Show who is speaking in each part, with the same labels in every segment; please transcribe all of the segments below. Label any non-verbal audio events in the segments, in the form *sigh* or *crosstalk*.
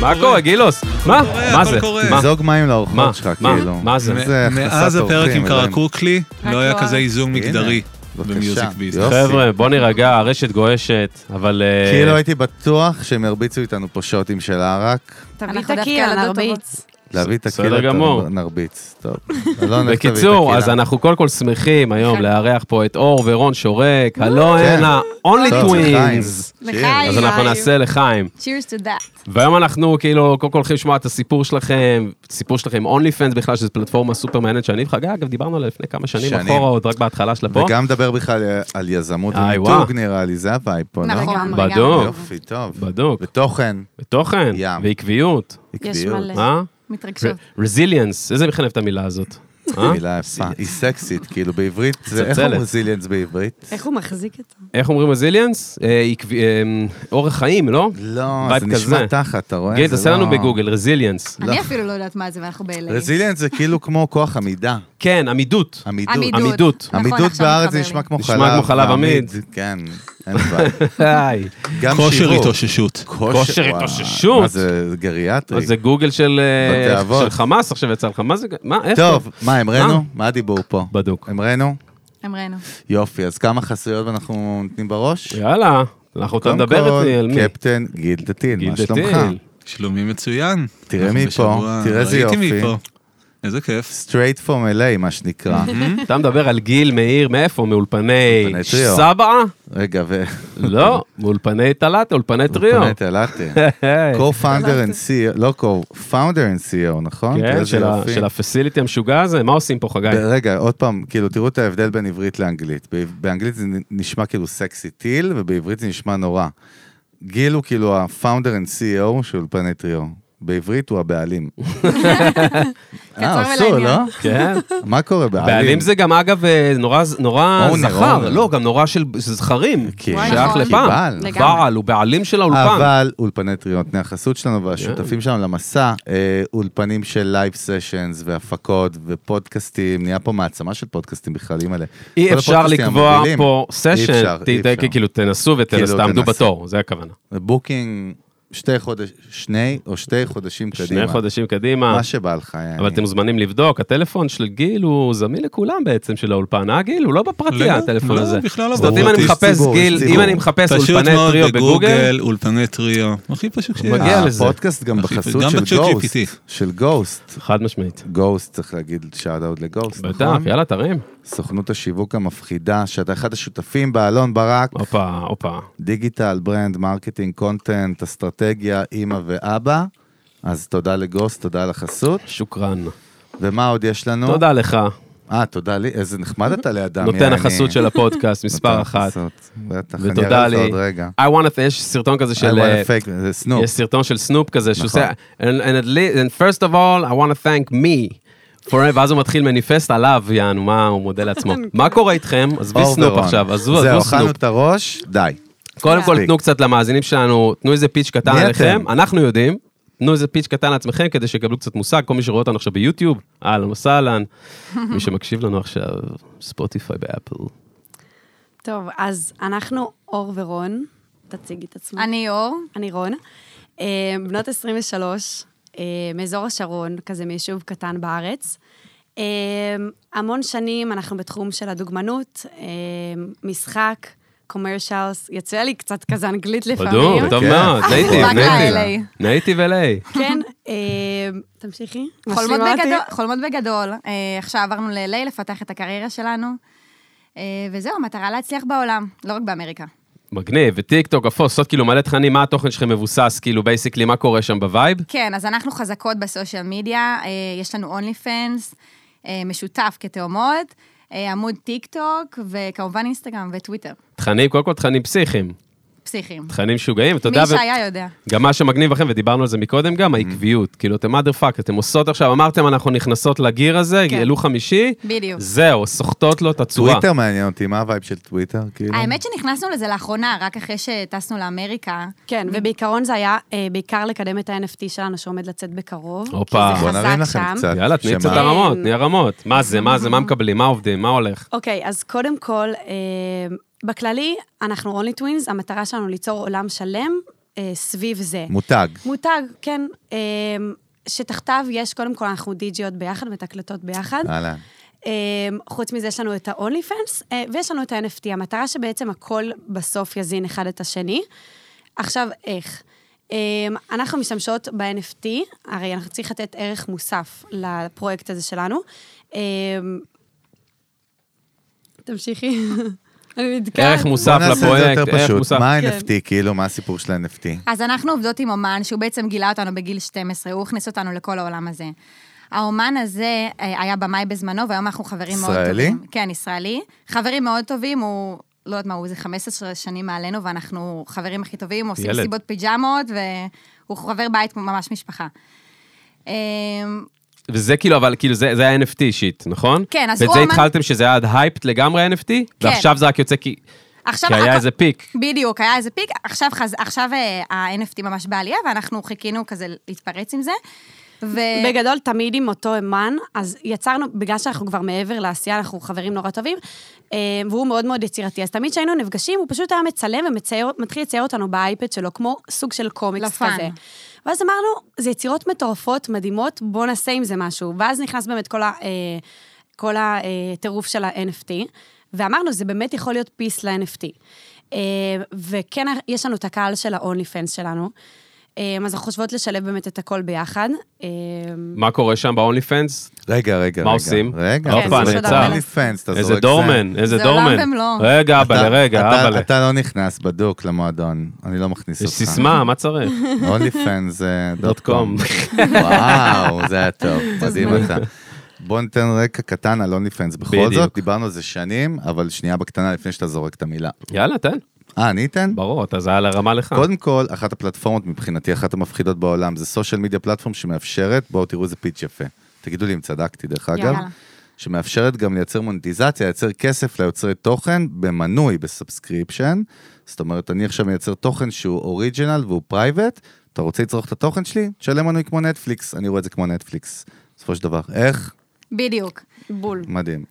Speaker 1: מה קורה, גילוס? מה?
Speaker 2: קורה,
Speaker 1: מה
Speaker 2: הכל
Speaker 1: זה?
Speaker 2: קורה.
Speaker 1: מה?
Speaker 3: תזוג מים
Speaker 1: מה?
Speaker 3: לאורחות שלך,
Speaker 1: מה?
Speaker 3: כאילו.
Speaker 1: מה זה?
Speaker 3: איזה הכנסת
Speaker 2: מאז הפרק
Speaker 3: אורחים,
Speaker 2: עם
Speaker 3: אלוהים.
Speaker 2: קרקוקלי, לא היה
Speaker 4: הכל.
Speaker 2: כזה איזון
Speaker 3: כן, הנה,
Speaker 2: מגדרי
Speaker 3: בבקשה,
Speaker 2: במיוזיק בישראל.
Speaker 3: יופי.
Speaker 1: חבר'ה, בוא נירגע, הרשת גועשת, אבל... אה,
Speaker 3: כאילו הייתי בטוח שהם ירביצו איתנו פה שוטים של ערק.
Speaker 4: תביא
Speaker 5: אנחנו
Speaker 4: את
Speaker 5: דווקא
Speaker 4: הקיר,
Speaker 5: ילדות
Speaker 4: נרביץ.
Speaker 3: להביא את
Speaker 1: בסדר
Speaker 3: הקילה,
Speaker 1: גמור.
Speaker 3: נרביץ. טוב. לא נלך להביא את
Speaker 1: בקיצור, אז
Speaker 3: הקילה.
Speaker 1: אנחנו קודם כל שמחים היום לארח פה את אור ורון שורק, הלו
Speaker 3: כן.
Speaker 1: הנה, only
Speaker 3: טוב, זה חיים.
Speaker 1: twins.
Speaker 3: שיהיה.
Speaker 4: לחיים.
Speaker 1: אז אנחנו נעשה לחיים.
Speaker 5: Cheers to that.
Speaker 1: והיום אנחנו כאילו, קודם כל הולכים לשמוע את הסיפור שלכם, סיפור שלכם עם OnlyFans בכלל, שזו פלטפורמה סופר מעניינת שאני וחגי, אגב, דיברנו עליה לפני כמה שנים
Speaker 3: שנים.
Speaker 1: אחורה, עוד רק בהתחלה שלה פה.
Speaker 3: וגם לדבר בכלל אה, על יזמות
Speaker 1: איי,
Speaker 3: ומיתוג
Speaker 1: וואו.
Speaker 3: נראה לי, זה הווייב פה,
Speaker 5: לגמרי,
Speaker 3: נכון?
Speaker 5: לגמרי.
Speaker 1: בדוק.
Speaker 3: יופי, טוב.
Speaker 1: בדוק.
Speaker 3: ותוכן,
Speaker 1: ותוכן,
Speaker 3: ים.
Speaker 1: ועקביות,
Speaker 5: יש
Speaker 3: עקביות.
Speaker 5: מלא.
Speaker 1: מה?
Speaker 5: מתרגשות.
Speaker 1: רזיליאנס, איזה מכן אוהב את המילה הזאת? אה?
Speaker 3: מילה יפה, היא סקסית, כאילו בעברית, זה- איך
Speaker 1: מצלצלת.
Speaker 3: אומרים רזיליאנס בעברית?
Speaker 4: איך הוא מחזיק את זה?
Speaker 1: איך אומרים אה, רזיליאנס? אורח אמ, חיים, לא?
Speaker 3: לא,
Speaker 1: וייב
Speaker 3: זה נשמע
Speaker 1: כזה.
Speaker 3: תחת, אתה רואה?
Speaker 1: גיל,
Speaker 3: זה
Speaker 1: תעשה
Speaker 3: לא-
Speaker 1: לנו בגוגל, רזיליאנס.
Speaker 3: לא.
Speaker 5: אני אפילו לא יודעת מה זה, ואנחנו ב-LA.
Speaker 3: רזיליאנס זה כאילו כמו כוח עמידה,
Speaker 1: כן, עמידות.
Speaker 3: עמידות.
Speaker 1: עמידות.
Speaker 5: נכון,
Speaker 3: עמידות
Speaker 5: עכשיו
Speaker 3: בארץ
Speaker 5: מתחבר
Speaker 3: זה
Speaker 5: לי.
Speaker 3: נשמע כמו
Speaker 1: נשמע
Speaker 3: חלב.
Speaker 1: כמו חלב
Speaker 3: ועמיד,
Speaker 1: עמיד.
Speaker 3: כן, אין
Speaker 1: *laughs*
Speaker 3: בעיה. *laughs*
Speaker 1: היי.
Speaker 3: גם
Speaker 2: כושר
Speaker 3: שיווק.
Speaker 2: התאוששות.
Speaker 1: כושר
Speaker 3: וואו,
Speaker 1: התאוששות.
Speaker 3: מה זה גריאטרי?
Speaker 1: אז זה גוגל של אה,
Speaker 3: בתיאבון.
Speaker 1: של חמאס עכשיו יצא לך, מה זה, מה, איך?
Speaker 3: טוב, מה,
Speaker 1: מה?
Speaker 3: אמרנו? מה הדיבור פה?
Speaker 1: אה? בדוק.
Speaker 3: אמרנו?
Speaker 5: אמרנו.
Speaker 3: יופי, אז כמה חסויות אנחנו נותנים בראש?
Speaker 1: יאללה, אנחנו אה, אתה
Speaker 3: קודם
Speaker 1: מדבר
Speaker 3: כל,
Speaker 1: איתי על מי?
Speaker 3: קפטן גיל דתיל,
Speaker 1: גיל
Speaker 3: מה שלומך? *laughs*
Speaker 1: דתיל.
Speaker 2: שלומי מצוין.
Speaker 3: תראה
Speaker 2: אנחנו
Speaker 3: מי פה,
Speaker 2: בשבוע-
Speaker 3: תראה איזה יופי.
Speaker 2: ראיתי מי פה. איזה כיף.
Speaker 3: straight from LA, מה שנקרא.
Speaker 1: אתה מדבר על גיל מאיר, מאיפה? מאולפני
Speaker 3: אולפני טריו. *laughs*
Speaker 1: סבא?
Speaker 3: רגע, ו...
Speaker 1: לא, מאולפני תלת, אולפני טריו. *laughs*
Speaker 3: באמת, העלתם. co-founder and CEO, לא co-founder and CEO, נכון? תראה
Speaker 1: כן,
Speaker 3: איזה
Speaker 1: של ה-
Speaker 3: יופי.
Speaker 1: של הפסיליטי המשוגע הזה, מה עושים פה חגי?
Speaker 3: רגע, עוד פעם, כאילו, תראו את ההבדל בין עברית לאנגלית. ב- באנגלית זה נשמע כאילו סקסי טיל, ובעברית זה נשמע נורא. גיל הוא כאילו ה-founder and CEO של אולפני טריו. בעברית הוא הבעלים. אה, עשו, לא?
Speaker 5: ולעניין.
Speaker 3: *laughs*
Speaker 1: כן.
Speaker 3: מה קורה בעלים?
Speaker 1: בעלים זה גם אגב אה, נורא, נורא
Speaker 3: אונר,
Speaker 1: זכר,
Speaker 3: אונר.
Speaker 1: לא, גם נורא של זכרים,
Speaker 3: כן.
Speaker 5: וואי,
Speaker 1: שייך
Speaker 5: נכון.
Speaker 1: לפעם.
Speaker 3: בעל.
Speaker 5: לגמרי.
Speaker 1: בעל, הוא בעלים של האולפן.
Speaker 3: אבל אולפני טריו, נותני החסות שלנו והשותפים שלנו למסע, אה, אולפנים של לייב סשנס והפקות ופודקאסטים, נהיה פה מעצמה של פודקאסטים בכלל, אימא'לה.
Speaker 1: אי
Speaker 3: כל
Speaker 1: אפשר
Speaker 3: הפודקאסטים
Speaker 1: לקבוע
Speaker 3: המובילים.
Speaker 1: פה
Speaker 3: אי
Speaker 1: סשן,
Speaker 3: אפשר, אי
Speaker 1: ת- ת-
Speaker 3: אפשר.
Speaker 1: כאילו תנסו
Speaker 3: כאילו,
Speaker 1: ותנסו, תעמדו
Speaker 3: תנסו.
Speaker 1: בתור, זה הכוונה.
Speaker 3: בוקינג שתי חודש, שני או שתי חודשים קדימה.
Speaker 1: שני חודשים קדימה,
Speaker 3: מה שבא לך, יעני.
Speaker 1: אבל אתם מוזמנים לבדוק, הטלפון של גיל הוא זמין לכולם בעצם של האולפן, אה גיל? הוא לא בפרטי
Speaker 2: לא,
Speaker 1: הטלפון
Speaker 2: לא,
Speaker 1: הזה.
Speaker 2: בכלל לא
Speaker 1: זאת אומרת, אם
Speaker 2: בפרטי,
Speaker 1: אני
Speaker 2: יש
Speaker 1: מחפש
Speaker 3: ציבור, יש
Speaker 1: גיל, אם
Speaker 3: ציבור.
Speaker 1: אני מחפש
Speaker 2: פשוט
Speaker 1: אוקיי, אולפני
Speaker 2: מאוד
Speaker 1: טריו בגוגל,
Speaker 2: בגוגל, אולפני טריו. הכי פשוט שיש.
Speaker 1: מגיע
Speaker 3: אה,
Speaker 1: לזה.
Speaker 3: הפודקאסט גם
Speaker 2: הכי-
Speaker 3: בחסות
Speaker 2: גם
Speaker 3: של
Speaker 2: בצ'אט
Speaker 3: גוסט.
Speaker 2: GPT.
Speaker 3: של גוסט.
Speaker 1: חד משמעית.
Speaker 3: גוסט, צריך להגיד שאט אאוט לגוסט,
Speaker 1: בטח,
Speaker 3: נכון?
Speaker 1: יאללה תרים.
Speaker 3: סוכנות השיווק המפחידה, שאתה אחד השותפים בה, אלון ברק,
Speaker 1: הופה, הופה.
Speaker 3: דיגיטל, ברנד, מרקטינג, קונטנט, אסטרטגיה, אימא ואבא. אז תודה לגוסט, תודה על החסות.
Speaker 1: שוקרן.
Speaker 3: ומה עוד יש לנו?
Speaker 1: תודה לך,
Speaker 3: אה, תודה לי, איזה נחמד אתה לידם.
Speaker 1: נותן
Speaker 3: יעני.
Speaker 1: החסות של הפודקאסט,
Speaker 3: *laughs* נותן
Speaker 1: מספר אחת.
Speaker 3: החסות. בטח, אני אראה
Speaker 1: ותודה
Speaker 3: לך
Speaker 1: לי.
Speaker 3: עוד רגע.
Speaker 1: I want to, יש סרטון כזה
Speaker 3: I
Speaker 1: של...
Speaker 3: wanna
Speaker 1: אה,
Speaker 3: fake, זה סנופ.
Speaker 1: יש סרטון של סנופ כזה, שהוא
Speaker 3: נכון.
Speaker 1: עושה, and, and, at least- and first of all, I want to thank me. For, ואז הוא מתחיל מניפסט עליו, יענו, מה הוא מודה לעצמו. מה קורה איתכם? עזבי
Speaker 3: אור
Speaker 1: סנופ
Speaker 3: ורון.
Speaker 1: עכשיו, עזבו,
Speaker 3: זהו,
Speaker 1: עזבו
Speaker 3: אכלנו
Speaker 1: סנופ.
Speaker 3: את הראש, די.
Speaker 1: קודם כל,
Speaker 3: מספיק.
Speaker 1: תנו קצת למאזינים שלנו, תנו איזה פיץ' קטן
Speaker 3: מי אתם?
Speaker 1: עליכם, אנחנו יודעים. תנו איזה פיץ' קטן לעצמכם כדי שיקבלו קצת מושג, כל מי שרואה אותנו עכשיו ביוטיוב, אהלן וסהלן. מי שמקשיב לנו עכשיו, ספוטיפיי באפל.
Speaker 4: טוב, אז אנחנו אור ורון, תציגי את
Speaker 3: לא?
Speaker 4: עצמך.
Speaker 5: אני אור,
Speaker 4: אני רון, אה, בנות 23, אה, מאזור השרון, כזה מיישוב קטן בארץ. אה, המון שנים אנחנו בתחום של הדוגמנות, אה, משחק, קומרשלס, יצא לי קצת כזה אנגלית לפעמים.
Speaker 1: בדוק, טוב
Speaker 3: כן.
Speaker 1: מאוד,
Speaker 3: אה,
Speaker 1: נייטיב,
Speaker 5: רק
Speaker 1: נייטיב.
Speaker 5: ה-LA.
Speaker 1: נייטיב LA.
Speaker 4: כן, אה, תמשיכי.
Speaker 5: חולמות
Speaker 4: משלימה אותי?
Speaker 5: בגדול, חולמות בגדול. אה, עכשיו עברנו ל-LA לפתח את הקריירה שלנו, אה, וזהו, המטרה להצליח בעולם, לא רק באמריקה.
Speaker 1: מגניב, וטיק טוק, אפו, עושות כאילו מלא תכנים, מה התוכן שלכם מבוסס, כאילו בייסיקלי, מה קורה שם בווייב?
Speaker 5: כן, אז אנחנו חזקות בסושיאל מדיה, אה, יש לנו אונלי פנס, משותף כתאומות, אה, עמוד טיק טוק, וכמובן אינסטגרם וטוויטר,
Speaker 1: תכנים, קודם כל תכנים פסיכיים,
Speaker 5: פסיכיים.
Speaker 1: תכנים משוגעים, אתה
Speaker 5: מי
Speaker 1: יודע, ו-
Speaker 5: שהיה יודע.
Speaker 1: גם מה שמגניב לכם, ודיברנו על זה מקודם
Speaker 3: Mm-hmm.
Speaker 1: גם, העקביות, כאילו אתם mother fuck, אתם עושות עכשיו, אמרתם אנחנו נכנסות לגיר הזה,
Speaker 4: כן.
Speaker 1: העלו חמישי,
Speaker 5: בדיוק.
Speaker 1: זהו, סוחטות לו את הצורה.
Speaker 3: טוויטר מעניין אותי, מה הווייב של טוויטר? כאילו?
Speaker 5: האמת שנכנסנו לזה לאחרונה, רק אחרי שטסנו לאמריקה.
Speaker 4: כן, ובעיקרון זה היה אה, בעיקר לקדם את ה-NFT שלנו שעומד לצאת בקרוב. כי
Speaker 1: הופה.
Speaker 4: זה
Speaker 3: בוא נרים
Speaker 4: חזק
Speaker 3: לכם
Speaker 4: שם.
Speaker 3: קצת.
Speaker 1: יאללה, תני
Speaker 3: שמה?
Speaker 1: קצת הרמות, תני הרמות. מה זה, מה זה,
Speaker 5: אה.
Speaker 1: מה מקבלים, מה עובדים, מה הולך?
Speaker 4: אוקיי, אז קודם כל, אה, בכללי, אנחנו אונלי טווינס, המטרה שלנו ליצור עולם שלם אה, סביב זה.
Speaker 3: מותג.
Speaker 4: מותג, כן, אה, שתחתיו יש, קודם כל, אנחנו די-ג'יות ביחד, מתקלטות ביחד.
Speaker 3: אהלן.
Speaker 4: אמ, חוץ מזה יש לנו את ה-only fans, אה, ויש לנו את ה-NFT. המטרה שבעצם הכל בסוף יזין אחד את השני. עכשיו, איך? אמ, אנחנו משתמשות ב-NFT, הרי אנחנו צריכים לתת ערך מוסף לפרויקט הזה שלנו. אמ, תמשיכי. *laughs* אני נתקעת.
Speaker 1: ערך מוסף
Speaker 3: בוא נעשה את זה
Speaker 1: לפרויקט,
Speaker 3: יותר
Speaker 1: ערך
Speaker 3: פשוט.
Speaker 1: מוסף.
Speaker 3: מה
Speaker 4: כן.
Speaker 3: ה-NFT, כאילו, מה הסיפור של ה-NFT?
Speaker 5: אז אנחנו עובדות עם אומן שהוא בעצם גילה אותנו בגיל 12, הוא הכניס אותנו לכל העולם הזה. האומן הזה אה, היה במאי בזמנו, והיום אנחנו חברים מאוד
Speaker 3: ישראלי?
Speaker 5: טובים. כן, ישראלי. חברים מאוד טובים, הוא, לא יודעת מה הוא, זה 15 שנים מעלינו, ואנחנו חברים הכי טובים, עושים
Speaker 1: ילד.
Speaker 5: סיבות פיג'מות, והוא חבר בית, כמו ממש משפחה. אה,
Speaker 1: וזה כאילו, אבל כאילו, זה זה היה NFT שיט, נכון?
Speaker 5: כן, אז
Speaker 1: ואת
Speaker 5: הוא
Speaker 1: זה
Speaker 5: אמר- כן.
Speaker 1: התחלתם שזה היה הייפט לגמרי NFT, ועכשיו זה רק יוצא כי...
Speaker 5: עכשיו
Speaker 1: כי היה
Speaker 5: הכל-
Speaker 1: איזה פיק.
Speaker 5: בדיוק, היה איזה פיק. עכשיו, חז... עכשיו אה, ה-NFT ממש בעלייה, ואנחנו חיכינו כזה להתפרץ עם זה. ו...
Speaker 4: בגדול, תמיד עם אותו אמן, אז יצרנו, בגלל שאנחנו כבר מעבר לעשייה, אנחנו חברים נורא טובים, אה, והוא מאוד מאוד יצירתי. אז תמיד כשהיינו נפגשים, הוא פשוט היה מצלם ומתחיל לצייר אותנו באייפד שלו, כמו סוג של קומיקס
Speaker 5: לפאן.
Speaker 4: כזה. ואז אמרנו, זה יצירות מטורפות, מדהימות, בואו נעשה עם זה משהו. ואז נכנס באמת כל ה... אה, כל הטירוף של ה-NFT, ואמרנו, זה באמת יכול להיות פיס ל-NFT. אה, וכן, יש לנו את הקהל של ה-only fans שלנו, אה, אז אנחנו חושבות לשלב באמת את הכל ביחד. אה,
Speaker 1: מה קורה שם ב-only fans?
Speaker 3: רגע, רגע,
Speaker 1: מה
Speaker 3: רגע.
Speaker 1: עושים?
Speaker 3: רגע.
Speaker 1: הופה,
Speaker 4: כן, יש עוד הרבה
Speaker 3: אונלי
Speaker 4: לעשות.
Speaker 3: פנס, אתה זורק
Speaker 1: איזה
Speaker 3: זה.
Speaker 1: דורמן, איזה
Speaker 5: זה
Speaker 1: דורמן.
Speaker 5: עולם ומלואו.
Speaker 1: רגע,
Speaker 3: אתה-
Speaker 1: אבל רגע,
Speaker 3: אתה-
Speaker 1: אבל...
Speaker 3: אתה לא נכנס בדוק למועדון, אני לא מכניס
Speaker 1: יש
Speaker 3: אותך. *laughs*
Speaker 1: סיסמה, מה צריך?
Speaker 3: אונלי פנס דוט קום.
Speaker 1: .com.
Speaker 3: וואו, זה היה טוב, מדהים אתה. בוא ניתן רקע קטן על אונלי פנס. בכל
Speaker 1: בדיוק.
Speaker 3: זאת, דיברנו על זה שנים, אבל שנייה בקטנה לפני שאתה זורק את המילה.
Speaker 1: יאללה, תן.
Speaker 3: אה, אני אתן?
Speaker 1: ברור, אתה זה על הרמה
Speaker 5: אה.
Speaker 1: לך.
Speaker 3: קודם כל, אחת הפלטפורמות מבחינתי, אחת המפחידות בעולם, זה סושיאל מדיה פלטפורם שמאפשרת, בואו תראו איזה פיץ' יפה. תגידו לי אם צדקתי, דרך אגב.
Speaker 5: יאללה.
Speaker 3: שמאפשרת גם לייצר מוניטיזציה, לייצר כסף ליוצרי תוכן במנוי, בסאבסקריפשן. זאת אומרת, אני עכשיו מייצר תוכן שהוא אוריג'ינל והוא פרייבט, אתה רוצה לצרוך את התוכן שלי? תשלם מנוי כמו נטפליקס, אני רואה את זה כמו נטפליקס. בסופו של דבר, איך?
Speaker 5: בדיוק.
Speaker 4: בול.
Speaker 3: מדהים.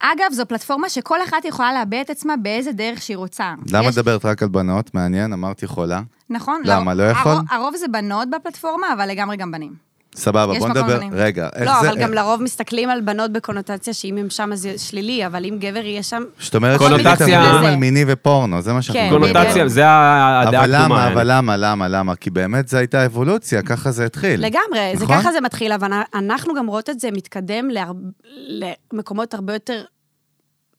Speaker 5: אגב, זו פלטפורמה שכל אחת יכולה להביע את עצמה באיזה דרך שהיא רוצה.
Speaker 3: למה
Speaker 5: יש-
Speaker 3: את מדברת רק על בנות? מעניין, אמרת יכולה.
Speaker 5: נכון.
Speaker 3: למה, לא
Speaker 5: הרוב-
Speaker 3: יכול?
Speaker 5: הרוב זה בנות בפלטפורמה, אבל לגמרי גם בנים.
Speaker 3: סבבה,
Speaker 5: יש
Speaker 3: בוא
Speaker 5: מקום
Speaker 3: נדבר,
Speaker 5: לבנים.
Speaker 3: רגע, איך
Speaker 4: לא,
Speaker 3: זה... אה,
Speaker 4: אבל גם לרוב מסתכלים על בנות בקונוטציה שאם הם שם אז זה שלילי, אבל אם גבר יהיה שם...
Speaker 3: זאת אומרת,
Speaker 1: קונוטציה-
Speaker 3: שאנחנו מדברים על מיני ופורנו, זה מה שאנחנו
Speaker 4: כן,
Speaker 3: מדברים עליו.
Speaker 1: קונוטציה, זה הדעה הקדומה.
Speaker 3: אבל למה, אבל למה, למה, למה? כי באמת זו הייתה אבולוציה, ככה זה התחיל.
Speaker 4: לגמרי, זה
Speaker 3: נכון?
Speaker 4: ככה זה מתחיל, אבל אנחנו גם רואות את זה מתקדם להרב- למקומות הרבה יותר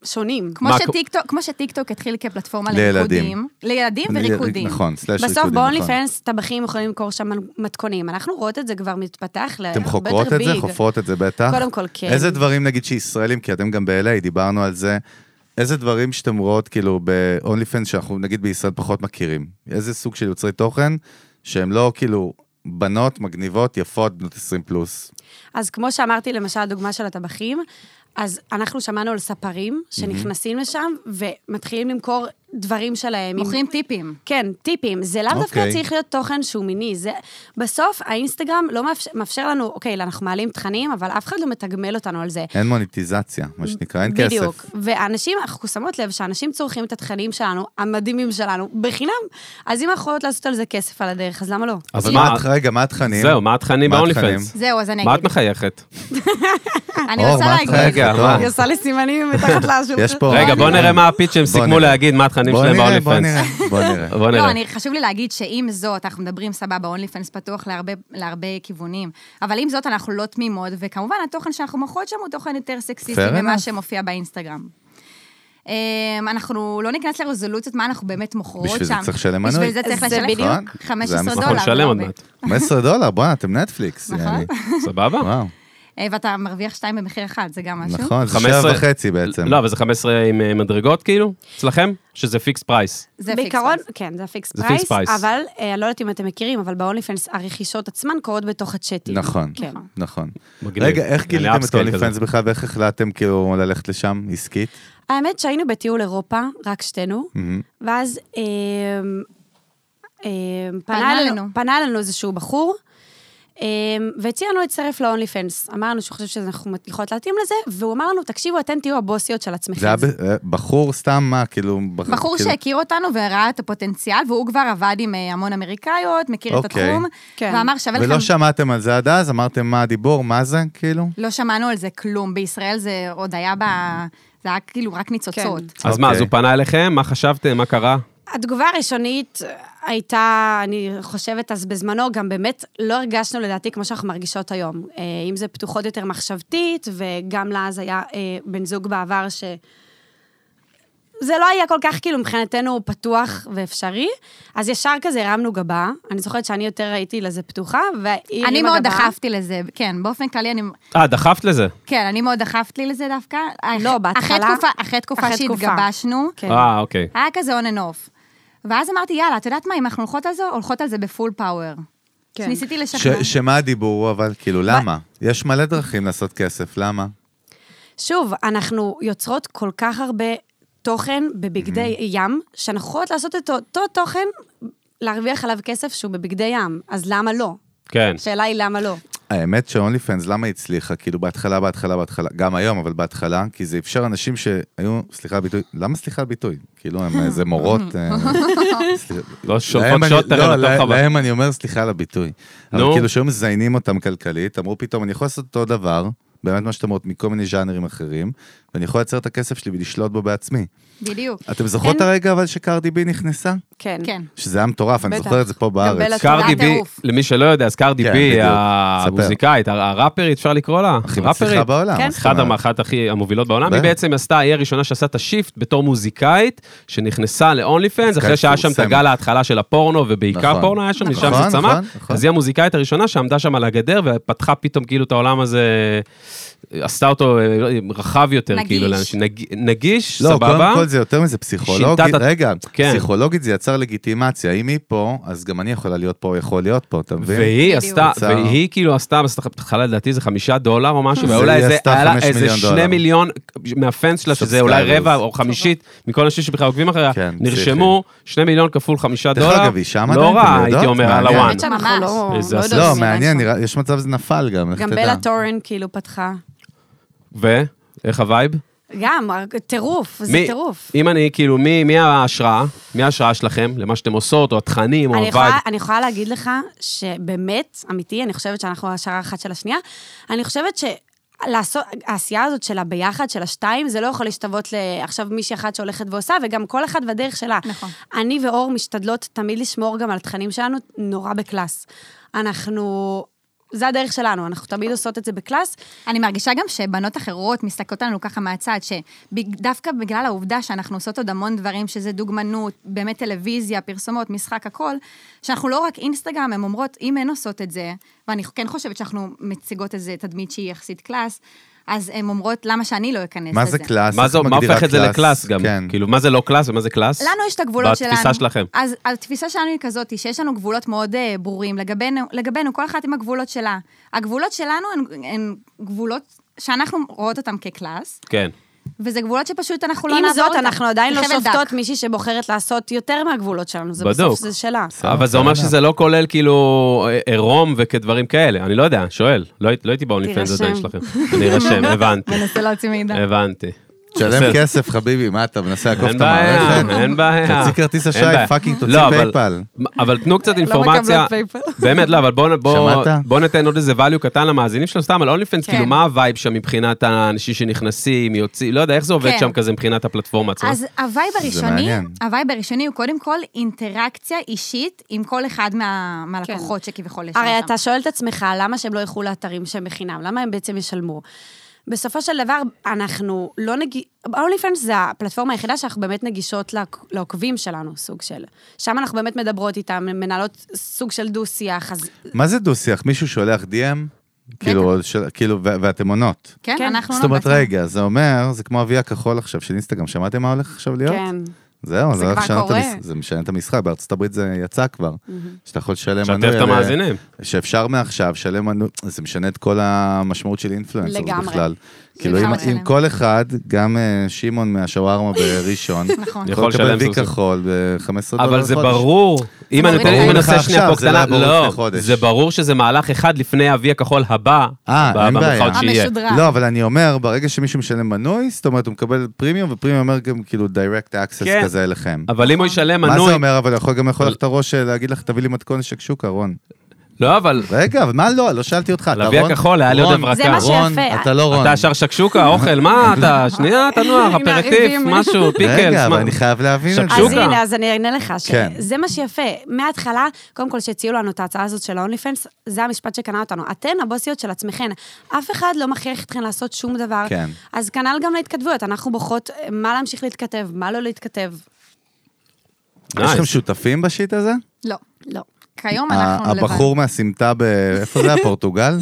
Speaker 4: שונים.
Speaker 5: כמו
Speaker 1: מה-
Speaker 5: שטיקטוק- כמו שטיקטוק התחיל כפלטפורמה
Speaker 3: לילדים.
Speaker 5: לריקודים. לילדים
Speaker 3: אני-
Speaker 5: וריקודים.
Speaker 3: נכון, סלאש ריקודים,
Speaker 4: בסוף
Speaker 3: נכון.
Speaker 4: ב-only fans טבחים יכולים למכור שם מתכונים. אנחנו רואות את זה כבר מתפתח להרבה יותר
Speaker 3: אתם
Speaker 4: ביג.
Speaker 3: חוקרות את זה? חופרות את זה בטח?
Speaker 4: קודם כל, כן.
Speaker 3: איזה דברים, נגיד, שישראלים, כי אתם גם ב-LA, דיברנו על זה, איזה דברים שאתם רואות, כאילו, ב-only fans, שאנחנו, נגיד, בישראל פחות מכירים? איזה סוג של יוצרי תוכן שהם לא, כאילו, בנות מגניבות, יפות, בנות 20 פלוס?
Speaker 4: אז כמו שאמרתי, למשל, הדוגמה של הטבחים, אז אנחנו שמענו על ספרים שנכנסים לשם ומתחילים למכור דברים שלהם. עם-
Speaker 5: מוכרים טיפים.
Speaker 4: כן, טיפים. זה לאו דווקא
Speaker 3: אוקיי.
Speaker 4: צריך להיות תוכן שהוא מיני. זה... בסוף, האינסטגרם לא מאפשר, מאפשר לנו, אוקיי, אנחנו מעלים תכנים, אבל אף אחד לא מתגמל אותנו על זה.
Speaker 3: אין מוניטיזציה, מה שנקרא, אין כסף.
Speaker 4: בדיוק. ואנשים, אנחנו שמות לב שאנשים צורכים את התכנים שלנו, המדהימים שלנו, בחינם. אז אם אנחנו יכולות לעשות על זה כסף על הדרך, אז למה לא?
Speaker 1: אז
Speaker 3: אז
Speaker 1: מה-
Speaker 3: מה, רגע, מה התכנים?
Speaker 1: זהו, מה התכנים
Speaker 3: מה
Speaker 1: ב-only
Speaker 3: התכנים?
Speaker 1: fans?
Speaker 5: זהו, אז אני
Speaker 1: מה את
Speaker 5: אגיד.
Speaker 1: מחייכת?
Speaker 5: אני
Speaker 3: אור,
Speaker 5: רוצה
Speaker 3: מה את
Speaker 5: להגיד.
Speaker 3: חייבת?
Speaker 1: רגע,
Speaker 3: אור.
Speaker 1: מה?
Speaker 4: היא עושה לי סימנים
Speaker 3: *laughs*
Speaker 4: מתחת לאשור.
Speaker 3: יש פה-
Speaker 1: רגע, בוא
Speaker 3: בוא
Speaker 1: נראה
Speaker 3: נראה.
Speaker 1: מה הפיץ שהם
Speaker 3: בוא
Speaker 1: סיכמו
Speaker 3: נראה.
Speaker 1: להגיד, מה התכנים
Speaker 3: בוא
Speaker 1: שלהם
Speaker 3: נראה,
Speaker 1: ב-only
Speaker 3: בוא
Speaker 1: fans.
Speaker 3: נראה, בוא נראה. *laughs*
Speaker 1: בוא
Speaker 5: לא,
Speaker 1: נראה.
Speaker 5: אני חשוב לי להגיד שעם זאת, אנחנו מדברים סבבה, אונלי פנס פתוח להרבה, להרבה כיוונים, אבל עם זאת אנחנו לא תמימות, וכמובן התוכן שאנחנו מוכרות שם הוא תוכן יותר סקסיסטי
Speaker 3: Fair enough.
Speaker 5: ממה שמופיע באינסטגרם. אמ, אנחנו לא ניכנס לרזולוציות מה אנחנו באמת מוכרות שם.
Speaker 3: בשביל זה צריך לשלם מנוי.
Speaker 5: בשביל זה צריך
Speaker 4: זה
Speaker 5: לשלם
Speaker 4: בדיוק.
Speaker 5: בדיוק 15
Speaker 3: זה נכון.
Speaker 5: דולר.
Speaker 1: אנחנו
Speaker 5: זה
Speaker 1: נשלם
Speaker 5: לא
Speaker 1: עוד
Speaker 5: הרבה.
Speaker 1: מעט.
Speaker 3: 15 דולר, בואנה, אתם נטפליקס.
Speaker 5: נכון.
Speaker 3: יעני.
Speaker 1: סבבה?
Speaker 3: וואו,
Speaker 5: אה, ואתה מרוויח שתיים במחיר אחד, זה גם משהו.
Speaker 3: נכון, זה
Speaker 1: 15
Speaker 3: שעה וחצי בעצם.
Speaker 1: לא, אבל זה 15 עם אה, מדרגות כאילו, אצלכם? שזה פיקס פרייס.
Speaker 5: זה פיקס
Speaker 4: בעיקרון,
Speaker 5: פרייס.
Speaker 4: כן, זה הפיקס
Speaker 1: זה פיקס
Speaker 4: פרייס,
Speaker 1: פרייס.
Speaker 4: אבל אה, אני לא יודעת אם אתם מכירים, אבל ב-onlyfans הרכישות עצמן קורות בתוך הצ'אטים.
Speaker 3: נכון,
Speaker 4: כן.
Speaker 3: נכון.
Speaker 1: מגניב.
Speaker 3: רגע, איך
Speaker 1: אני
Speaker 3: גיליתם את
Speaker 1: upscale
Speaker 3: הולי
Speaker 1: כזה.
Speaker 3: פנס בכלל, ואיך החלטתם כאילו ללכת לשם עסקית?
Speaker 4: האמת שהיינו בטיול אירופה, רק שתינו,
Speaker 3: מהמם.
Speaker 4: ואז אה, אה,
Speaker 5: פנה
Speaker 4: פנה אלינו-
Speaker 5: אלינו.
Speaker 4: פנה אלינו איזשהו בחור, אמ, והציע לנו להצטרף ל-only fans. אמרנו שהוא חושב שאנחנו יכולות להתאים לזה, והוא אמר לנו, תקשיבו, אתן תהיו הבוסיות של עצמכם.
Speaker 3: זה היה ב- אה, בחור סתם מה, כאילו... בח-
Speaker 5: בחור
Speaker 3: כאילו-
Speaker 5: שהכיר אותנו וראה את הפוטנציאל, והוא כבר עבד עם אה, המון אמריקאיות, מכיר את
Speaker 3: אוקיי.
Speaker 5: התחום,
Speaker 4: כן.
Speaker 5: ואמר שווה לכם...
Speaker 3: ולא שמעתם על זה עד אז? אמרתם מה הדיבור? מה זה? כאילו?
Speaker 5: לא שמענו על זה כלום. בישראל זה עוד היה ב... זה היה כאילו רק ניצוצות.
Speaker 4: כן.
Speaker 1: אז מה, אז
Speaker 3: אוקיי.
Speaker 1: הוא פנה אליכם? מה חשבתם? מה קרה?
Speaker 4: התגובה הראשונית הייתה, אני חושבת אז בזמנו, גם באמת לא הרגשנו לדעתי כמו שאנחנו מרגישות היום. אה, אם זה פתוחות יותר מחשבתית, וגם לה אז היה אה, בן זוג בעבר ש... זה לא היה כל כך כאילו מבחינתנו פתוח ואפשרי, אז ישר כזה הרמנו גבה. אני זוכרת שאני יותר הייתי לזה פתוחה, והיא
Speaker 5: אני
Speaker 4: הרימה
Speaker 5: מאוד
Speaker 4: גבה.
Speaker 5: דחפתי לזה, כן, באופן כללי אני...
Speaker 1: אה, דחפת לזה.
Speaker 5: כן, אני מאוד דחפת לי לזה דווקא.
Speaker 4: לא,
Speaker 5: אחרי
Speaker 4: בהתחלה-
Speaker 5: תקופה, אחרי תקופה
Speaker 4: אחרי תקופה.
Speaker 5: שהתגבשנו,
Speaker 4: כן.
Speaker 1: אה, אוקיי.
Speaker 5: היה כזה on and off. ואז אמרתי, יאללה, את יודעת מה, אם אנחנו הולכות על זה, הולכות על זה בפול פאוור.
Speaker 4: כן.
Speaker 5: אז ניסיתי
Speaker 3: ש-
Speaker 5: לשכנע.
Speaker 3: שמה הדיבור אבל? כאילו, למה? יש מלא דרכים לעשות כסף, למה?
Speaker 4: שוב, אנחנו יוצרות כל כך הרבה תוכן בבגדי ים, שאנחנו יכולות לעשות את אותו תוכן, להרוויח עליו כסף שהוא בבגדי ים, אז למה לא?
Speaker 1: כן.
Speaker 4: השאלה היא למה לא.
Speaker 3: האמת שהאונלי פנס, למה היא הצליחה? כאילו, בהתחלה, בהתחלה, בהתחלה, גם היום, אבל בהתחלה, כי זה אפשר אנשים שהיו, סליחה על הביטוי, למה סליחה על הביטוי? כאילו, הם איזה מורות...
Speaker 4: *laughs*
Speaker 3: אה, סליחה.
Speaker 1: לא
Speaker 3: להם
Speaker 1: שולפות
Speaker 3: אני-
Speaker 1: שוטר
Speaker 3: לא,
Speaker 1: אל
Speaker 3: לה-
Speaker 1: התוך הבא.
Speaker 3: להם אני אומר סליחה על הביטוי. אבל
Speaker 1: נו.
Speaker 3: כאילו, שהיו מזיינים אותם כלכלית, אמרו פתאום, אני יכול לעשות אותו דבר, באמת מה שאתם אומרות, מכל מיני ז'אנרים אחרים, ואני יכול לייצר את הכסף שלי ולשלוט בו בעצמי.
Speaker 5: בדיוק.
Speaker 3: אתם זוכרות את
Speaker 4: אין-
Speaker 3: הרגע אבל שקרדי בי נכנסה?
Speaker 4: כן.
Speaker 5: כן.
Speaker 3: שזה היה מטורף, אני
Speaker 4: בטח.
Speaker 3: זוכר את זה פה
Speaker 4: בלה
Speaker 3: בארץ.
Speaker 4: צורה
Speaker 1: קרדי בי,
Speaker 5: טירוף.
Speaker 1: למי שלא יודע, אז קרדי
Speaker 3: כן,
Speaker 1: בי,
Speaker 3: בדיוק.
Speaker 1: המוזיקאית, הר- הראפרית, אפשר לקרוא לה?
Speaker 3: הכי מצליחה
Speaker 1: ראפרית.
Speaker 3: בעולם. אה,
Speaker 4: כן.
Speaker 3: מה זאת
Speaker 1: אחת
Speaker 3: אומרת?
Speaker 1: המאחת הכי המובילות בעולם, היא
Speaker 3: בטח.
Speaker 1: בעצם עשתה, היא הראשונה שעשתה את השיפט בתור מוזיקאית, שנכנסה ל-only fans, אחרי שהיה שם את
Speaker 3: מפורסמת.
Speaker 1: הגל ההתחלה של הפורנו, ובעיקר
Speaker 3: נכון.
Speaker 1: פורנו היה שם, משם
Speaker 3: נכון,
Speaker 1: זה צמח,
Speaker 3: נכון, נכון.
Speaker 1: אז היא המוזיקאית הראשונה שעמדה שם על הגדר, ופתחה פתאום כאילו את העולם הזה, עשתה אותו אה, רחב יותר,
Speaker 5: נגיש.
Speaker 1: כאילו, לאנשים, נג- נגיש,
Speaker 3: לא,
Speaker 1: סבבה.
Speaker 3: קודם כל זה יותר מזה, פסיכולוגית,
Speaker 1: שיטת ה-
Speaker 3: רגע,
Speaker 1: כן.
Speaker 3: פסיכולוגית זה יצר לגיטימציה, אם היא פה, אז גם אני יכולה להיות פה, יכול להיות פה, אתה מבין?
Speaker 1: והיא
Speaker 5: בדיוק.
Speaker 1: עשתה,
Speaker 3: הוצאה.
Speaker 1: והיא כאילו עשתה, בהתחלה לדעתי זה חמישה דולר או משהו, והיה
Speaker 3: זה
Speaker 1: אולי
Speaker 3: היא
Speaker 1: איזה-
Speaker 3: עשתה
Speaker 1: היה לה
Speaker 3: חמש
Speaker 1: איזה
Speaker 3: מיליון
Speaker 1: שני
Speaker 3: דולר.
Speaker 1: מיליון מהפאנס שלה, שזה אולי
Speaker 3: Subscribers.
Speaker 1: רבע או חמישית, מכל האנשים שבכלל עוקבים אחריה,
Speaker 3: כן,
Speaker 1: נרשמו שני מיליון כפול חמישה
Speaker 3: דרך
Speaker 1: דולר.
Speaker 3: אגב, היא שם עדיין,
Speaker 1: לא
Speaker 3: אתם
Speaker 1: רע,
Speaker 3: יודעות?
Speaker 1: הייתי אומר, על
Speaker 3: מעניין.
Speaker 1: הוואן.
Speaker 4: האמת שאנחנו
Speaker 5: ממש.
Speaker 4: לא
Speaker 1: איזה
Speaker 4: לא
Speaker 1: אסון.
Speaker 4: יודעות
Speaker 3: לא,
Speaker 4: מי
Speaker 3: מעניין,
Speaker 4: נעשה.
Speaker 3: נראה- יש מצב שזה נפל גם, איך
Speaker 4: גם
Speaker 3: תדע.
Speaker 4: בלה טורן כאילו פתחה.
Speaker 1: ו? איך הווייב?
Speaker 4: גם, טירוף, זה
Speaker 1: מי-
Speaker 4: טירוף.
Speaker 1: אם אני, כאילו, מי מי ההשראה? מי ההשראה שלכם למה שאתם עושות, או התכנים, או
Speaker 4: אני
Speaker 1: הווייב?
Speaker 4: יכולה, אני יכולה להגיד לך שבאמת, אמיתי, אני חושבת שאנחנו השערה אחת של השנייה, אני חושבת ש... לעשות, העשייה הזאת של הביחד, של השתיים, זה לא יכול להשתוות לעכשיו מישהי אחת שהולכת ועושה, וגם כל אחת והדרך שלה.
Speaker 5: נכון.
Speaker 4: אני ואור משתדלות תמיד לשמור גם על התכנים שלנו נורא בקלאס. אנחנו... זה הדרך שלנו, אנחנו תמיד עושות את זה בקלאס.
Speaker 5: אני מרגישה גם שבנות אחרות מסתכלות עלינו ככה מהצד, שדווקא בגלל העובדה שאנחנו עושות עוד המון דברים, שזה דוגמנות, באמת טלוויזיה, פרסומות, משחק, הכל, שאנחנו לא רק אינסטגרם, הן אומרות, אם הן עושות את זה, ואני כן חושבת שאנחנו מציגות איזה תדמית שהיא יחסית קלאס, אז הן אומרות, למה שאני לא אכנס לזה?
Speaker 3: מה זה קלאס?
Speaker 1: מה
Speaker 3: איך
Speaker 1: זה- מה
Speaker 3: מגדירה
Speaker 1: הופך את זה לקלאס גם?
Speaker 3: כן.
Speaker 1: כאילו, מה זה לא קלאס ומה זה קלאס?
Speaker 5: לנו יש את הגבולות שלנו.
Speaker 1: בתפיסה שלכם.
Speaker 5: אז התפיסה שלנו היא כזאת, היא שיש לנו גבולות מאוד אה, ברורים לגבינו, לגבינו, כל אחת עם הגבולות שלה. הגבולות שלנו הן, הן גבולות שאנחנו רואות אותן כקלאס,
Speaker 1: כן.
Speaker 5: וזה גבולות שפשוט אנחנו לא
Speaker 4: עם
Speaker 5: נעבור אותן.
Speaker 4: זאת, אנחנו עדיין
Speaker 5: זה
Speaker 4: לא
Speaker 5: חבל דק.
Speaker 3: *laughs*
Speaker 4: שופטות מישהי שבוחרת לעשות יותר מהגבולות שלנו, זה
Speaker 1: בדוק.
Speaker 4: בסוף, זה שלה.
Speaker 3: בסדר,
Speaker 1: אבל זה אומר
Speaker 3: בסדר.
Speaker 1: שזה לא כולל כאילו אה, עירום וכדברים כאלה, אני לא יודע, שואל. לא הייתי- לא הייתי באונלי פנס
Speaker 4: תירשם.
Speaker 1: עדיין שלכם. אני
Speaker 5: *laughs*
Speaker 1: ארשם, הבנתי,
Speaker 5: מנסה להוציא מידע.
Speaker 1: הבנתי. בסדר.
Speaker 3: תשלם כסף, חביבי, מה אתה מנסה לעקוף
Speaker 1: אין
Speaker 3: את
Speaker 1: בעיה,
Speaker 3: המערכת?
Speaker 1: אין בעיה.
Speaker 3: תוציא כרטיס
Speaker 1: אין
Speaker 3: אשראי,
Speaker 1: בעיה.
Speaker 3: פאקינג,
Speaker 1: לא,
Speaker 3: תוציא
Speaker 1: אבל-
Speaker 3: PayPal.
Speaker 1: אבל תנו קצת אינפורמציה.
Speaker 4: פייפל.
Speaker 1: *laughs* באמת לא, אבל בואו בוא,
Speaker 3: שמעת?
Speaker 1: בוא ניתן עוד איזה value קטן למאזינים שלנו, סתם על אונלי פנס,
Speaker 5: כן.
Speaker 1: כאילו מה הווייב שם מבחינת האנשים שנכנסים, יוצאים, לא יודע איך זה עובד
Speaker 5: כן.
Speaker 1: שם כזה מבחינת הפלטפורמה עצמה.
Speaker 5: אז הווייב הראשוני,
Speaker 3: מעניין.
Speaker 5: הווייב הראשוני הוא קודם כל אינטראקציה אישית עם כל אחד מה, מהלקוחות שכביכול יש לנו
Speaker 4: כן. הרי
Speaker 5: שם.
Speaker 4: אתה שואל את עצמך, למה שהם לא ילכו לאתרים שהם בחינם? למה הם בעצם ישלמו? בסופו של דבר, אנחנו לא נגיע... ה-onlyfans זה הפלטפורמה היחידה שאנחנו באמת נגישות לעק- לעוקבים שלנו, סוג של... שם אנחנו באמת מדברות איתם, מנהלות סוג של דו-שיח, אז...
Speaker 3: מה זה דו-שיח? מישהו שולח DM? כאילו, של- כאילו, ו- ואתם עונות.
Speaker 5: כן,
Speaker 4: כן.
Speaker 5: אנחנו
Speaker 3: זאת אומרת,
Speaker 5: בעצם-
Speaker 3: רגע, זה אומר, זה כמו אבי הכחול עכשיו של אינסטגרם, שמעתם מה הולך עכשיו להיות?
Speaker 4: כן.
Speaker 3: זהו,
Speaker 5: זה
Speaker 3: זה רק
Speaker 5: כבר
Speaker 3: משנה את
Speaker 5: קורה.
Speaker 3: המש- זה משנה את המשחק, בארצות הברית זה יצא כבר. שאתה יכול לשלם מנוי.
Speaker 1: שתף את
Speaker 3: על- אה,
Speaker 1: המאזינים.
Speaker 3: שאפשר מעכשיו לשלם מנוי, זה משנה את כל המשמעות של אינפלואנסר
Speaker 4: לגמרי.
Speaker 3: בכלל. כאילו אם-
Speaker 5: לגמרי.
Speaker 3: אם כל אחד, גם אה, שמעון מהשווארמה
Speaker 5: *laughs*
Speaker 3: בראשון,
Speaker 5: נכון.
Speaker 1: יכול
Speaker 3: לקבל
Speaker 1: לשלם
Speaker 3: וי
Speaker 1: סוף סוף.
Speaker 3: כחול ב-15 דולר.
Speaker 1: אבל זה
Speaker 3: לחודש.
Speaker 1: ברור, אם אני
Speaker 5: מוריד
Speaker 1: נותן-
Speaker 5: את
Speaker 1: אם אני
Speaker 5: הערך
Speaker 1: עושה שנייה פה
Speaker 3: עכשיו, זה לא
Speaker 1: קטנה,
Speaker 3: היה ברור
Speaker 1: לא,
Speaker 3: לפני חודש.
Speaker 1: זה ברור שזה מהלך אחד לפני האבי הכחול הבא,
Speaker 3: אה,
Speaker 1: ב-
Speaker 3: אין בעיה.
Speaker 1: במרכאות שיהיה.
Speaker 5: המשודרג.
Speaker 3: לא, אבל אני אומר, ברגע שמישהו משלם מנוי, זאת אומרת, הוא מקבל פרימיום, ופרימיום אומר גם כאילו direct access
Speaker 1: כן.
Speaker 3: כזה אליכם.
Speaker 1: אבל אם הוא ישלם
Speaker 3: מה זה
Speaker 1: מנוי,
Speaker 3: אומר, אבל יכול גם לאכול לך את הראש, אה, להגיד לך, תביא לי מתכון שקשוקה, רון.
Speaker 1: לא אבל,
Speaker 3: רגע, אבל מה לא? לא שאלתי אותך, אתה
Speaker 1: לוי
Speaker 3: רון?
Speaker 1: הכחול, היה לי עוד
Speaker 3: רון,
Speaker 1: הברקה.
Speaker 4: זה מה שיפה.
Speaker 3: רון, אתה לא רון.
Speaker 1: אתה שר שקשוקה, אוכל,
Speaker 3: *laughs*
Speaker 1: מה אתה, שנייה, תנוח,
Speaker 5: עם
Speaker 1: אפרטיף,
Speaker 5: הריבים.
Speaker 1: משהו,
Speaker 3: רגע,
Speaker 1: פיקלס,
Speaker 3: אבל
Speaker 1: מה-
Speaker 3: אני חייב להבין את
Speaker 1: שקשוקה.
Speaker 4: אז
Speaker 3: זה.
Speaker 4: הנה, אז אני אענה לך,
Speaker 3: כן.
Speaker 4: שזה מה שיפה. מההתחלה, קודם כל שהציעו לנו את ההצעה הזאת של ה-only fans, זה המשפט שקנה אותנו. אתן הבוסיות של עצמכן, אף אחד לא מכריח אתכן לעשות שום דבר.
Speaker 3: כן.
Speaker 4: אז כנ"ל גם להתכתבויות, אנחנו בוחרות אה, מה להמשיך להתכתב, מה לא להתכתב.
Speaker 3: יש לכם
Speaker 1: Nice.
Speaker 3: שותפים בשיט הזה?
Speaker 5: לא.
Speaker 4: לא.
Speaker 5: כיום
Speaker 3: ה-
Speaker 5: אנחנו לבד.
Speaker 3: הבחור מהסמטה ב... איפה זה היה?
Speaker 5: *laughs*
Speaker 3: פורטוגל?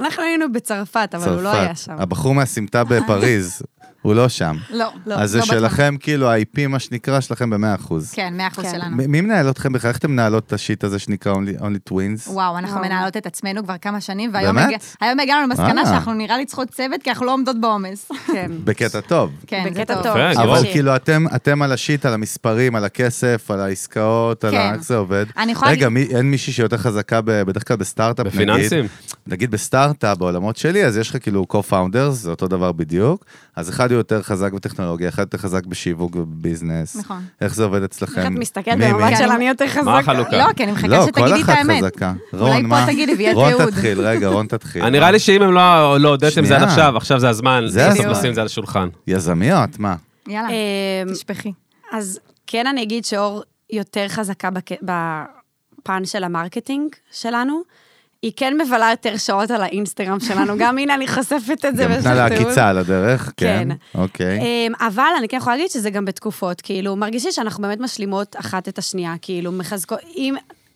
Speaker 4: אנחנו היינו בצרפת, אבל הוא לא היה שם.
Speaker 3: הבחור מהסמטה
Speaker 5: *laughs*
Speaker 3: בפריז, הוא לא שם.
Speaker 5: לא, לא.
Speaker 3: אז זה
Speaker 5: לא בטוח.
Speaker 3: שלכם, כאילו, ה-IP, מה שנקרא, שלכם ב-100%.
Speaker 5: כן, מאה אחוז
Speaker 4: כן.
Speaker 5: שלנו.
Speaker 3: מ- מי מנהל אתכם בכלל? איך אתם מנהלות את השיט הזה שנקרא Only- Only Twins?
Speaker 5: וואו, אנחנו
Speaker 4: וואו.
Speaker 5: מנהלות את עצמנו כבר כמה שנים, והיום
Speaker 3: באמת?
Speaker 5: הגע- היום הגענו למסקנה
Speaker 3: אה.
Speaker 5: שאנחנו נראה לי צריכות צוות, כי אנחנו לא עומדות בעומס. *laughs*
Speaker 4: כן.
Speaker 3: בקטע טוב.
Speaker 5: כן, זה
Speaker 4: בקטע
Speaker 5: טוב.
Speaker 4: טוב.
Speaker 1: יפה,
Speaker 3: אבל
Speaker 1: ברור.
Speaker 3: כאילו, אתם- אתם על השיט, על המספרים, על הכסף, על העסקאות, על ה-
Speaker 5: כן.
Speaker 3: איך זה עובד.
Speaker 5: אני יכולה
Speaker 3: רגע,
Speaker 5: להגיד-
Speaker 3: מי- אין מישהי שיותר חזקה, ב- בדרך כלל בסטארט-אפ, נגיד.
Speaker 1: בפיננסים?
Speaker 3: נגיד בסטארט-אפ, בעולמות שלי, אז יש לך כאילו co-founders, זה אותו דבר בדיוק. אז אחד הוא יותר חזק בטכנולוגיה, אחד יותר חזק בשיווק ובביזנס.
Speaker 5: נכון.
Speaker 3: איך זה עובד אצלכם?
Speaker 4: איך את מסתכלת
Speaker 3: מי-
Speaker 4: במבט
Speaker 3: מי? כן.
Speaker 4: של אני יותר חזקה?
Speaker 1: החלוקה?
Speaker 5: כן. לא, כי אני
Speaker 3: לא,
Speaker 5: מחכה
Speaker 3: כל
Speaker 5: שתגידי את
Speaker 3: אחת
Speaker 5: האמת.
Speaker 3: חזקה.
Speaker 5: אולי
Speaker 3: רון, מה?
Speaker 5: פה תגידי ויהיה
Speaker 3: רון
Speaker 5: תיעוד.
Speaker 3: תתחיל, רגע, רון תתחיל.
Speaker 1: נראה לי שאם הם לא לא הודיתם זה עד
Speaker 3: שנייה.
Speaker 1: עכשיו, עכשיו זה הזמן,
Speaker 3: זה
Speaker 1: בסוף
Speaker 3: הזמן.
Speaker 1: לשים את זה על השולחן.
Speaker 3: יזמיות, מה?
Speaker 5: יאללה,
Speaker 4: אמ,
Speaker 5: תשפכי.
Speaker 4: אז כן אני אגיד שאור יותר חזקה בק- בפן של המרקטינג שלנו. היא כן מבלה יותר שעות על האינסטגרם
Speaker 3: *laughs*
Speaker 4: שלנו, גם הנה אני חושפת את זה.
Speaker 3: גם
Speaker 4: ויש
Speaker 3: נתנה לה
Speaker 4: לך תיעוד.
Speaker 3: עקיצה כן. על הדרך, כן.
Speaker 4: כן.
Speaker 3: אוקיי.
Speaker 4: אמ, אבל אני כן יכולה להגיד שזה גם בתקופות, כאילו, מרגישי שאנחנו באמת משלימות אחת את השנייה, כאילו, מחזקות, אם...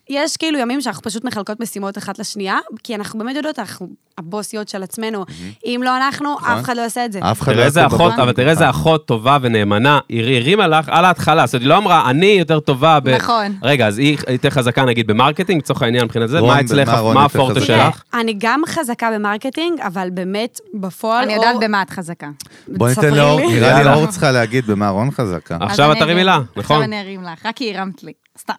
Speaker 4: יש כאילו ימים שאנחנו פשוט מחלקות משימות אחת לשנייה, כי אנחנו באמת יודעות, אנחנו הבוסיות של עצמנו. אם לא אנחנו, אף אחד לא יעשה את זה.
Speaker 5: אה,
Speaker 3: אף אחד לא
Speaker 1: תראה איזה
Speaker 3: יעשה
Speaker 1: אחות,
Speaker 3: דבר.
Speaker 1: אבל תראה איזה אחות טובה ונאמנה, היא הרימה לך על ההתחלה, זאת אומרת, היא לא אמרה, אני יותר טובה ב...
Speaker 5: נכון.
Speaker 1: רגע, אז היא יותר חזקה נגיד במרקטינג, לצורך העניין מבחינת זה,
Speaker 3: רון,
Speaker 1: מה אצלך,
Speaker 3: במה רון
Speaker 1: מה
Speaker 3: יותר
Speaker 1: הפורטה
Speaker 3: חזקה?
Speaker 4: תראה, *laughs*
Speaker 1: שלך?
Speaker 4: אני גם חזקה במרקטינג, אבל באמת, בפועל...
Speaker 5: אני יודעת
Speaker 4: אור- *laughs*
Speaker 5: במה את חזקה.
Speaker 3: בוא ניתן
Speaker 4: ספרי
Speaker 3: לאור,
Speaker 4: לי.
Speaker 3: נראה לי
Speaker 1: יאללה.
Speaker 3: אור צריכה להגיד במה רון חזקה.
Speaker 1: עכשיו
Speaker 5: אז
Speaker 1: את
Speaker 5: אני
Speaker 1: תרימי
Speaker 5: ארים-
Speaker 1: לה, נכון.
Speaker 5: עכשיו אני ארים לך, רק כי הרמת לי. סתם.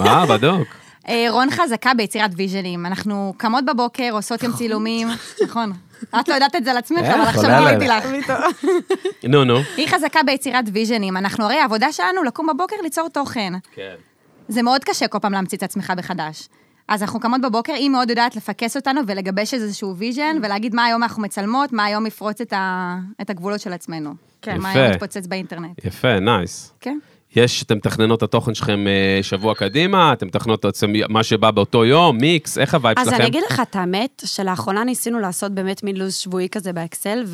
Speaker 1: אה, בדוק.
Speaker 5: אה, רון חזקה ביצירת ויז'נים. אנחנו קמות בבוקר, עושות גם צילומים, נכון. את לא יודעת את זה על עצמך,
Speaker 1: איך,
Speaker 5: אבל עכשיו
Speaker 1: עולה
Speaker 5: גיליתי
Speaker 1: עליה.
Speaker 5: לך.
Speaker 1: נו, נו.
Speaker 5: היא חזקה ביצירת ויז'נים. אנחנו, הרי העבודה שלנו לקום בבוקר ליצור תוכן. זה מאוד קשה כל פעם להמציא את עצמך מחדש. אז אנחנו קמות בבוקר, היא מאוד יודעת לפקס אותנו ולגבש איזשהו ויז'ן, ולהגיד מה היום אנחנו מצלמות, מה היום יפרוץ את, ה... את הגבולות של עצמנו. כן. מה
Speaker 1: יפה.
Speaker 5: היום מתפוצץ באינטרנט.
Speaker 1: יפה, נייס.
Speaker 5: כן.
Speaker 1: יש, אתם מתכננות את התוכן שלכם אה, שבוע קדימה, אתם מתכננות את מה שבא באותו יום, מיקס, איך הווייב
Speaker 4: אז
Speaker 1: שלכם?
Speaker 4: אני אגיד לך את האמת, שלאחרונה ניסינו לעשות באמת מין לו"ז שבועי כזה באקסל,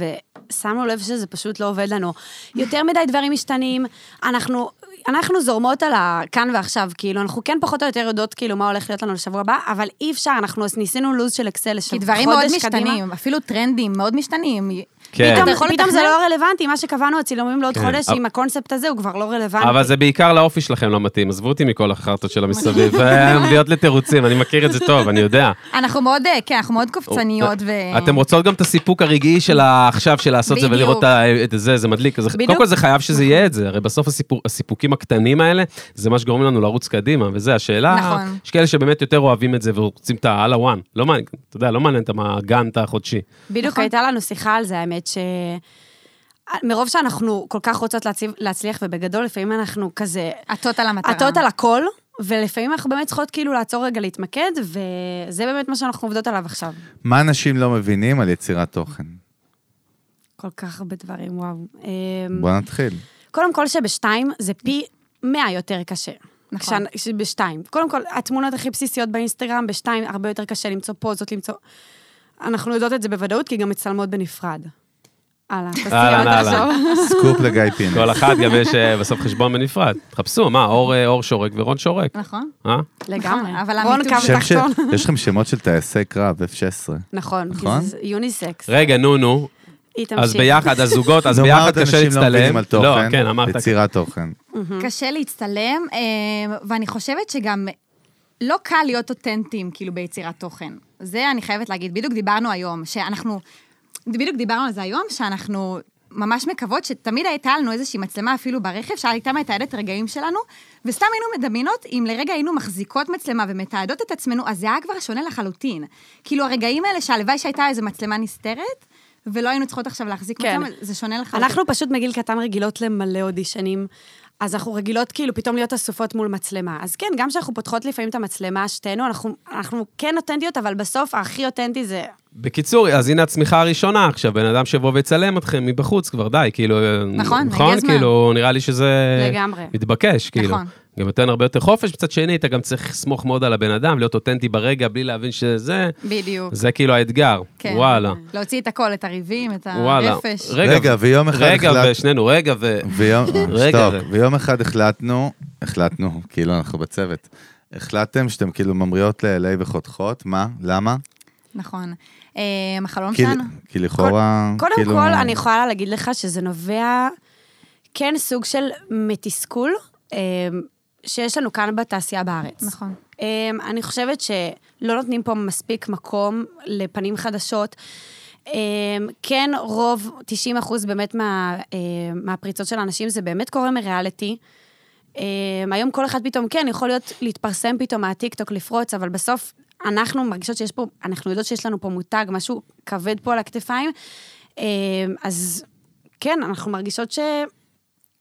Speaker 4: ושמנו לב שזה פשוט לא עובד לנו. יותר מדי דברים משתנים, אנחנו... אנחנו זורמות על הכאן ועכשיו, כאילו, אנחנו כן פחות או יותר יודעות כאילו מה הולך להיות לנו לשבוע הבא, אבל אי אפשר, אנחנו ניסינו לו"ז של אקסל לשבוע
Speaker 5: כי
Speaker 4: חודש
Speaker 5: דברים מאוד
Speaker 4: קדימה.
Speaker 5: משתנים, אפילו טרנדים מאוד משתנים.
Speaker 1: כן.
Speaker 5: אתה
Speaker 4: פתאום,
Speaker 5: יכול
Speaker 4: פתאום זה
Speaker 5: לתכנן?
Speaker 4: לא רלוונטי, מה שקבענו, הצילומים לעוד חודש,
Speaker 1: אבל-
Speaker 4: עם הקונספט הזה, הוא כבר לא רלוונטי.
Speaker 1: אבל זה בעיקר לאופי שלכם לא מתאים, עזבו אותי מכל החרטות של
Speaker 4: *laughs*
Speaker 1: המסביב, הם מביאות לתירוצים, אני מכיר את זה טוב, אני יודע.
Speaker 5: אנחנו מאוד, אה, כן, אנחנו מאוד קופצניות ו...
Speaker 1: אתם רוצות גם את הסיפוק הרגעי של ה- עכשיו, של לעשות זה
Speaker 5: בדיוק.
Speaker 1: ולראות את ה- את זה, זה מדליק. זה- קודם
Speaker 4: בדיוק.
Speaker 1: כל זה חייב שזה יהיה את זה, הרי בסוף הסיפור- הסיפוקים הקטנים האלה, זה מה שגורם לנו לרוץ קדימה, וזה השאלה.
Speaker 5: נכון.
Speaker 1: יש כאלה שבאמת יותר אוהבים את זה ורוצים את ה-all one, לא מעניין, אתה יודע, לא מעניין את הגאנט החודשי.
Speaker 4: בדיוק
Speaker 5: נכון.
Speaker 4: הייתה לנו שיחה על זה, האמת, ש... מרוב שאנחנו כל כך רוצות להציב, להצליח, ובגדול לפעמים אנחנו כזה
Speaker 5: עטות על המטרה.
Speaker 4: עטות על הכל, ולפעמים אנחנו באמת צריכות כאילו לעצור רגע להתמקד, וזה באמת מה שאנחנו עובדות עליו עכשיו.
Speaker 3: מה אנשים לא מבינים על יצירת תוכן?
Speaker 4: כל כך הרבה דברים, וואו. אמ,
Speaker 3: בוא נתחיל.
Speaker 4: קודם כל שבשתיים זה פי 100 יותר קשה.
Speaker 5: נכון.
Speaker 4: כש- בשתיים. קודם כל, התמונות הכי בסיסיות באינסטגרם, בשתיים הרבה יותר קשה למצוא פוזות, למצוא... אנחנו יודעות את זה בוודאות, כי גם מצלמות בנפרד. הלאה, תעשי
Speaker 1: אהלן,
Speaker 4: עוד
Speaker 1: אהלן.
Speaker 4: עכשיו.
Speaker 3: סקופ לגיא
Speaker 4: *laughs*
Speaker 3: פינס.
Speaker 1: כל אחת גם יש אה, בסוף חשבון בנפרד. תחפשו, מה, אור אה, אור שורק ורון שורק,
Speaker 5: *laughs* נכון.
Speaker 1: אה?
Speaker 5: לגמרי.
Speaker 4: לגמרי.
Speaker 5: אבל
Speaker 4: רון
Speaker 5: המיתוג-
Speaker 4: קו
Speaker 3: שם ש-
Speaker 4: תחתון.
Speaker 3: יש לכם שמות של טייסי קרב, F-16.
Speaker 4: נכון, כי
Speaker 3: נכון?
Speaker 4: זה יוניסקס.
Speaker 1: רגע, נו, נו.
Speaker 4: היא תמשיך.
Speaker 1: אז ביחד, אז זוגות, אז
Speaker 3: נאמר
Speaker 1: ביחד
Speaker 3: עוד
Speaker 1: קשה
Speaker 3: אנשים לא מבינים
Speaker 1: להצטלם.
Speaker 3: על תוכן,
Speaker 1: כן, אמרת.
Speaker 3: יצירת תוכן.
Speaker 4: Mm-hmm.
Speaker 5: קשה להצטלם, אה, ואני חושבת שגם לא קל להיות אותנטיים, כאילו, ביצירת תוכן. זה אני חייבת להגיד. בדיוק דיברנו היום, שאנחנו... בדיוק דיברנו על זה היום, שאנחנו ממש מקוות שתמיד הייתה לנו איזושהי מצלמה אפילו ברכב, שהייתה מתעדת רגעים שלנו, וסתם היינו מדמיינות אם לרגע היינו מחזיקות מצלמה ומתעדות את עצמנו, אז זה היה כבר שונה לחלוטין. כאילו, הרגעים האלה שהלוואי שהייתה איזו מצלמה נסתרת, ולא היינו צריכות עכשיו להחזיק
Speaker 4: כן.
Speaker 5: מצלמה, זה שונה לחלוטין.
Speaker 4: אנחנו פשוט מגיל קטן רגילות למלא אודישנים, אז אנחנו רגילות כאילו פתאום להיות אסופות מול מצלמה. אז כן, גם כשאנחנו פותחות לפעמים את המצלמה, שתינו, אנחנו, אנחנו כן אותנטיות, אבל בסוף הכי אותנטי זה...
Speaker 1: בקיצור, אז הנה הצמיחה הראשונה עכשיו, בן אדם שיבוא ויצלם אתכם מבחוץ כבר, די, כאילו...
Speaker 5: נכון, הגיע
Speaker 1: נכון,
Speaker 5: הזמן.
Speaker 1: כאילו, נראה לי שזה...
Speaker 4: לגמרי.
Speaker 1: מתבקש, כאילו.
Speaker 5: נכון.
Speaker 1: גם נותן הרבה יותר חופש, מצד שני, אתה גם צריך לסמוך מאוד על הבן אדם, להיות אותנטי ברגע, בלי להבין שזה...
Speaker 5: בדיוק.
Speaker 1: זה כאילו האתגר.
Speaker 5: כן. אה,
Speaker 1: וואלה.
Speaker 5: להוציא את הכל, את הריבים, את
Speaker 1: וואלה.
Speaker 5: הרפש.
Speaker 3: רגע, ויום אחד
Speaker 1: רגע,
Speaker 3: החלטת-
Speaker 1: ושנינו, רגע, ו...
Speaker 3: ויום, אה,
Speaker 1: רגע,
Speaker 3: שתוק,
Speaker 1: רגע.
Speaker 3: ויום אחד החלטנו, החלטנו, כאילו אנחנו בצוות, החלטתם שאתם כאילו ממריאות ל-LA וחותכות, מה? למה?
Speaker 5: נכון. אמ, החלום
Speaker 1: כאילו-
Speaker 3: כי
Speaker 5: שלנו.
Speaker 3: כי לכאורה,
Speaker 4: קודם
Speaker 3: כאילו...
Speaker 4: כל, אני יכולה להגיד לך שזה נובע, כן, סוג של מתסכול אה, שיש לנו כאן בתעשייה בארץ.
Speaker 5: נכון.
Speaker 4: אמ, אני חושבת שלא נותנים פה מספיק מקום לפנים חדשות. אמ, כן, רוב, 90 אחוז באמת מה, אמ, מהפריצות של האנשים, זה באמת קורה מריאליטי. אמ, היום כל אחד פתאום, כן, יכול להיות להתפרסם פתאום מהטיקטוק, לפרוץ, אבל בסוף אנחנו מרגישות שיש פה, אנחנו יודעות שיש לנו פה מותג, משהו כבד פה על הכתפיים. אמ, אז כן, אנחנו מרגישות ש...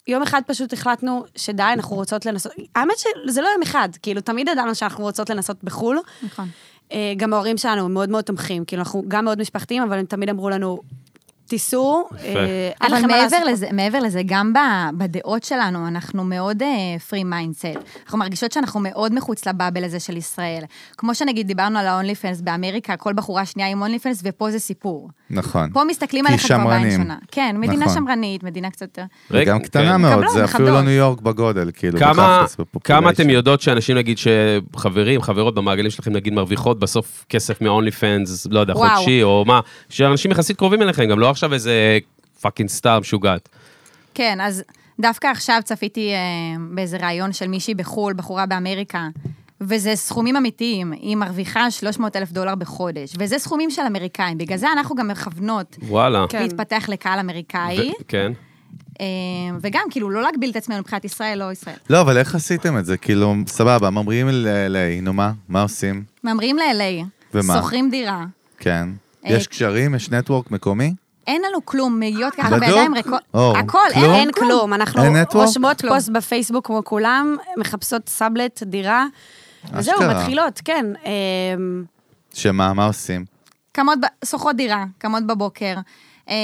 Speaker 4: יום אחד פשוט החלטנו שדי, אנחנו רוצות לנסות, האמת שזה לא יום אחד, כאילו, תמיד ידענו שאנחנו רוצות לנסות בחו"ל.
Speaker 5: נכון.
Speaker 4: אה, גם ההורים שלנו הם מאוד מאוד תומכים, כאילו, אנחנו גם מאוד משפחתיים, אבל הם תמיד אמרו לנו, תיסעו, אה, אין
Speaker 5: אבל
Speaker 4: לכם מה לעשות.
Speaker 5: מעבר לזה, מעבר לזה, גם ב- בדעות שלנו, אנחנו מאוד פרי uh, מיינדסט. אנחנו מרגישות שאנחנו מאוד מחוץ לבאבל הזה של ישראל. כמו שנגיד דיברנו על ה-only fans באמריקה, כל בחורה שנייה עם only fans, ופה זה סיפור.
Speaker 3: נכון.
Speaker 5: פה מסתכלים
Speaker 3: כי
Speaker 5: עליך כבר בעין
Speaker 3: שמרנים.
Speaker 5: שונה. כן, מדינה
Speaker 3: נכון.
Speaker 5: שמרנית, מדינה קצת יותר...
Speaker 1: רגע,
Speaker 3: וגם קטנה
Speaker 1: כן.
Speaker 3: מאוד,
Speaker 5: מקבלות,
Speaker 3: זה אפילו לא
Speaker 5: מכבדות.
Speaker 3: ניו יורק בגודל, כאילו,
Speaker 1: כמה,
Speaker 3: בתכלס, בפופולציה.
Speaker 1: כמה אתם יודעות שאנשים, נגיד, שחברים, חברות במעגלים שלכם, נגיד, מרוויחות בסוף כסף מ-only fans, לא יודע,
Speaker 5: וואו.
Speaker 1: חודשי, או מה, שאנשים יחסית קרובים אליכם, גם לא עכשיו איזה פאקינג סטאר משוגעת.
Speaker 5: כן, אז דווקא עכשיו צפיתי אה, באיזה ראיון של מישהי בחו"ל, בחורה באמריקה, וזה סכומים אמיתיים, היא מרוויחה 300 אלף דולר בחודש, וזה סכומים של אמריקאים, בגלל זה אנחנו גם מכוונות
Speaker 1: וואלה.
Speaker 4: כן.
Speaker 5: להתפתח לקהל אמריקאי,
Speaker 1: ו- כן.
Speaker 5: אה, וגם כאילו לא להגביל את עצמנו מבחינת ישראל, לא ישראל.
Speaker 3: לא, אבל איך עשיתם את זה? כאילו, סבבה, ממריאים ל-LA, נו מה? מה עושים?
Speaker 5: מהמרים ל-LA,
Speaker 3: ומה?
Speaker 5: שוכרים דירה.
Speaker 3: כן.
Speaker 5: אה,
Speaker 3: יש קשרים? יש נטוורק מקומי?
Speaker 5: אין לנו כלום, מגיעות ככה
Speaker 3: בדוק?
Speaker 5: בידיים ריקות,
Speaker 3: אור,
Speaker 5: הכל,
Speaker 3: כלום?
Speaker 5: אין,
Speaker 4: אין כלום, אנחנו
Speaker 3: אין נטוורק?
Speaker 4: רושמות
Speaker 5: כלום.
Speaker 4: פוסט בפייסבוק כמו כולם, מחפשות סאבלט, דירה, וזהו,
Speaker 3: אשכרה.
Speaker 4: מתחילות, כן. אמ,
Speaker 3: שמה, מה עושים?
Speaker 5: קמות, ב- שוכרות דירה, קמות בבוקר, אה,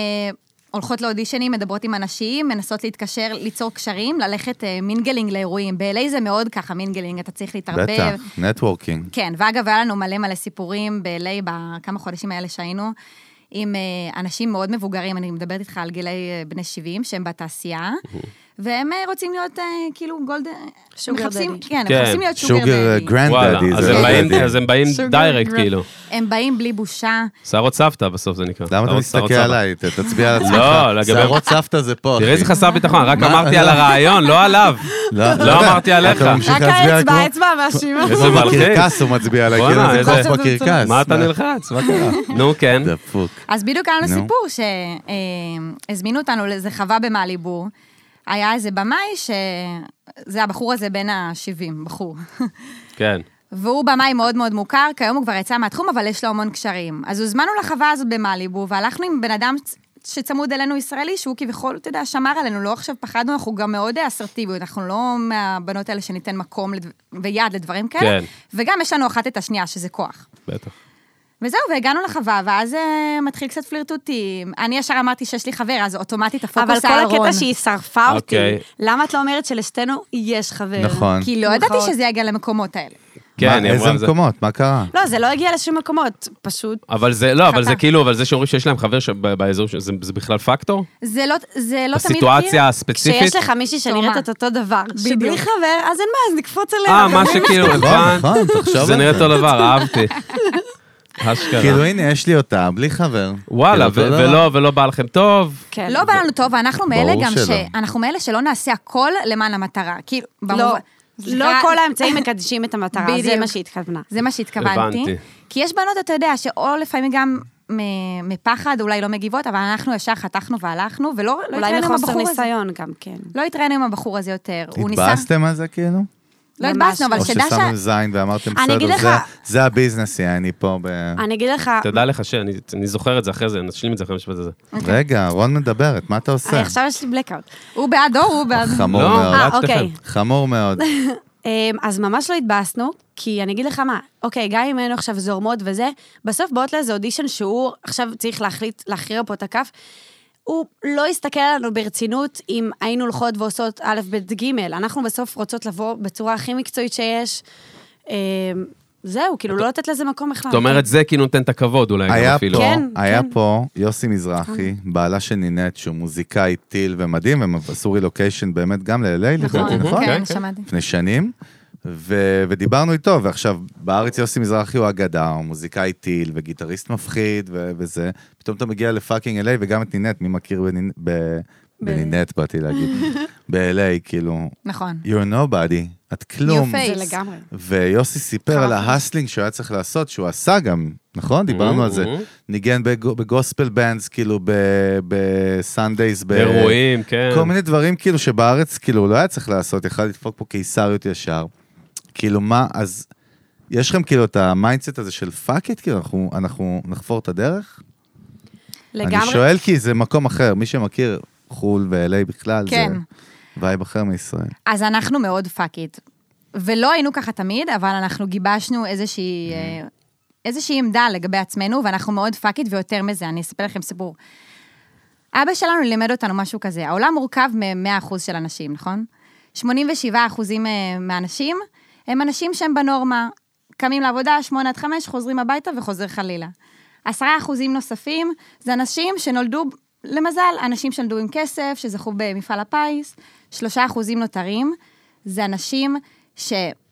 Speaker 5: הולכות לאודישנים, מדברות עם אנשים, מנסות להתקשר, ליצור קשרים, ללכת אה, מינגלינג לאירועים. ב-LA זה מאוד ככה מינגלינג, אתה צריך להתערבב.
Speaker 3: בטח, נטוורקינג.
Speaker 5: כן, ואגב, היה לנו מלא מלא סיפורים ב-LA בכמה חודשים האלה שהיינו, עם אה, אנשים מאוד מבוגרים, אני מדברת איתך על גילאי אה, בני 70, שהם בתעשייה, והם אה, רוצים להיות אה, כאילו גולד...
Speaker 4: Sugar
Speaker 5: מחפשים-
Speaker 4: daddy.
Speaker 5: כן, הם
Speaker 1: כן.
Speaker 5: מחפשים להיות שוגר
Speaker 3: שוגר
Speaker 5: דדי.
Speaker 1: וואלה,
Speaker 3: גרנדדי.
Speaker 1: אז הם באים- אז הם באים
Speaker 5: Sugar
Speaker 1: דיירקט,
Speaker 5: grandma.
Speaker 1: כאילו.
Speaker 5: הם באים בלי בושה.
Speaker 1: שערות סבתא בסוף זה נקרא.
Speaker 3: למה אתה
Speaker 1: שערות- שערות
Speaker 3: מסתכל
Speaker 1: סבתא.
Speaker 3: עליי? ת- תצביע
Speaker 1: *laughs*
Speaker 3: על עצמך.
Speaker 1: לא, לגבי-
Speaker 3: שערות סבתא זה פה, אחי.
Speaker 1: תראה איזה
Speaker 5: אוקיי.
Speaker 1: חסר ביטחון, רק
Speaker 3: מה?
Speaker 1: אמרתי
Speaker 3: לא.
Speaker 1: על הרעיון, לא עליו. לא אמרתי עליך.
Speaker 3: אתה ממשיך
Speaker 4: רק
Speaker 3: להצביע
Speaker 4: האצבע,
Speaker 3: כמו-
Speaker 4: האצבע מאשימה.
Speaker 3: *laughs*
Speaker 1: איזה
Speaker 3: איזה
Speaker 1: מלחיץ.
Speaker 3: קרקס הוא מצביע עליי,
Speaker 1: בואנה,
Speaker 3: כאילו איזה
Speaker 1: איזה-
Speaker 3: כוח בקרקס.
Speaker 1: מה אתה נלחץ? מה *laughs* קרה? נו, כן.
Speaker 3: דפוק.
Speaker 5: אז בדיוק היה לנו
Speaker 3: נו.
Speaker 5: סיפור שהזמינו אותנו לאיזה חווה במעליבור. היה איזה במאי ש... זה הבחור הזה בין ה-70, בחור. *laughs*
Speaker 1: כן.
Speaker 5: והוא במאי מאוד מאוד מוכר, כיום הוא כבר יצא מהתחום, אבל יש לו המון קשרים. אז הוזמנו לחווה הזאת במעליבור, והלכנו עם בן אדם צ- שצמוד אלינו ישראלי, שהוא כביכול, אתה יודע, שמר עלינו, לא עכשיו פחדנו, אנחנו גם מאוד אסרטיביות, אנחנו לא מהבנות האלה שניתן מקום לד... ויד לדברים כאלה.
Speaker 1: כן.
Speaker 5: וגם יש לנו אחת את השנייה, שזה כוח.
Speaker 1: בטח.
Speaker 5: וזהו, והגענו לחווה, ואז אה, מתחיל קצת פלירטוטים. אני ישר אמרתי שיש לי חבר, אז אוטומטית
Speaker 4: אבל
Speaker 5: הפוקוס היה
Speaker 4: כל
Speaker 5: על רון.
Speaker 4: הקטע שהיא שרפה אותי,
Speaker 1: אוקיי.
Speaker 4: למה את לא אומרת שלשתינו יש חבר?
Speaker 3: נכון.
Speaker 5: כי לא ידעתי
Speaker 4: נכון.
Speaker 5: שזה יגיע למקומות האלה.
Speaker 1: כן,
Speaker 3: מה-
Speaker 1: היא אמרה
Speaker 3: איזה
Speaker 1: על זה.
Speaker 3: מקומות? מה קרה?
Speaker 4: לא, זה לא הגיע לשום מקומות, פשוט...
Speaker 1: אבל זה, לא, אבל זה
Speaker 5: חטא.
Speaker 1: כאילו, אבל זה שאומרים שיש להם חבר שב- באזור, ש- זה זה בכלל פקטור?
Speaker 5: זה לא, זה לא תמיד...
Speaker 1: בסיטואציה
Speaker 4: כשיש
Speaker 1: הספציפית?
Speaker 4: לך מישהי שנראית
Speaker 5: תאומה.
Speaker 4: את אותו דבר, שבלי
Speaker 5: בדיוק.
Speaker 4: חבר, אז אין מה, אז נקפוץ עליה.
Speaker 1: אה, מה שכאילו,
Speaker 3: נכון,
Speaker 1: הבנת?
Speaker 3: נכון, תחשוב
Speaker 1: זה
Speaker 3: על
Speaker 1: נראה
Speaker 3: זה.
Speaker 1: אותו דבר, אהבתי. אשכרה.
Speaker 3: כאילו, הנה, יש לי אותה, בלי חבר.
Speaker 1: וואלה, ו-
Speaker 3: כאילו, אותו דבר.
Speaker 1: ולא, ולא בא לכם טוב.
Speaker 4: כן.
Speaker 5: לא בא לנו טוב, ואנחנו מאלה
Speaker 3: ברור
Speaker 5: גם
Speaker 3: שלא.
Speaker 5: ש... אנחנו מאלה שלא נעשה הכל למען המטרה. כאילו,
Speaker 4: לא,
Speaker 5: במובן-
Speaker 4: לא
Speaker 5: סליחה,
Speaker 4: כל האמצעים מקדשים את המטרה, זה
Speaker 5: בדיוק.
Speaker 4: מה שהתכוונה.
Speaker 5: זה מה שהתכוונתי.
Speaker 1: הבנתי.
Speaker 5: כי יש בנות, אתה יודע, שאו לפעמים גם מ- מפחד, אולי לא מגיבות, אבל אנחנו ישר חתכנו והלכנו, ולא לא
Speaker 4: אולי
Speaker 5: התראינו עם
Speaker 4: מחוסר
Speaker 5: הבחור הזה.
Speaker 4: ניסיון גם כן.
Speaker 5: לא התראינו עם הבחור הזה יותר. הוא ניסה...
Speaker 3: התבאסתם על זה, כאילו?
Speaker 5: לא
Speaker 4: ממש
Speaker 5: התבאסנו, אבל
Speaker 3: או
Speaker 5: שדע ש...
Speaker 3: ששמתם זין ואמרתם,
Speaker 4: אני אגיד
Speaker 3: בסדר,
Speaker 4: לך-
Speaker 3: זה- זה הביזנס, יעני פה ב...
Speaker 4: אני אגיד לך,
Speaker 1: תדע לך שאני אני זוכר את זה אחרי זה, נשלים את זה אחרי המשפט הזה.
Speaker 3: רגע, רון מדברת, מה אתה
Speaker 4: אני
Speaker 3: עושה?
Speaker 4: עכשיו יש לי blackout.
Speaker 5: הוא בעדו, הוא בעד...
Speaker 3: חמור
Speaker 1: לא,
Speaker 3: מאוד.
Speaker 1: אה,
Speaker 4: אה,
Speaker 1: רק
Speaker 4: אוקיי.
Speaker 1: שתיכן.
Speaker 3: חמור מאוד.
Speaker 4: אמ, אז ממש לא התבאסנו, כי אני אגיד לך מה, אוקיי, גם אם היינו עכשיו זורמות וזה, בסוף באות לאיזה אודישן שהוא עכשיו צריך להחליט, להכריע פה את הכף. הוא לא הסתכל עלינו ברצינות אם היינו הולכות ועושות א', ב', ג', אנחנו בסוף רוצות לבוא בצורה הכי מקצועית שיש. אמ, זהו, כאילו, לא לתת לזה מקום בכלל.
Speaker 1: זאת אומרת, זה כאילו נותן את הכבוד אולי גם
Speaker 3: היה
Speaker 1: אפילו.
Speaker 3: פה,
Speaker 4: כן,
Speaker 3: היה
Speaker 4: כן.
Speaker 3: פה יוסי מזרחי, בעלה של נינט, שהוא מוזיקאי טיל ומדהים, הם עשו רילוקיישן באמת גם ל-LA, לדעתי, נכון?
Speaker 5: כן,
Speaker 1: כן.
Speaker 5: שמעתי.
Speaker 3: לפני שנים, ו- ודיברנו איתו, ועכשיו, בארץ יוסי מזרחי הוא אגדה, הוא מוזיקאי טיל וגיטריסט מפחיד ו- וזה, פתאום אתה מגיע לפאקינג LA וגם את נינט, מי מכיר בנינ- ב- בנינט, באתי להגיד, ב-LA, כאילו,
Speaker 5: נכון.
Speaker 3: you're nobody, את כלום.
Speaker 5: face.
Speaker 4: זה לגמרי.
Speaker 3: ויוסי סיפר על ההסלינג שהוא היה צריך לעשות, שהוא עשה גם, נכון? דיברנו על זה.
Speaker 1: Mhm.
Speaker 3: ניגן בג- בגוספל בנדס, כאילו ב- בסאנדייז, ב-
Speaker 1: אירועים, כן.
Speaker 3: כל מיני דברים כאילו שבארץ כאילו הוא לא היה צריך לעשות, יכל לדפוק פה קיסריות ישר. כאילו מה, אז יש לכם כאילו את המיינדסט הזה של פאק איט, כאילו אנחנו- אנחנו נחפור את הדרך? אני
Speaker 4: לגמרי.
Speaker 3: שואל כי זה מקום אחר, מי שמכיר חו"ל ו-LA בכלל,
Speaker 5: כן.
Speaker 3: זה וייב אחר מישראל.
Speaker 5: אז אנחנו מאוד פאק איט. ולא היינו ככה תמיד, אבל אנחנו גיבשנו איזושהי,
Speaker 3: Mm.
Speaker 5: אה, איזושהי עמדה לגבי עצמנו, ואנחנו מאוד פאק איט ויותר מזה, אני אספר לכם סיפור. אבא שלנו לימד אותנו משהו כזה, העולם מורכב מ-100% של אנשים, נכון? 87% אה, מהאנשים הם אנשים שהם בנורמה. קמים לעבודה, 8 עד 5, חוזרים הביתה וחוזר חלילה. 10% נוספים זה אנשים שנולדו, למזל, אנשים שנולדו עם כסף, שזכו במפעל הפיס. 3% נותרים זה אנשים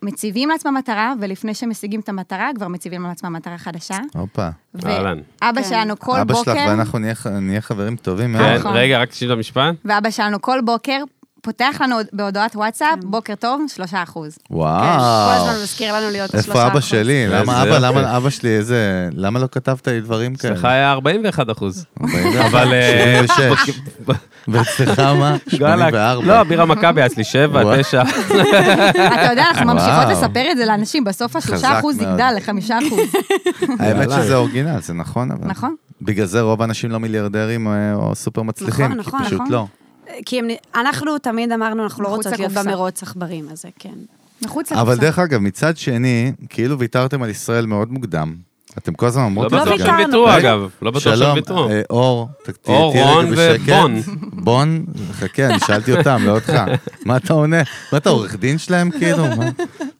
Speaker 5: שמציבים לעצמם מטרה, ולפני שמשיגים את המטרה, כבר מציבים לעצמם מטרה חדשה.
Speaker 3: הופה.
Speaker 1: אהלן.
Speaker 5: ואבא שלנו כל
Speaker 3: אבא
Speaker 5: בוקר...
Speaker 3: שלך ואנחנו נהיה ח- נהיה חברים טובים
Speaker 1: כן,
Speaker 3: מאוד.
Speaker 5: נכון.
Speaker 1: רגע, רק תשאיר את המשפט.
Speaker 5: ואבא שלנו כל בוקר פותח לנו בהודעת וואטסאפ, בוקר טוב, שלושה אחוז.
Speaker 4: כן, כל
Speaker 3: וואו.
Speaker 4: הזמן מזכיר לנו להיות השלושה
Speaker 3: איפה אבא
Speaker 4: אחוז. *laughs*
Speaker 3: שלי?
Speaker 1: איזה
Speaker 3: למה אבא,
Speaker 1: יופי.
Speaker 3: למה אבא שלי איזה... למה לא כתבת לי דברים כאלה?
Speaker 1: אצלך היה 41
Speaker 3: *laughs*
Speaker 1: אחוז.
Speaker 3: אבל...
Speaker 1: אבל... אה,
Speaker 3: 76. ואצלך מה?
Speaker 1: גלק.
Speaker 3: 84.
Speaker 1: לא, בירה מכבי היה אצלי 7,
Speaker 3: וואו.
Speaker 1: 9.
Speaker 5: אתה יודע, אנחנו ממשיכות
Speaker 3: וואו.
Speaker 5: לספר את זה לאנשים, בסוף
Speaker 3: חזק
Speaker 5: השלושה אחוז
Speaker 3: מאוד.
Speaker 5: יגדל לחמישה אחוז.
Speaker 3: האמת
Speaker 1: יאללה.
Speaker 3: שזה אורגינל, זה נכון אבל.
Speaker 5: נכון.
Speaker 3: בגלל זה רוב האנשים לא מיליארדרים אה, או סופר מצליחים.
Speaker 4: נכון, נכון,
Speaker 3: כי פשוט
Speaker 5: נכון.
Speaker 3: לא.
Speaker 4: כי הם- אנחנו תמיד אמרנו, אנחנו לא
Speaker 5: מחוץ
Speaker 4: רוצות להיות
Speaker 5: לקופסה.
Speaker 4: במרוץ עכברים הזה, כן.
Speaker 5: מחוץ
Speaker 3: אבל
Speaker 5: לקופסה.
Speaker 3: דרך אגב, מצד שני, כאילו ויתרתם על ישראל מאוד מוקדם. אתם כל הזמן
Speaker 1: לא
Speaker 3: אומרות את זה
Speaker 1: בטוח
Speaker 4: ויתרנו.
Speaker 1: שהם
Speaker 3: גם.
Speaker 1: ויתרו,
Speaker 3: רגע,
Speaker 1: אגב. לא בטוח שהם
Speaker 3: שלום,
Speaker 1: ויתרו.
Speaker 3: אה, אור, ת- ת-
Speaker 1: אור,
Speaker 3: תהיה רגע
Speaker 1: רון
Speaker 3: בשקט.
Speaker 1: ובון.
Speaker 3: בון, חכה, אני שאלתי אותם, לא
Speaker 1: *laughs*
Speaker 3: אותך. מה אתה עונה? מה אתה עורך דין שלהם כאילו? מה?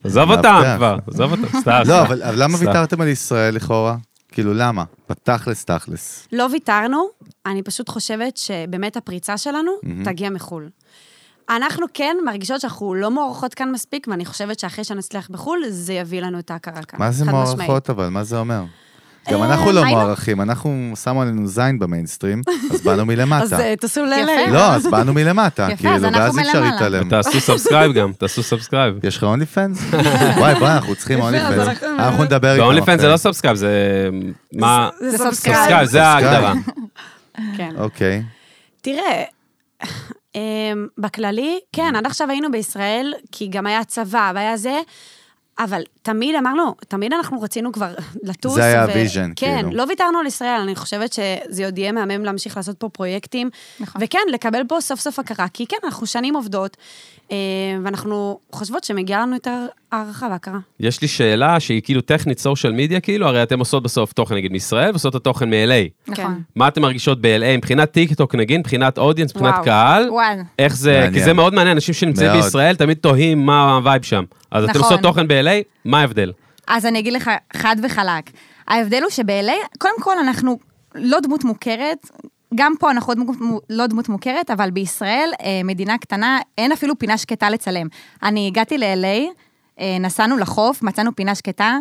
Speaker 1: עזוב אותם
Speaker 3: מאבטח.
Speaker 1: כבר, עזוב אותם, סתם.
Speaker 3: לא, אבל אבל למה
Speaker 1: סתם.
Speaker 3: ויתרתם על ישראל לכאורה? כאילו, למה? בתכלס, תכלס.
Speaker 4: לא ויתרנו, אני פשוט חושבת שבאמת הפריצה שלנו תגיע מחו"ל. אנחנו כן מרגישות שאנחנו לא מוערכות כאן מספיק, ואני חושבת שאחרי שנצליח בחו"ל, זה יביא לנו את ההכרה כאן.
Speaker 3: מה זה
Speaker 4: חד משמעית. אה,
Speaker 3: מוערכות אבל? מה זה אומר? גם אנחנו לא
Speaker 5: היינו-
Speaker 3: מוערכים, אנחנו שמו עלינו זין במיינסטרים, אז באנו
Speaker 4: *laughs* אז
Speaker 3: מלמטה.
Speaker 4: אה, תעשו ל...
Speaker 5: יפה.
Speaker 3: לא, אז באנו מלמטה,
Speaker 5: יפה,
Speaker 3: כאילו,
Speaker 5: אז אנחנו
Speaker 3: ואז אי אפשר
Speaker 5: מלמעלה.
Speaker 3: להתעלם.
Speaker 1: תעשו סאבסקרייב גם, תעשו סאבסקרייב.
Speaker 3: יש לך אונלי
Speaker 1: *laughs*
Speaker 3: פנס? *laughs* וואי, בואי, אנחנו צריכים אונלי
Speaker 4: אז
Speaker 3: פנס.
Speaker 4: אנחנו-
Speaker 3: אנחנו נדבר איתם.
Speaker 1: באונלי פן זה
Speaker 3: אחרי.
Speaker 1: לא סאבסקרייב, זה... מה?
Speaker 4: זה
Speaker 3: לא.
Speaker 5: סאבסקרייב.
Speaker 1: סאבסקרייב, זה ההגדרה.
Speaker 4: כן.
Speaker 3: אוקיי.
Speaker 4: תראה, אמ, בכללי, כן, עד עכשיו היינו בישראל, כי גם היה צבא והיה זה, אבל תמיד אמרנו, תמיד אנחנו רצינו כבר לטוס.
Speaker 3: זה היה
Speaker 4: ו-
Speaker 3: הוויז'ן,
Speaker 4: כן,
Speaker 3: כאילו.
Speaker 4: לא ויתרנו על ישראל, אני חושבת שזה עוד יהיה מהמם להמשיך לעשות פה פרויקטים.
Speaker 5: נכון.
Speaker 4: וכן, לקבל פה סוף סוף הכרה, כי כן, אנחנו שנים עובדות, אמ, ואנחנו חושבות שמגיעה לנו יותר הערכה והכרה.
Speaker 1: יש לי שאלה שהיא כאילו טכנית סושיאל מדיה, כאילו, הרי אתם עושות בסוף תוכן נגיד מישראל, ועושות את התוכן מ-LA.
Speaker 5: נכון.
Speaker 1: מה אתם מרגישות ב-LA מבחינת טיק טוק נגיד, מבחינת אודיאנס, מבחינת
Speaker 4: וואו.
Speaker 1: קהל?
Speaker 5: וואל.
Speaker 1: איך זה,
Speaker 3: מעניין.
Speaker 1: כי זה מאוד מעניין, אנשים שנמצאים
Speaker 3: מאוד.
Speaker 1: בישראל תמיד תוהים מה הווייב שם. אז אתם
Speaker 5: נכון.
Speaker 1: עושות תוכן ב-LA, מה ההבדל?
Speaker 5: אז אני אגיד לך חד וחלק. ההבדל הוא שב-LA, קודם כל אנחנו לא דמות מוכרת. גם פה אנחנו לא דמות- לא דמות מוכרת, אבל בישראל, אה, מדינה קטנה, אין אפילו פינה שקטה לצלם. אני הגעתי ל-LA, אה, נסענו לחוף, מצאנו פינה שקטה,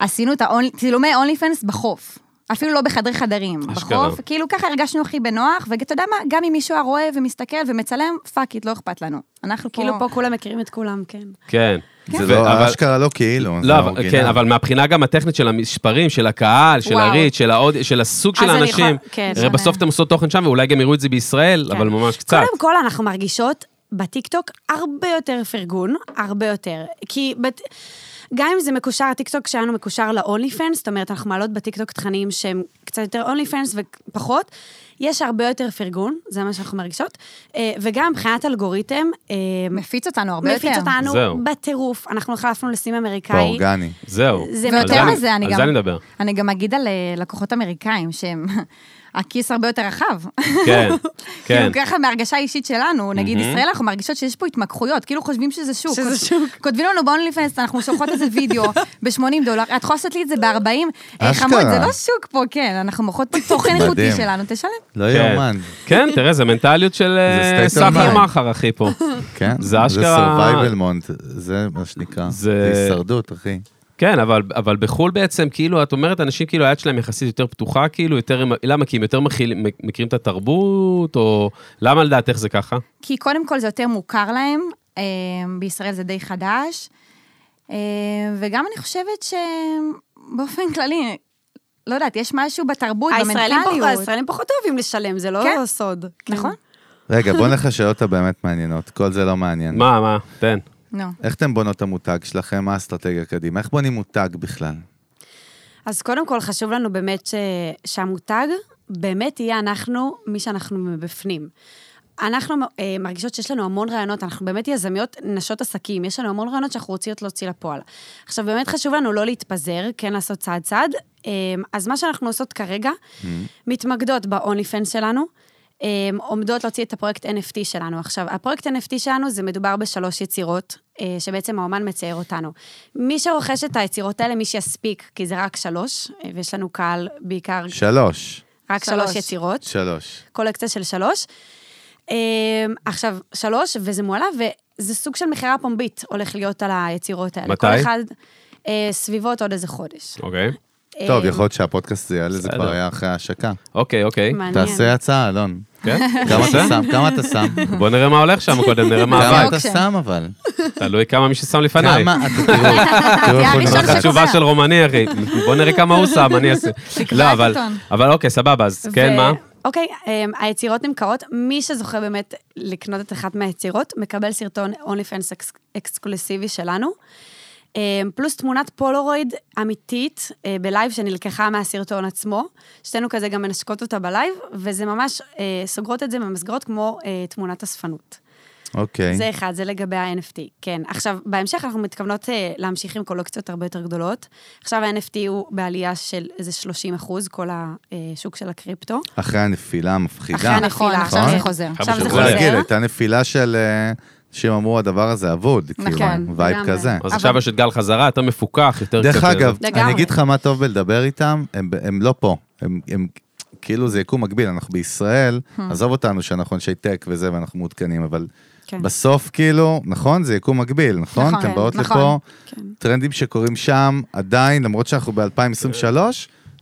Speaker 5: עשינו את ה-only- צילומי אונלי פנס בחוף. אפילו לא בחדרי חדרים,
Speaker 1: אשכרה.
Speaker 5: בחוף. כאילו ככה הרגשנו הכי בנוח, ואתה יודע מה, גם אם מישהו היה רואה ומסתכל ומצלם, פאק איט, לא אכפת לנו. אנחנו פה...
Speaker 4: כאילו פה כולם מכירים את כולם, כן.
Speaker 1: כן.
Speaker 3: זה
Speaker 1: ו- אבל-
Speaker 3: לא, אשכרה לא כאילו. זה
Speaker 1: לא, אבל-
Speaker 3: האורגינל.
Speaker 1: כן, אבל מהבחינה גם הטכנית של המספרים, של הקהל, של
Speaker 5: וואו.
Speaker 1: הריד, של האוד- של הסוג של
Speaker 4: אז אני
Speaker 1: האנשים.
Speaker 4: יכול- כן.
Speaker 1: הרי בסוף אתם עושות תוכן שם, ואולי גם יראו את זה בישראל, אבל ממש קצת.
Speaker 4: קודם כל, אנחנו מרגישות בטיקטוק הרבה יותר פרגון, הרבה יותר. כי בת... גם אם זה מקושר, הטיקטוק שלנו מקושר ל-only fans, זאת אומרת, אנחנו מעלות בטיקטוק תכנים שהם קצת יותר only fans ופחות, יש הרבה יותר פרגון, זה מה שאנחנו מרגישות. אה, וגם מבחינת אלגוריתם, אה,
Speaker 5: מפיץ אותנו הרבה יותר.
Speaker 4: מפיץ אותנו
Speaker 1: זהו.
Speaker 4: בטירוף. אנחנו החלפנו לסים אמריקאי.
Speaker 3: באורגני.
Speaker 1: זהו.
Speaker 4: זה
Speaker 1: לא, על
Speaker 4: יותר
Speaker 5: ויותר
Speaker 1: אני-
Speaker 5: מזה, אני גם...
Speaker 1: על זה אני
Speaker 5: *laughs*
Speaker 1: מדבר.
Speaker 5: אני גם אגיד על אה, לקוחות אמריקאים, שהם... *laughs* הכיס הרבה יותר רחב. *laughs*
Speaker 1: כן, כן.
Speaker 5: כאילו ככה מהרגשה האישית שלנו, נגיד ישראל, אנחנו מרגישות שיש פה התמקחויות, כאילו חושבים שזה שוק.
Speaker 4: שזה
Speaker 5: כות-
Speaker 4: שוק.
Speaker 5: כותבים לנו באונלי פנס, אנחנו שולחות איזה וידאו
Speaker 1: *laughs*
Speaker 5: ב-80 דולר, את יכולה לעשות לי את זה ב-40?
Speaker 3: אשכרה.
Speaker 5: חמוד, זה לא שוק פה, כן, אנחנו מוכרות פה תוכן
Speaker 3: מדהים.
Speaker 5: איכותי שלנו, תשלם.
Speaker 3: לא
Speaker 1: כן.
Speaker 3: יאומן.
Speaker 1: כן, תראה, זה מנטליות של אה,
Speaker 3: state of
Speaker 1: סחר
Speaker 3: mind.
Speaker 1: מחר, אחי, פה.
Speaker 3: כן.
Speaker 1: זה אשכרה-
Speaker 3: זה survival mode, זה מה שנקרא.
Speaker 1: זה-
Speaker 3: זה הישרדות, אחי.
Speaker 1: כן, אבל, אבל בחו"ל בעצם, כאילו, את אומרת, אנשים, כאילו, היד שלהם יחסית יותר פתוחה, כאילו, יותר, למה? כי הם יותר מכיל, מכירים את התרבות, או... למה לדעתך זה ככה?
Speaker 5: כי קודם כל זה יותר מוכר להם, אה, בישראל זה די חדש, אה, וגם אני חושבת שבאופן כללי, לא יודעת, יש משהו בתרבות,
Speaker 4: הישראלים פחות-
Speaker 5: במנטליות.
Speaker 4: הישראלים פחות אוהבים לשלם, זה
Speaker 5: כן.
Speaker 4: לא סוד. כן.
Speaker 5: נכון.
Speaker 3: רגע,
Speaker 4: *laughs*
Speaker 3: בוא נלך לשאלות הבאמת מעניינות. כל זה לא מעניין.
Speaker 1: מה, מה, תן.
Speaker 5: נו.
Speaker 3: איך אתם בונות את המותג שלכם? מה האסטרטגיה קדימה? איך בונים מותג בכלל?
Speaker 4: אז קודם כל, חשוב לנו באמת ש... שהמותג באמת יהיה אנחנו, מי שאנחנו מבפנים. אנחנו אה, מרגישות שיש לנו המון רעיונות, אנחנו באמת יזמיות נשות עסקים, יש לנו המון רעיונות שאנחנו רוצות להוציא לפועל. עכשיו, באמת חשוב לנו לא להתפזר, כן לעשות צעד צעד. אה, אז מה שאנחנו עושות כרגע, מתמקדות ב-only fan שלנו, אמ, עומדות להוציא את הפרויקט NFT שלנו. עכשיו, הפרויקט NFT שלנו זה מדובר בשלוש יצירות, אה, שבעצם האומן מצייר אותנו. מי שרוכש את היצירות האלה, מי שיספיק, כי זה רק שלוש, אה, ויש לנו קהל בעיקר ש...
Speaker 3: שלוש.
Speaker 4: רק שלוש.
Speaker 5: שלוש.
Speaker 4: שלוש יצירות,
Speaker 3: שלוש.
Speaker 4: קולקציה של שלוש. אמ, עכשיו, שלוש, וזה מועלה, וזה סוג של מכירה פומבית הולך להיות על היצירות האלה.
Speaker 1: מתי?
Speaker 4: כל אחד אה, סביבות עוד איזה חודש.
Speaker 1: אוקיי.
Speaker 3: טוב,
Speaker 4: אה,
Speaker 3: יכול להיות שהפודקאסט זה יעלה, זה
Speaker 1: בסדר.
Speaker 3: כבר היה אחרי ההשקה.
Speaker 1: אוקיי, אוקיי.
Speaker 4: מעניין.
Speaker 3: תעשה הצעה,
Speaker 4: *laughs*
Speaker 3: אלון.
Speaker 1: כן?
Speaker 3: כמה אתה
Speaker 1: בסדר?
Speaker 3: שם? כמה אתה שם?
Speaker 1: בוא נראה מה הולך שם קודם, נראה מה
Speaker 3: כמה
Speaker 1: הבא.
Speaker 3: אתה
Speaker 5: אוקיי.
Speaker 3: שם אבל?
Speaker 1: תלוי כמה מי ששם לפניי.
Speaker 3: כמה אתה
Speaker 4: *laughs*
Speaker 3: תראו, תראו
Speaker 5: זה
Speaker 3: איך הוא
Speaker 5: הראשון
Speaker 3: נראה.
Speaker 1: לך תשובה של רומני, אחי. בוא נראה כמה הוא שם, אני אעשה.
Speaker 5: תקרא
Speaker 1: לא,
Speaker 5: את
Speaker 1: אבל,
Speaker 5: עיתון.
Speaker 1: אבל אוקיי, סבבה, אז כן,
Speaker 4: ו-
Speaker 1: מה?
Speaker 4: אוקיי, אמ, היצירות נמכרות. מי שזוכה באמת לקנות את אחת מהיצירות, מקבל סרטון אונלי פנס אקסקלוסיבי שלנו. אמ, פלוס תמונת פולרויד אמיתית אה, בלייב שנלקחה מהסרטון עצמו. שתינו כזה גם מנשקות אותה בלייב, וזה ממש, אה, סוגרות את זה ממסגרות כמו אה, תמונת אספנות.
Speaker 3: אוקיי.
Speaker 4: זה אחד, זה לגבי ה-NFT, כן. עכשיו, בהמשך אנחנו מתכוונות אה, להמשיך עם קולקציות הרבה יותר גדולות. עכשיו ה-NFT הוא בעלייה של איזה 30 אחוז, כל השוק של הקריפטו.
Speaker 3: אחרי הנפילה המפחידה.
Speaker 4: אחרי הנפילה.
Speaker 5: נכון, עכשיו
Speaker 3: נכון.
Speaker 5: זה חוזר.
Speaker 4: עכשיו
Speaker 1: חוזר.
Speaker 4: זה
Speaker 3: צריך להגיד,
Speaker 4: חוזר.
Speaker 3: הייתה נפילה של... אה, אנשים אמרו, הדבר הזה אבוד, כאילו,
Speaker 5: נכון,
Speaker 3: וייב
Speaker 4: לגמרי.
Speaker 3: כזה.
Speaker 1: אז עכשיו יש את גל חזרה, יותר מפוקח, יותר...
Speaker 3: דרך
Speaker 1: קצת-
Speaker 3: אגב,
Speaker 4: לגמרי.
Speaker 3: אני אגיד לך מה טוב בלדבר איתם, הם- הם לא פה. הם- הם כאילו זה יקום מקביל, אנחנו בישראל,
Speaker 4: Hmm.
Speaker 3: עזוב אותנו שאנחנו אנשי טק וזה, ואנחנו מעודכנים, אבל
Speaker 4: כן.
Speaker 3: בסוף כאילו, נכון, זה יקום מקביל, נכון?
Speaker 5: נכון,
Speaker 3: אתם באות
Speaker 5: נכון.
Speaker 3: לפה,
Speaker 4: כן.
Speaker 3: טרנדים שקורים שם עדיין, למרות שאנחנו ב-2023,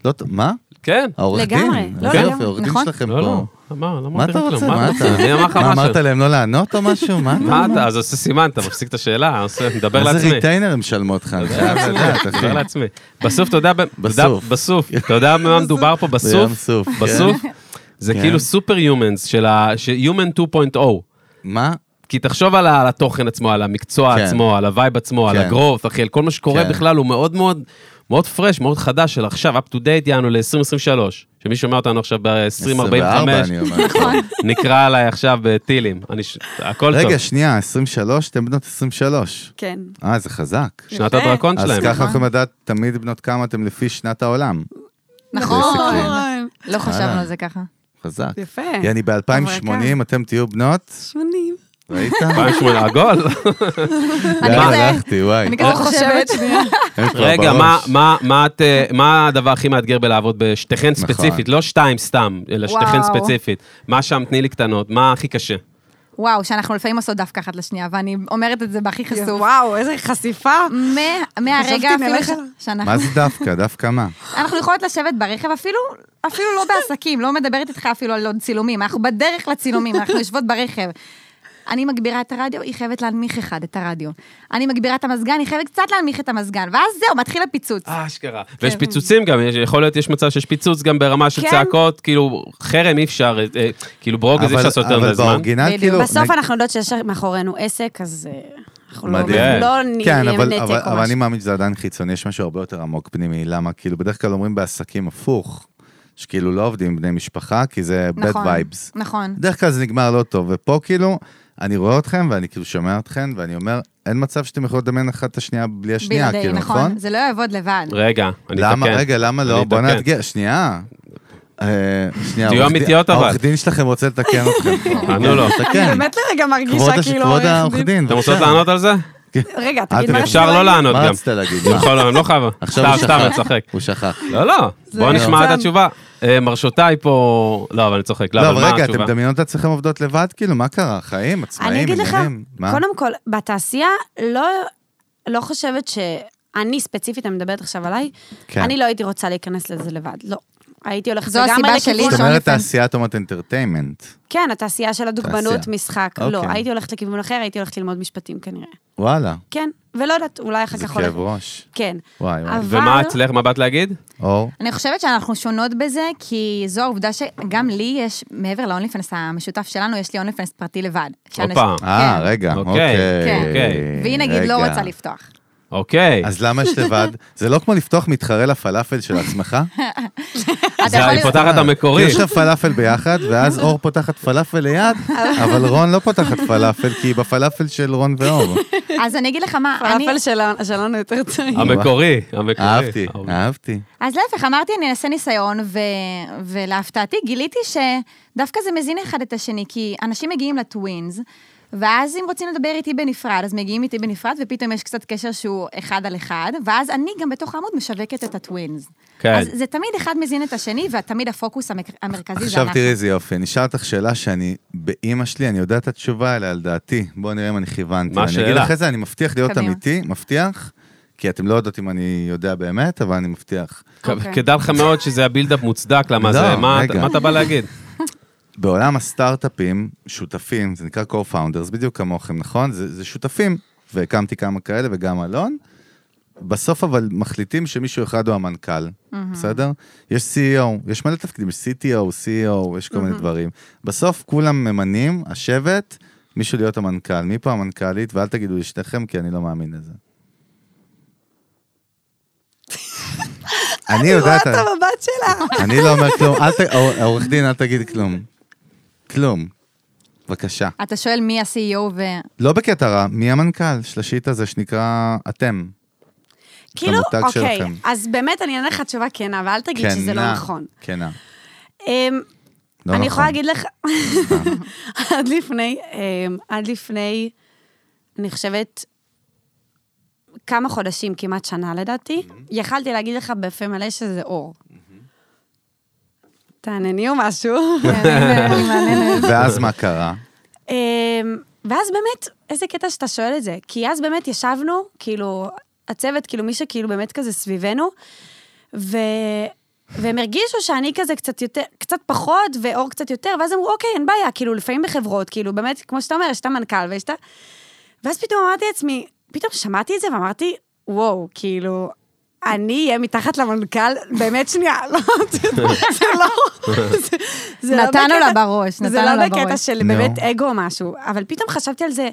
Speaker 3: לא, ט- מה?
Speaker 1: כן.
Speaker 3: העורך דין?
Speaker 4: לגמרי, לא,
Speaker 3: כן,
Speaker 4: לגמרי.
Speaker 3: העורך דין
Speaker 5: נכון.
Speaker 3: שלכם
Speaker 1: לא, לא,
Speaker 3: אה, פה.
Speaker 1: אמר, לא
Speaker 3: מה
Speaker 1: אמרתי
Speaker 3: אתה
Speaker 1: כלום.
Speaker 3: רוצה? מה אתה?
Speaker 1: אני אמר לך
Speaker 3: מה אמרת
Speaker 1: משהו.
Speaker 3: להם לא לענות או משהו? מה אתה?
Speaker 1: מה אתה? אז עושה סימן, אתה מפסיק את השאלה, עושה, מדבר
Speaker 3: איזה
Speaker 1: לעצמי.
Speaker 3: ריטיינר הם משלמות לך? אני
Speaker 1: *laughs*
Speaker 3: חייב לדעת, אחי.
Speaker 1: מדבר לעצמי. בסוף, אתה יודע, ב- אתה יודע- בסוף, אתה יודע מה מדובר פה בסוף?
Speaker 3: בים סוף, כן.
Speaker 1: בסוף? זה
Speaker 3: כן.
Speaker 1: כאילו סופר יומנס של ה... ש- Human 2.0.
Speaker 3: מה?
Speaker 1: oh. כי תחשוב על ה- על התוכן עצמו, על המקצוע
Speaker 3: כן.
Speaker 1: עצמו, על הווייב עצמו, על
Speaker 3: כן.
Speaker 1: הגרוף, אחי, על כל מה שקורה
Speaker 3: כן.
Speaker 1: בכלל, הוא מאוד מאוד, מאוד פרש, מאוד חדש של עכשיו, up to date, יענו ל-2023. שמי שומע אותנו עכשיו ב-2045,
Speaker 3: 24,
Speaker 1: *laughs*
Speaker 3: אני אומר.
Speaker 5: נכון?
Speaker 1: נקרא עליי עכשיו בטילים. אני ש- הכל טוב.
Speaker 3: רגע, שנייה, 23, אתם בנות 23.
Speaker 4: כן.
Speaker 3: אה, זה חזק.
Speaker 1: שנת
Speaker 5: יפה.
Speaker 1: הדרקון
Speaker 3: אז
Speaker 1: שלהם.
Speaker 3: ככה אנחנו יכולים לדעת תמיד בנות כמה אתם לפי שנת העולם.
Speaker 5: נכון.
Speaker 3: נכון.
Speaker 5: לא חשבנו
Speaker 3: אהלן.
Speaker 5: על זה ככה.
Speaker 3: חזק.
Speaker 4: יפה.
Speaker 3: יעני, ב-2080 אתם תהיו בנות,
Speaker 4: 80.
Speaker 1: *laughs*
Speaker 3: ראית?
Speaker 1: פעם שמונה,
Speaker 3: *laughs*
Speaker 1: עגול.
Speaker 3: לאן
Speaker 1: מה?
Speaker 3: הלכתי, וואי.
Speaker 5: אני כזה לא חושבת.
Speaker 3: הם כבר
Speaker 1: רגע, מה-
Speaker 3: בראש.
Speaker 1: מה- מה את, אה, מה הדבר הכי מאתגר בלעבוד בשתיכן
Speaker 3: נכון.
Speaker 1: ספציפית? לא שתיים סתם, אלא שתיכן
Speaker 5: וואו.
Speaker 1: ספציפית. מה שם, תני לי קטנות, מה הכי קשה?
Speaker 5: וואו, שאנחנו לפעמים עושות דווקא אחת לשנייה, ואני אומרת את זה בהכי חשוף.
Speaker 6: וואו, איזה חשיפה.
Speaker 5: מה- מהרגע
Speaker 6: חשבתי
Speaker 5: אפילו
Speaker 6: נלך
Speaker 5: ש-
Speaker 6: אליו.
Speaker 5: שאנחנו...
Speaker 3: מה זה דווקא? דווקא מה?
Speaker 5: אנחנו יכולות לשבת ברכב, אפילו, אפילו לא בעסקים, לא מדברת איתך אפילו על עוד צילומים, אנחנו בדרך לצילומים, אנחנו יושבות ברכב. אני מגבירה את הרדיו, היא חייבת להנמיך אחד את הרדיו. אני מגבירה את המזגן, היא חייבת קצת להנמיך את המזגן, ואז זהו, מתחיל הפיצוץ.
Speaker 1: אה, אשכרה. ויש פיצוצים גם, יש- יכול להיות, יש מצב שיש פיצוץ גם ברמה של
Speaker 6: כן.
Speaker 1: צעקות, כאילו, חרם אי אפשר, אה, אה, כאילו ברוגז אי
Speaker 3: אבל-
Speaker 1: אפשר לעשות יותר
Speaker 3: אבל
Speaker 1: מדי זמן.
Speaker 3: באורגינל,
Speaker 5: בדיוק.
Speaker 3: כאילו...
Speaker 4: בסוף
Speaker 3: נג-
Speaker 4: אנחנו יודעות שיש מאחורינו עסק, אז אה, אנחנו לא
Speaker 3: מדהים.
Speaker 4: אנחנו לא נהיה
Speaker 3: כן,
Speaker 4: עם
Speaker 3: אבל,
Speaker 4: נתק
Speaker 3: אבל,
Speaker 4: או
Speaker 3: אבל אני
Speaker 4: משהו.
Speaker 3: מאמין שזה עדיין חיצוני, יש משהו הרבה יותר עמוק פנימי, למה? כאילו, בדרך כלל אומרים בעסקים הפוך, שכאילו לא עובדים עם בני משפחה, כי זה bad
Speaker 5: נכון,
Speaker 3: vibes.
Speaker 5: נכון.
Speaker 3: בדרך כלל זה נגמר לא טוב, ופה כאילו, אני רואה אתכם ואני כאילו שומע אתכם, ואני אומר, אין מצב שאתם יכולים לדמיין אחת את השנייה בלי השנייה,
Speaker 5: בלעדי,
Speaker 3: כאילו, נכון?
Speaker 5: זה לא יעבוד לבד.
Speaker 1: רגע, אני אתקן.
Speaker 3: למה, רגע, למה
Speaker 1: אני
Speaker 3: לא? בוא
Speaker 1: אתקן.
Speaker 3: נאתגר, שנייה. אה, שנייה,
Speaker 1: תהיו
Speaker 3: העורך דין-
Speaker 1: אמיתיות, אבל.
Speaker 3: העורך דין שלכם רוצה לתקן אתכם.
Speaker 1: *laughs*
Speaker 3: אוקיי,
Speaker 1: אני לא.
Speaker 6: אני
Speaker 3: תקן.
Speaker 6: באמת לרגע
Speaker 3: כן. כבוד
Speaker 6: מרגישה
Speaker 3: הש-
Speaker 6: כאילו...
Speaker 3: כבוד
Speaker 6: עורך
Speaker 3: העורך
Speaker 6: דין.
Speaker 3: דין.
Speaker 1: אתם רוצות
Speaker 3: בבקשה. לא.
Speaker 1: לענות על זה?
Speaker 6: רגע, תגיד
Speaker 3: אתם
Speaker 6: מה
Speaker 1: אפשר לא לענות
Speaker 3: מה
Speaker 1: גם.
Speaker 3: רצית להגיד?
Speaker 1: אני יכול, אני לא חייב.
Speaker 3: עכשיו
Speaker 1: סתם,
Speaker 3: הוא
Speaker 1: סתם,
Speaker 3: שכח.
Speaker 1: אני צוחק.
Speaker 3: הוא שכח.
Speaker 1: לא, לא, בואו
Speaker 6: לא.
Speaker 1: נשמע את
Speaker 6: מצוין.
Speaker 1: התשובה. אה, מרשותיי פה... לא, אבל אני צוחק.
Speaker 3: לא,
Speaker 1: לא, אבל
Speaker 3: אבל
Speaker 1: מה
Speaker 3: רגע, אתם
Speaker 1: התשובה?
Speaker 3: מדמיינות את עצמכם עובדות לבד? כאילו, מה קרה? חיים, עצמאים,
Speaker 4: אני אגיד לך,
Speaker 3: עניינים? מה?
Speaker 4: קודם כל, בתעשייה לא, לא חושבת ש... אני ספציפית, אני מדברת עכשיו עליי,
Speaker 3: כן.
Speaker 4: כן. אני לא הייתי רוצה להיכנס לזה לבד, לא. הייתי הולכת
Speaker 5: זו
Speaker 4: לגמרי לכיוון...
Speaker 5: הסיבה שלי
Speaker 3: זאת
Speaker 5: שם
Speaker 3: אומרת,
Speaker 5: לפעמים.
Speaker 3: תעשיית אומת אינטרטיימנט.
Speaker 4: כן, התעשייה של הדוגמנות,
Speaker 3: תעשייה.
Speaker 4: משחק.
Speaker 3: אוקיי.
Speaker 4: לא, הייתי הולכת לכיוון אחר, הייתי הולכת ללמוד משפטים כנראה.
Speaker 3: וואלה,
Speaker 4: כן, ולא יודעת, אולי אחר
Speaker 3: זה
Speaker 4: כך
Speaker 3: כאב
Speaker 4: הולכת.
Speaker 3: ראש.
Speaker 4: כן.
Speaker 3: וואי, וואי.
Speaker 4: אבל-
Speaker 1: ומה את, לך, מה באת להגיד?
Speaker 3: אור,
Speaker 5: אני חושבת שאנחנו שונות בזה, כי זו העובדה שגם לי יש, מעבר להונלי פנס המשותף שלנו, יש לי הונלי פנס פרטי לבד. שאנשים-
Speaker 1: הופה.
Speaker 3: אה,
Speaker 5: כן.
Speaker 3: רגע,
Speaker 1: אוקיי,
Speaker 3: אוקיי.
Speaker 1: אוקיי.
Speaker 5: והיא נגיד לא
Speaker 3: רגע.
Speaker 5: רוצה לפתוח.
Speaker 1: אוקיי.
Speaker 3: אז למה יש לבד? זה לא כמו לפתוח מתחרה לפלאפל של עצמך?
Speaker 5: אתה
Speaker 1: זה
Speaker 5: יכול
Speaker 1: היא
Speaker 5: לראות-
Speaker 1: פותחת המקורי.
Speaker 3: כי יש לך פלאפל ביחד, ואז אור פותחת פלאפל ליד, אבל רון לא פותחת פלאפל, כי היא בפלאפל של רון
Speaker 1: אוקיי,
Speaker 3: ואור.
Speaker 5: אז אני אגיד לך מה, אני...
Speaker 4: הפלאפל שלנו- שלנו יותר טעים.
Speaker 1: המקורי, המקורי.
Speaker 3: אהבתי, אהבתי.
Speaker 5: אז להפך, אמרתי, אני אעשה ניסיון, ו... ולהפתעתי גיליתי שדווקא זה מזין אחד את השני, כי אנשים מגיעים לטווינס, ואז אם רוצים לדבר איתי בנפרד, אז מגיעים איתי בנפרד, ופתאום יש קצת קשר שהוא אחד על אחד, ואז אני גם בתוך העמוד משווקת את הטווינס.
Speaker 1: כן.
Speaker 5: אז זה תמיד אחד מזין את השני, ותמיד הפוקוס המק... המרכזי זה
Speaker 3: עכשיו
Speaker 5: אנחנו.
Speaker 3: תראי איזה יופי, אני אשאל אותך שאלה שאני, באימא שלי, אני יודע את התשובה אליה על דעתי. בואו נראה אם אני כיוונתי.
Speaker 1: מה
Speaker 3: אני אגיד
Speaker 1: השאלה?
Speaker 3: אחרי זה, אני מבטיח להיות
Speaker 5: קדימה.
Speaker 3: אמיתי, מבטיח, כי אתם לא יודעות אם אני יודע באמת, אבל אני מבטיח.
Speaker 1: כ-
Speaker 5: אוקיי.
Speaker 1: כדאי לך מאוד שזה הבילדאפ מוצדק, למה
Speaker 3: לא,
Speaker 1: זה, מה
Speaker 3: רגע.
Speaker 1: מה אתה בא להגיד?
Speaker 3: בעולם הסטארט-אפים, שותפים, זה נקרא co-founders, בדיוק כמוכם, נכון? זה, זה שותפים, והקמתי כמה כאלה וגם אלון. בסוף אבל מחליטים שמישהו אחד הוא המנכ"ל, בסדר? יש CEO, יש מלא תפקידים, יש CTO, CEO, E יש כל מיני דברים. בסוף כולם ממנים, השבט, מישהו להיות המנכ"ל. מי פה המנכ"לית? ואל תגידו לי שניכם, כי אני לא מאמין לזה. אני יודע את ה...
Speaker 6: המבט שלה.
Speaker 3: אני לא אומר כלום, אל ת... עור- עורך דין, אל תגיד כלום. כלום. בבקשה.
Speaker 5: אתה שואל מי ה-CEO ו...
Speaker 3: לא בקטע רע, מי המנכ"ל של השיט הזה שנקרא אתם?
Speaker 4: כאילו,
Speaker 3: המותג
Speaker 4: אוקיי,
Speaker 3: שלכם.
Speaker 4: אז באמת אני אענה לך תשובה כנה, ואל תגיד שזה לא נכון.
Speaker 3: כנה.
Speaker 4: אמ,
Speaker 3: לא
Speaker 4: אני
Speaker 3: נכון.
Speaker 4: יכולה להגיד לך, *laughs* עד לפני, אמ, עד לפני, אני חושבת, כמה חודשים, כמעט שנה לדעתי, יכלתי להגיד לך בפה מלא שזה אור. תענני או
Speaker 3: *laughs*
Speaker 4: משהו.
Speaker 3: כן. ואז מה קרה?
Speaker 4: אמ, ואז באמת, איזה קטע שאתה שואל את זה. כי אז באמת ישבנו, כאילו, הצוות, כאילו, מי שכאילו באמת כזה סביבנו, ו... והם הרגישו שאני כזה קצת יותר, קצת פחות, ואור קצת יותר, ואז אמרו, אוקיי, אין בעיה, כאילו, לפעמים בחברות, כאילו, באמת, כמו שאתה אומר, יש את המנכ"ל ויש את ה... ואז פתאום אמרתי לעצמי, פתאום שמעתי את זה ואמרתי, וואו, כאילו, אני אהיה מתחת למנכ"ל, באמת שנייה, *laughs* לא, זה זה לא... זה- זה לא
Speaker 5: נתנו
Speaker 4: בקטע-
Speaker 5: לה בראש,
Speaker 4: זה
Speaker 5: נתנו
Speaker 4: לא
Speaker 5: לה
Speaker 4: בקטע
Speaker 5: בראש.
Speaker 4: של
Speaker 3: נו.
Speaker 4: באמת אגו או משהו, אבל פתאום חשבתי על זה,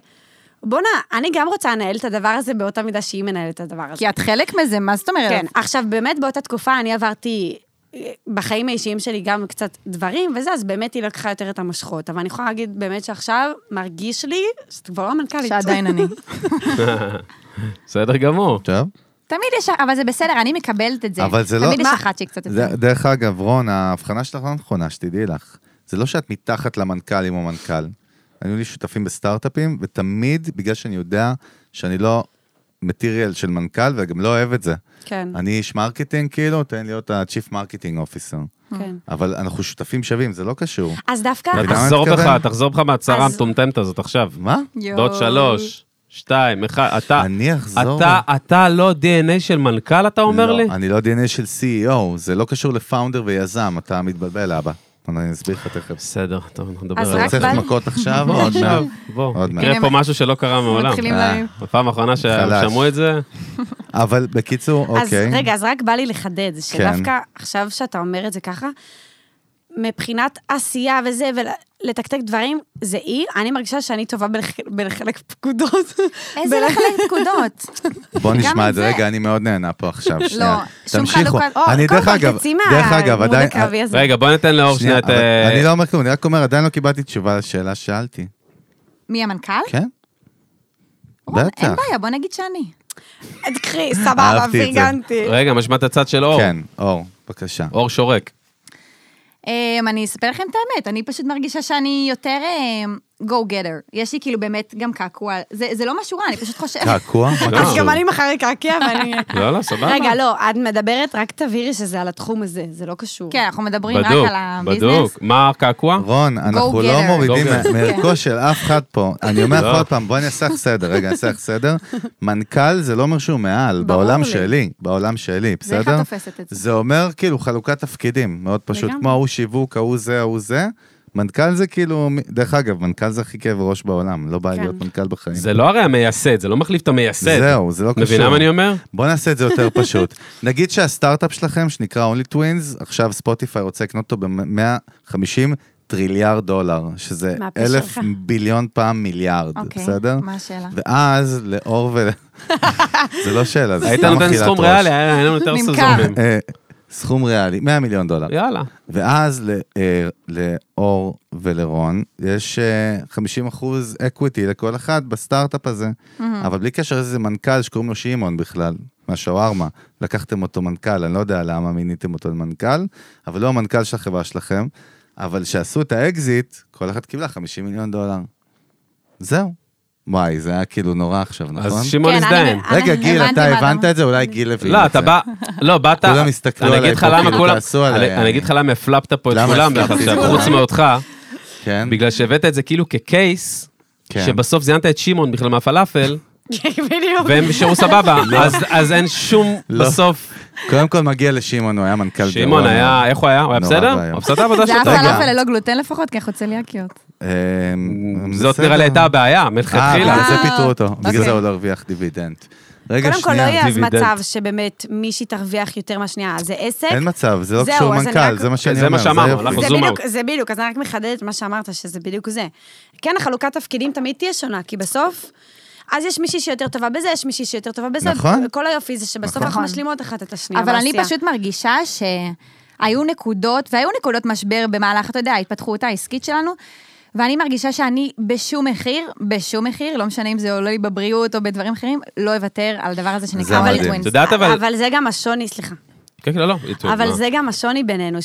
Speaker 4: בואנה, אני גם רוצה לנהל את הדבר הזה באותה מידה שהיא מנהלת את הדבר הזה.
Speaker 5: *laughs* כי את חלק מזה, מה זאת אומרת?
Speaker 4: כן, עכשיו באמת באותה תקופה אני עברתי אה, בחיים האישיים שלי גם קצת דברים וזה, אז באמת היא לקחה יותר את המושכות. אבל אני יכולה להגיד באמת שעכשיו מרגיש לי שאת כבר לא המנכ"לית.
Speaker 5: שעדיין אני.
Speaker 1: בסדר גמור.
Speaker 3: טוב.
Speaker 5: תמיד יש, אבל זה בסדר, אני מקבלת את זה.
Speaker 3: אבל זה לא-
Speaker 5: תמיד יש
Speaker 3: מה?
Speaker 5: אחת שהיא קצת יותר.
Speaker 3: זה- דרך אגב, רון, ההבחנה שלך לא נכונה, שתדעי לך. זה לא שאת מתחת למנכ"ל עם המנכ"ל. היו לי שותפים בסטארט-אפים, ותמיד, בגלל שאני יודע שאני לא מטיריאל של מנכ"ל, וגם לא אוהב את זה.
Speaker 4: כן,
Speaker 3: אני איש מרקטינג, כאילו, תן להיות ה-Chief Marketing Officer.
Speaker 4: *laughs* כן.
Speaker 3: אבל אנחנו שותפים שווים, זה לא קשור.
Speaker 4: אז דווקא...
Speaker 3: אתה יודע מה אני
Speaker 1: תחזור בך,
Speaker 3: מתכוון?
Speaker 1: תחזור בך מהצהרה
Speaker 4: אז-
Speaker 1: המטומטמת הזאת עכשיו.
Speaker 3: מה?
Speaker 1: בעוד שלוש, שתיים, אחד, אתה,
Speaker 3: אני אחזור.
Speaker 1: אתה, אתה לא DNA של מנכ"ל, אתה אומר
Speaker 3: לא,
Speaker 1: לי?
Speaker 3: אני לא DNA של CEO, זה לא קשור לפאונדר ויזם, אתה מתבלבל, אבא. אני אסביר לך תכף.
Speaker 1: בסדר, טוב, נדבר
Speaker 4: אז
Speaker 1: על
Speaker 4: רק
Speaker 1: זה.
Speaker 3: צריך
Speaker 4: בל-
Speaker 3: מכות עכשיו או עוד מעט?
Speaker 1: עכשיו, בוא,
Speaker 3: עוד
Speaker 1: יקרה
Speaker 5: מעט.
Speaker 1: פה משהו שלא קרה מעולם.
Speaker 5: מתחילים
Speaker 3: אה.
Speaker 5: להם.
Speaker 1: בפעם האחרונה
Speaker 3: חלש.
Speaker 1: שהם שמעו את זה,
Speaker 3: אבל בקיצור,
Speaker 4: אז
Speaker 3: אוקיי. כן.
Speaker 4: רגע, אז רק בא לי לחדד, שדווקא עכשיו שאתה אומר את זה ככה, מבחינת עשייה וזה, ולתקתק דברים, זה אי, אני מרגישה שאני טובה בלח- בלחלק פקודות.
Speaker 5: איזה
Speaker 4: בלח-
Speaker 5: לחלק פקודות.
Speaker 3: בוא נשמע את
Speaker 5: את
Speaker 3: זה.
Speaker 5: זה.
Speaker 3: רגע, אני מאוד נהנה פה עכשיו. שנייה.
Speaker 5: שום
Speaker 3: תמשיכו.
Speaker 5: חלוקת-
Speaker 4: או,
Speaker 3: אני,
Speaker 4: קודם
Speaker 3: דרך
Speaker 4: כל,
Speaker 3: אגב,
Speaker 4: תצאי
Speaker 3: דרך אגב,
Speaker 4: מהלימוד
Speaker 3: עדיין...
Speaker 4: הקרבי הזה.
Speaker 1: רגע, בוא ניתן לאור שנייה
Speaker 3: שנייה,
Speaker 1: את...
Speaker 3: אבל
Speaker 1: אה,
Speaker 3: אני לא אומר כלום, אני רק אומר, עדיין לא קיבלתי תשובה לשאלה ששאלתי.
Speaker 5: מי המנכ"ל?
Speaker 3: כן?
Speaker 5: רון,
Speaker 3: בטח.
Speaker 5: אין בעיה, בוא נגיד שאני.
Speaker 4: קחי, סבבה,
Speaker 3: אהבתי את זה.
Speaker 4: פרגנתי.
Speaker 1: רגע, משמע את הצד של אור.
Speaker 3: כן, אור, בבקשה.
Speaker 1: אור שורק.
Speaker 5: אמ, אני אספר לכם את האמת, אני פשוט מרגישה שאני יותר אמ, go-getter. יש לי כאילו באמת גם קעקוע, זה זה לא משהו רע, אני פשוט חושבת...
Speaker 3: קעקוע?
Speaker 1: *laughs*
Speaker 3: מה
Speaker 1: לא.
Speaker 4: אז
Speaker 3: קשור?
Speaker 4: גם אני מחר אקעקע
Speaker 3: *laughs*
Speaker 4: ואני...
Speaker 1: לא, לא, סבבה.
Speaker 4: רגע, לא, את מדברת, רק תבהירי שזה על התחום הזה, זה לא קשור.
Speaker 5: *laughs* כן, אנחנו מדברים רק
Speaker 1: בדוק,
Speaker 5: על הביזנס. כן,
Speaker 1: בדוק. מה הקעקוע?
Speaker 3: רון, אנחנו
Speaker 5: Go
Speaker 3: לא
Speaker 5: getter.
Speaker 3: מורידים
Speaker 1: Go getter.
Speaker 3: מה- מערכו של אף אחד
Speaker 1: *laughs*
Speaker 3: פה. אני אומר
Speaker 1: לא.
Speaker 3: לך עוד פעם, בוא אני אעשה לך סדר, רגע, אני אעשה לך סדר. מנכ"ל זה לא אומר שהוא מעל,
Speaker 4: ברור
Speaker 3: בעולם
Speaker 4: לי.
Speaker 3: שלי, בעולם שלי,
Speaker 5: זה איך את
Speaker 3: בסדר?
Speaker 5: תופסת את זה.
Speaker 3: זה אומר כאילו חלוקת תפקידים, מאוד פשוט,
Speaker 4: לגמרי.
Speaker 3: כמו ההוא שיווק, ההוא זה, ההוא זה. מנכ"ל זה כאילו, מ- דרך אגב, מנכ"ל זה הכי כאב ראש בעולם, לא בא לי
Speaker 4: כן.
Speaker 3: להיות מנכ"ל בחיים.
Speaker 1: זה לא הרי המייסד, זה לא מחליף את המייסד.
Speaker 3: זהו, זה לא קשור.
Speaker 1: מבינה מה אני אומר?
Speaker 3: בוא נעשה את זה יותר פשוט. *laughs* נגיד שהסטארט-אפ שלכם, שנקרא Only Twins, עכשיו ספוטיפיי רוצה לקנות אותו ב-150 טריליארד דולר, שזה
Speaker 4: מהפה
Speaker 3: אלף
Speaker 4: שלך.
Speaker 3: ביליון פעם מיליארד,
Speaker 5: אוקיי,
Speaker 3: בסדר?
Speaker 5: מה השאלה?
Speaker 3: ואז לאור
Speaker 5: *laughs*
Speaker 3: ו... זה לא שאלה, זה
Speaker 1: היית
Speaker 3: סתם
Speaker 1: נותן
Speaker 3: אכילת
Speaker 1: סכום
Speaker 3: ראש.
Speaker 1: ריאלי, אה? היה היה לנו יותר
Speaker 5: נמכר.
Speaker 1: סזונים.
Speaker 3: אה, סכום ריאלי, 100 מיליון דולר. *laughs*
Speaker 1: יאללה.
Speaker 3: ואז ל- אה, לאור ולרון יש אה, 50 אחוז אקוויטי לכל אחד בסטארט-אפ הזה, אבל בלי קשר איזה מנכ"ל שקוראים לו שמעון בכלל, מהשווארמה, לקחתם אותו מנכ"ל, אני לא יודע למה מיניתם אותו למנכ"ל, אבל לא המנכ"ל של החברה שלכם, אבל כשעשו את האקזיט, כל אחת קיבלה 50 מיליון דולר. זהו. וואי, זה היה כאילו נורא עכשיו, נכון?
Speaker 1: אז שמעון
Speaker 4: כן,
Speaker 1: הזדיין.
Speaker 4: אני-
Speaker 3: רגע, גיל,
Speaker 5: הבנתי
Speaker 3: אתה
Speaker 5: מה
Speaker 3: הבנת
Speaker 5: למה.
Speaker 3: את זה? אולי גיל הבין את זה.
Speaker 1: לא, אתה בא, לא, באת,
Speaker 3: כולם הסתכלו
Speaker 1: אני
Speaker 3: עליי
Speaker 1: אגיד לך
Speaker 3: פה,
Speaker 1: למה
Speaker 3: כאילו,
Speaker 1: כולם,
Speaker 3: כעסו עליי,
Speaker 1: אני-
Speaker 3: אני-
Speaker 1: אני אגיד לך למה הפלפת פה את
Speaker 3: למה
Speaker 1: כולם
Speaker 3: הפלפתי את
Speaker 1: עכשיו,
Speaker 3: כולם?
Speaker 1: חוץ מאותך,
Speaker 3: כן?
Speaker 1: בגלל שהבאת את זה כאילו כקייס,
Speaker 3: כן.
Speaker 1: שבסוף זיינת את שמעון בכלל
Speaker 5: *laughs*
Speaker 1: מהפלאפל,
Speaker 5: כן,
Speaker 4: בדיוק.
Speaker 1: והם נשארו
Speaker 3: *laughs*
Speaker 1: סבבה, אז- אז אין שום,
Speaker 3: לא.
Speaker 1: בסוף,
Speaker 3: קודם כל מגיע לשמעון, הוא היה מנכ"ל גרוע.
Speaker 1: שמעון היה, איך הוא היה? הוא היה
Speaker 3: נורא
Speaker 1: בסדר?
Speaker 3: ואיום.
Speaker 1: הוא עשה את העבודה
Speaker 5: זה היה
Speaker 1: שלו.
Speaker 3: רגע.
Speaker 5: פלאפל ללא גלוטן לפחות, כי אנחנו צליאקיות.
Speaker 3: אמ,
Speaker 1: זאת
Speaker 3: בסדר.
Speaker 1: נראה לי הייתה הבעיה,
Speaker 3: אה,
Speaker 1: מלכתחילה.
Speaker 3: בגלל
Speaker 4: אה,
Speaker 3: זה פיטרו אותו, בגלל
Speaker 5: אוקיי.
Speaker 3: זה הוא לא הרוויח דיבידנד. רגע,
Speaker 4: קודם כל, לא
Speaker 3: שנייה.
Speaker 4: יהיה אז
Speaker 1: דיבידנד.
Speaker 4: מצב שבאמת מישהי תרוויח יותר מהשנייה, זה עסק.
Speaker 3: אין מצב, זה לא
Speaker 4: זהו,
Speaker 3: קשור
Speaker 4: אז אני
Speaker 3: מנכ"ל,
Speaker 4: רק-
Speaker 3: זה מה שאני
Speaker 1: זה
Speaker 3: אומר.
Speaker 1: מה שאמרנו,
Speaker 3: היופי.
Speaker 1: אנחנו
Speaker 4: זה
Speaker 1: זום
Speaker 4: בדיוק,
Speaker 1: אאוט.
Speaker 4: זה בדיוק, אז אני רק מחדדת את מה שאמרת, שזה בדיוק זה. כן, החלוקת תפקידים תמיד תהיה שונה, כי בסוף, אז יש מישהי שיותר טובה בזה, יש מישהי שיותר טובה בזה.
Speaker 3: נכון.
Speaker 4: כל היופי זה שבסוף
Speaker 3: נכון.
Speaker 4: אנחנו משלימות אחת את השנייה
Speaker 5: אבל אני
Speaker 4: בעשייה.
Speaker 5: פשוט מרגישה שהיו נקודות, והיו נקודות משבר במהלך, אתה יודע, ההתפתחות העסקית שלנו, ואני מרגישה שאני בשום מחיר, בשום מחיר, לא משנה אם זה עולה לי בבריאות או בדברים אחרים, לא אוותר על הדבר הזה
Speaker 3: זה
Speaker 5: שנקרא אבל
Speaker 3: מדהים.
Speaker 5: twins.
Speaker 1: אתה יודעת אבל...
Speaker 4: אבל זה גם השוני, סליחה.
Speaker 1: כן, כן, לא, לא.
Speaker 4: אבל
Speaker 1: מה?
Speaker 4: זה גם השוני בינינו,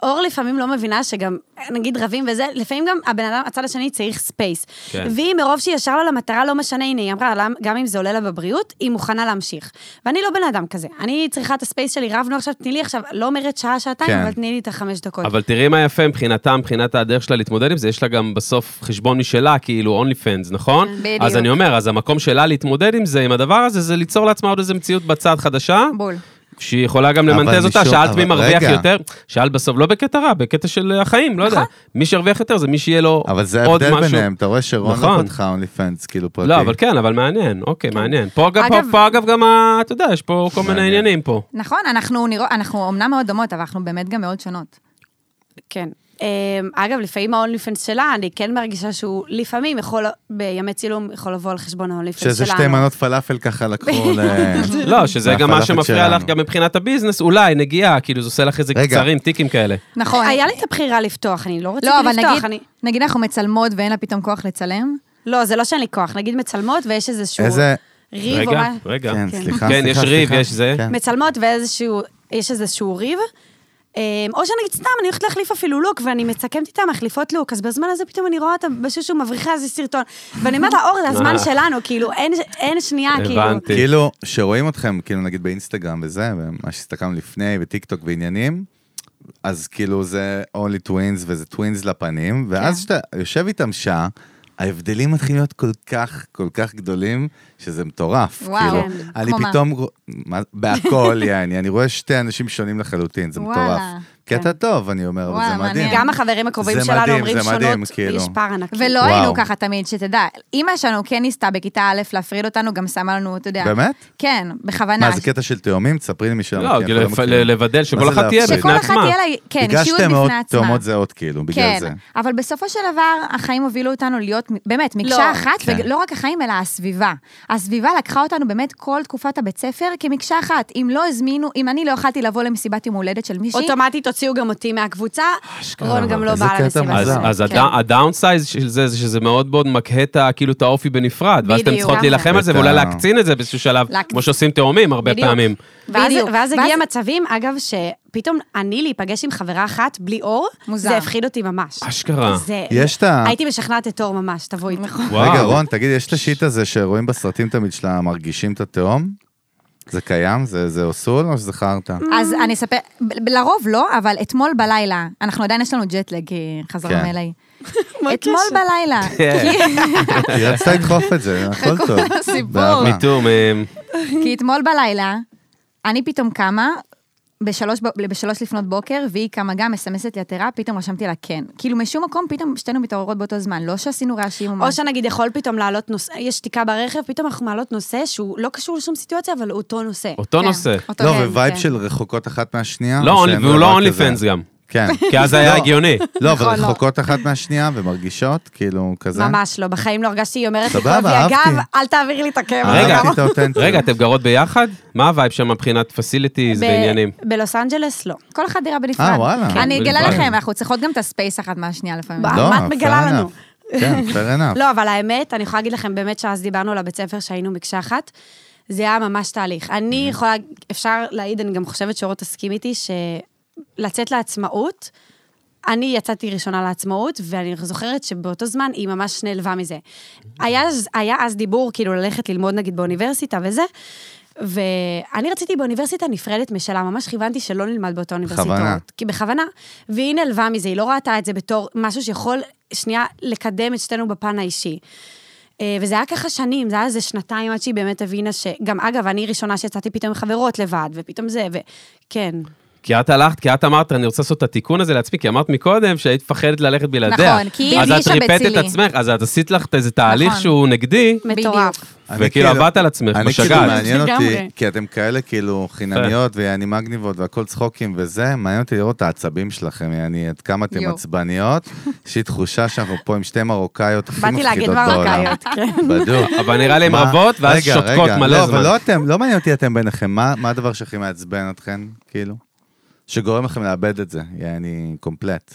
Speaker 4: שאור לפעמים לא מבינה שגם, נגיד רבים וזה, לפעמים גם הבן אדם, הצד השני צריך ספייס.
Speaker 1: כן.
Speaker 4: כן. והיא מרוב שהיא ישר לה למטרה, לא משנה, הנה, היא אמרה, "למ- גם אם זה עולה לה בבריאות, היא מוכנה להמשיך. ואני לא בן אדם כזה, אני צריכה את הספייס שלי, רבנו עכשיו, תני לי עכשיו, לא אומרת שעה, שעתיים,
Speaker 3: כן.
Speaker 4: אבל תני לי את החמש דקות.
Speaker 1: אבל תראי מה יפה מבחינתה, מבחינת הדרך שלה להתמודד עם זה, יש לה גם בסוף חשבון משלה, כאילו אונלי פנס, נכון?
Speaker 3: כן,
Speaker 5: בדיוק.
Speaker 1: אז אני אומר, אז המקום שלה להתמודד עם זה, עם הדבר הזה, זה ליצור לעצמה עוד איזה מציאות בצד חדשה,
Speaker 5: בול.
Speaker 1: שהיא יכולה גם למנטז
Speaker 3: אבל
Speaker 1: אותה,
Speaker 3: משום-
Speaker 1: שאלת מי
Speaker 3: אבל
Speaker 1: מרוויח
Speaker 3: רגע. נכון.
Speaker 1: יותר, שאלת בסוף, לא בקטע רע, בקטע של החיים, לא יודע. מי שירוויח יותר זה מי שיהיה לו
Speaker 3: אבל זה
Speaker 1: עוד
Speaker 3: ההבדל
Speaker 1: משהו.
Speaker 3: ביניהם, אתה רואה שרון לא
Speaker 1: נכון.
Speaker 3: פתחה אונלי פנס, כאילו פרטי.
Speaker 1: לא, אבל כן, אבל מעניין, אוקיי, מעניין. פה גם- פה-
Speaker 5: אגב-
Speaker 1: פה אגב גם, ה- אתה יודע, יש פה כל מיני
Speaker 3: מעניין.
Speaker 1: עניינים פה.
Speaker 5: נכון, אנחנו נראות, אנחנו אומנם מאוד דומות, אבל אנחנו באמת גם מאוד שונות.
Speaker 4: כן. אמ, אגב, לפעמים ההון ליפנס שלה, אני כן מרגישה שהוא לפעמים יכול, בימי צילום, יכול לבוא על חשבון ההון ליפנס שלנו.
Speaker 3: שזה שתי מנות פלאפל ככה
Speaker 4: *laughs*
Speaker 3: לקחו ל...
Speaker 1: לא, שזה גם מה
Speaker 3: מהפלאפל
Speaker 1: שמפריע לך
Speaker 3: שלנו.
Speaker 1: גם מבחינת הביזנס, אולי נגיעה, כאילו זה עושה לך איזה
Speaker 3: רגע.
Speaker 1: קצרים, טיקים כאלה.
Speaker 5: נכון.
Speaker 4: היה לי את הבחירה לפתוח, אני לא רציתי
Speaker 5: לא, אבל
Speaker 4: לפתוח.
Speaker 5: נגיד,
Speaker 4: אני...
Speaker 5: נגיד אנחנו מצלמות ואין לה פתאום כוח לצלם,
Speaker 4: לא, זה לא שאין לי כוח, נגיד מצלמות ויש איזשהו...
Speaker 3: איזה...
Speaker 4: ריב או
Speaker 1: רגע,
Speaker 4: מה...
Speaker 1: רגע.
Speaker 3: כן, סליחה, סליחה,
Speaker 1: כן, יש ריב,
Speaker 3: סליחה.
Speaker 1: יש זה.
Speaker 3: כן.
Speaker 4: מצלמות ואיזשהו... יש איזשהו ריב, אמ, או שנגיד סתם, אני הולכת להחליף אפילו לוק, ואני מצקמת איתה מחליפות לוק, אז בזמן הזה פתאום אני רואה אותה בשושו מבריחה איזה סרטון. ואני אומרת לה, אור, זה הזמן שלנו, כאילו, אין- אין שנייה, כאילו.
Speaker 1: אה. הבנתי.
Speaker 3: כאילו, שרואים אתכם, כאילו נגיד באינסטגרם וזה, ומה שהסתכלנו לפני, וטיקטוק ועניינים, אז כאילו זה only twins וזה twins לפנים, ואז כשאתה יושב איתם שעה, ההבדלים מתחילים להיות כל כך, כל כך גדולים, שזה מטורף.
Speaker 5: וואו.
Speaker 3: כאילו,
Speaker 5: כן.
Speaker 3: אני
Speaker 5: כמו מה?
Speaker 3: פתאום, רוא- מה- בהכל, יעני, אני רואה שתי אנשים שונים לחלוטין, זה מטורף.
Speaker 5: וואלה.
Speaker 3: קטע טוב, אני אומר, אבל
Speaker 5: וואלה,
Speaker 3: זה מדהים.
Speaker 5: מעניין.
Speaker 4: גם החברים הקרובים
Speaker 3: זה
Speaker 4: שלנו
Speaker 3: מדהים,
Speaker 4: אומרים
Speaker 3: זה
Speaker 4: שונות,
Speaker 3: מדהים, כאילו.
Speaker 4: ויש פער ענקי.
Speaker 5: ולא
Speaker 3: וואו.
Speaker 5: היינו ככה תמיד, שתדע. אימא שלנו כן ניסתה בכיתה א' להפריד אותנו, גם שמה לנו, אתה יודע.
Speaker 3: באמת?
Speaker 5: כן, בכוונה.
Speaker 3: מה, זה קטע של תאומים? תספרי לי משם.
Speaker 1: לא, כאילו, לפ- לבדל
Speaker 3: מה
Speaker 1: שכל
Speaker 3: זה
Speaker 1: אחת תהיה
Speaker 3: להפריד?
Speaker 1: בפני
Speaker 5: שכל אחת
Speaker 1: עצמה.
Speaker 5: תהיה לה, כן,
Speaker 3: בגלל
Speaker 5: אישיות
Speaker 3: שאתם
Speaker 5: בפני
Speaker 3: מאוד
Speaker 5: עצמה.
Speaker 3: תאומות זהות, כאילו, בגלל
Speaker 5: כן,
Speaker 3: זה.
Speaker 5: אבל בסופו של דבר, החיים הובילו אותנו להיות, מ- באמת, מקשה
Speaker 4: לא.
Speaker 5: אחת,
Speaker 3: כן.
Speaker 5: ולא רק החיים, אלא הסביבה. הסביבה לקחה אותנו באמת כל תקופת הבית ספר כמקשה אחת. אם לא הזמינו, אם אני לא יכלתי לבוא למסיבת יום הולדת של מישהי,
Speaker 4: אוטומטית הוציאו גם אותי מהקבוצה, רון גם לא
Speaker 3: איזה
Speaker 4: בא
Speaker 3: קטע
Speaker 4: למסיבה.
Speaker 1: אז,
Speaker 3: מוזר.
Speaker 1: אוקיי. אז
Speaker 5: כן.
Speaker 1: הדא- הדאונסייז של זה, זה שזה מאוד מאוד מקהה את ה- כאילו את האופי בנפרד, ואז אתם
Speaker 5: בדיוק.
Speaker 1: צריכות להילחם על זה,
Speaker 3: ואת ה-
Speaker 1: ואולי להקצין את זה באיזשהו שלב,
Speaker 5: להק-
Speaker 1: כמו שעושים תאומים הרבה
Speaker 4: בדיוק.
Speaker 1: פעמים.
Speaker 4: ואז,
Speaker 5: בדיוק.
Speaker 4: ואז הגיע
Speaker 5: ואז-
Speaker 4: מצבים, אגב, שפתאום אני להיפגש עם חברה אחת בלי אור,
Speaker 5: מוזר.
Speaker 4: זה הפחיד אותי ממש.
Speaker 1: אשכרה.
Speaker 4: זה...
Speaker 3: יש את ה...
Speaker 4: הייתי משכנעת את אור ממש, תבואי.
Speaker 5: נכון.
Speaker 1: וואו.
Speaker 3: רגע, רון, תגיד, יש את השיט הזה שרואים בסרטים תמיד של המרגישים את התהום? זה קיים? זה זה אוסול או שזה חרטא?
Speaker 5: אז אני אספר, ב- לרוב לא, אבל אתמול בלילה, אנחנו עדיין יש לנו ג'טלג, כי חזרנו
Speaker 3: כן.
Speaker 5: מ-LA. אתמול בלילה,
Speaker 1: כן,
Speaker 3: היא רצתה לא, לדחוף את זה,
Speaker 5: *laughs*
Speaker 3: הכל *laughs* טוב.
Speaker 5: הסיפור.
Speaker 3: באהבה.
Speaker 1: מיתום, אמ,
Speaker 5: כי אתמול בלילה, אני פתאום קמה, בשלוש, ב- בשלוש לפנות בוקר, והיא קמה גם, מסמסת לי עטרה, פתאום רשמתי לה כן. כאילו, משום מקום, פתאום שתינו מתעוררות באותו זמן, לא שעשינו רעשים או
Speaker 4: או
Speaker 5: משהו.
Speaker 4: שנגיד יכול פתאום להעלות נושא, יש שתיקה ברכב, פתאום אנחנו מעלות נושא שהוא לא קשור לשום סיטואציה, אבל הוא אותו נושא.
Speaker 1: אותו
Speaker 5: כן,
Speaker 1: נושא.
Speaker 5: אותו
Speaker 3: לא,
Speaker 5: כן,
Speaker 3: ווייב
Speaker 5: כן.
Speaker 3: של רחוקות אחת מהשנייה.
Speaker 1: לא,
Speaker 3: שאין
Speaker 1: והוא
Speaker 3: אה, דבר
Speaker 1: לא אונלי
Speaker 3: כזה.
Speaker 1: פנס גם. *laughs*
Speaker 3: כן.
Speaker 1: כי אז זה היה
Speaker 3: לא.
Speaker 1: הגיוני.
Speaker 3: לא, אבל
Speaker 5: נכון, לא.
Speaker 3: רחוקות אחת מהשנייה ומרגישות, כאילו,
Speaker 1: אה?
Speaker 3: כזה.
Speaker 4: ממש לא, בחיים לא הרגשתי, היא אומרת לי,
Speaker 3: סבבה,
Speaker 4: כואב לי
Speaker 3: אהבתי.
Speaker 4: הגב, אל תעביר לי את הכאב.
Speaker 1: רגע.
Speaker 3: אהבתי את האותנטיות.
Speaker 1: רגע, אתם גרות ביחד? מה הווייב שם מבחינת פסיליטיז
Speaker 4: ב-
Speaker 1: ועניינים?
Speaker 4: בלוס אנג'לס לא.
Speaker 5: כל אחת דירה בנפרד.
Speaker 3: אה, וואלה. כן,
Speaker 5: אני אגלה
Speaker 1: בנפרד.
Speaker 5: לכם, אנחנו צריכות גם את הספייס אחת מהשנייה לפעמים.
Speaker 4: ביי.
Speaker 3: לא,
Speaker 4: מה את מגלה
Speaker 3: fair
Speaker 4: לנו?
Speaker 3: enough. כן, fair enough.
Speaker 4: לא, אבל האמת, אני יכולה להגיד לכם באמת שאז דיברנו על הבית ספר שהיינו מקשה אחת, זה היה ממש תהליך. אני יכולה, אפשר להעיד, אני גם חושבת שאורות תסכים איתי, שלצאת לעצמאות, אני יצאתי ראשונה לעצמאות, ואני זוכרת שבאותו זמן היא ממש נעלבה מזה. היה, אז- היה אז דיבור כאילו ללכת ללמוד נגיד באוניברסיטה וזה, ואני רציתי באוניברסיטה נפרדת משלה, ממש כיוונתי שלא נלמד באותה אוניברסיטאות.
Speaker 3: בכוונה.
Speaker 4: כי בכוונה, והיא נעלבה מזה, היא לא ראתה את זה בתור משהו שיכול שנייה לקדם את שתינו בפן האישי. אה, וזה היה ככה שנים, זה היה איזה שנתיים עד שהיא באמת הבינה ש... גם אגב, אני ראשונה שיצאתי פתאום עם חברות לבד, ופתאום זה, כן, וכן.
Speaker 1: כי את הלכת, כי את אמרת, אני רוצה לעשות את התיקון הזה לעצמי, כי אמרת מקודם שהיית מפחדת ללכת בלעדיה.
Speaker 5: נכון, כי היא
Speaker 1: אז את
Speaker 5: הרגישה
Speaker 1: ריפאת את
Speaker 5: בצילי.
Speaker 1: עצמך, אז את עשית לך איזה תהליך
Speaker 5: נכון.
Speaker 1: שהוא נגדי,
Speaker 4: מטורף.
Speaker 3: אני
Speaker 1: וכאילו עבדת על עצמך,
Speaker 3: אני כאילו
Speaker 1: משגעת.
Speaker 3: מעניין אותי,
Speaker 4: לגמרי.
Speaker 3: כי אתם כאלה כאילו חינניות, ואני מגניבות והכל צחוקים וזה, מעניין אותי לראות את העצבים שלכם, יעני, עד כמה אתן
Speaker 5: יואו.
Speaker 3: עצבניות. יש לי תחושה שאנחנו פה עם שתי מרוקאיות הכי
Speaker 4: באתי
Speaker 3: מפחידות
Speaker 4: להגיד
Speaker 3: בעולם.
Speaker 4: מרוקאיות, כן.
Speaker 3: בדיוק.
Speaker 1: אבל נראה לי הן
Speaker 3: מה-
Speaker 1: רבות, ואז
Speaker 3: רגע,
Speaker 1: שותקות
Speaker 3: רגע,
Speaker 1: מלא
Speaker 3: לא,
Speaker 1: זמן.
Speaker 3: אבל לא אתם, לא מעניין אותי אתם ביניכם, מה מה הדבר שהכי מעצבן אתכן, כאילו? שגורם לכם לאבד את זה, יעני קומפלט.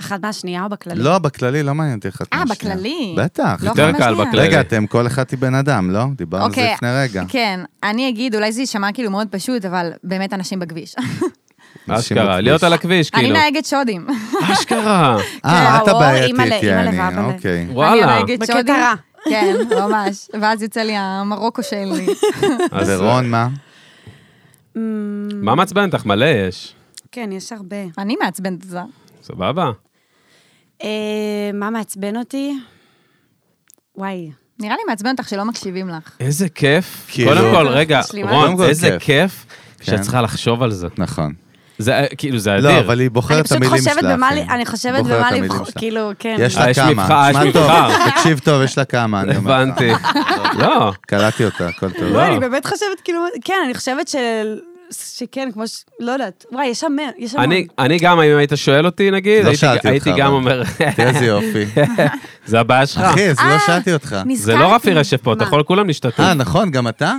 Speaker 4: אחת מהשנייה או בכללי?
Speaker 3: לא, בכללי לא מעניין אותי אחת
Speaker 5: אה,
Speaker 3: מהשנייה.
Speaker 5: בכללי.
Speaker 3: בטח.
Speaker 5: לא
Speaker 1: יותר
Speaker 5: אחת
Speaker 1: קל
Speaker 5: מהשנייה.
Speaker 1: בכללי.
Speaker 3: רגע, אתם כל אחד היא בן אדם, לא? דיברנו על זה
Speaker 5: אוקיי,
Speaker 3: לפני רגע.
Speaker 5: כן, אני אגיד, אולי זה יישמע כאילו מאוד פשוט, אבל באמת אנשים
Speaker 3: *laughs*
Speaker 5: בכביש.
Speaker 3: כאילו. אנשים
Speaker 1: אשכרה,
Speaker 3: בכביש.
Speaker 1: להיות על הכביש,
Speaker 5: אני
Speaker 1: כאילו.
Speaker 5: נוהגת שודים.
Speaker 1: אשכרה.
Speaker 3: אה, את
Speaker 4: וואו,
Speaker 3: הבעייתית,
Speaker 4: אימא'לה,
Speaker 3: יעני,
Speaker 4: אימא'לה ואבא'לה.
Speaker 3: אוקיי.
Speaker 5: *laughs* אני
Speaker 1: וואלה.
Speaker 5: נוהגת
Speaker 4: בקטע
Speaker 5: שודים.
Speaker 4: רע.
Speaker 5: כן, ממש. ואז יוצא לי המרוקו שלי.
Speaker 1: אז
Speaker 3: ורון, מה?
Speaker 1: מה מעצבן אותך? מלא יש.
Speaker 4: Mm, כן, יש הרבה.
Speaker 5: אני מעצבנת את זה.
Speaker 1: סבבה.
Speaker 4: אה, מה מעצבן אותי? וואי.
Speaker 5: נראה לי מעצבן אותך שלא מקשיבים לך.
Speaker 1: איזה כיף.
Speaker 3: כאילו-
Speaker 1: קודם כל, רגע,
Speaker 4: משלימה.
Speaker 3: קודם
Speaker 1: רון,
Speaker 3: כל
Speaker 1: איזה
Speaker 3: כיף.
Speaker 1: כיף
Speaker 3: כן.
Speaker 1: שאת צריכה לחשוב על זה.
Speaker 3: נכון.
Speaker 1: זה אה, כאילו, זה אדיר.
Speaker 3: לא, אבל היא
Speaker 4: אני
Speaker 3: בוחרת את
Speaker 4: פשוט
Speaker 3: המילים שלה.
Speaker 4: חושבת במה,
Speaker 3: אחי.
Speaker 4: לי- אני חושבת
Speaker 3: בוחרת
Speaker 4: במה
Speaker 3: את המילים
Speaker 4: לבחור,
Speaker 3: שלה.
Speaker 4: כאילו, כן.
Speaker 3: יש
Speaker 1: אה,
Speaker 3: לה
Speaker 1: יש
Speaker 3: כמה,
Speaker 1: מבחר, יש
Speaker 3: תשמע טוב,
Speaker 4: *laughs*
Speaker 1: מבחר.
Speaker 3: תקשיב טוב, יש לה כמה, אני אומר לך. *laughs*
Speaker 1: הבנתי. לא.
Speaker 3: קלטתי אותה, הכל טוב.
Speaker 1: לא.
Speaker 4: לא, אני באמת חושבת, כאילו, כן, אני חושבת ש... שכן, כמו ש... לא יודעת. וואי, יש המון. יש המון.
Speaker 1: אני- אני גם, אם היית שואל אותי, נגיד,
Speaker 3: לא
Speaker 1: הייתי-
Speaker 3: שאלתי
Speaker 1: הייתי
Speaker 3: אותך,
Speaker 1: גם
Speaker 3: אבל.
Speaker 1: אומר, *laughs*
Speaker 3: תראה איזה יופי.
Speaker 1: אה. זה הבעיה שלך.
Speaker 3: אחי, אז לא
Speaker 5: אה.
Speaker 3: שאלתי אותך.
Speaker 1: זה
Speaker 5: נזכרתי.
Speaker 1: לא רפי רשף פה, אתה יכול כולם להשתתף.
Speaker 3: אה, נכון, גם אתה?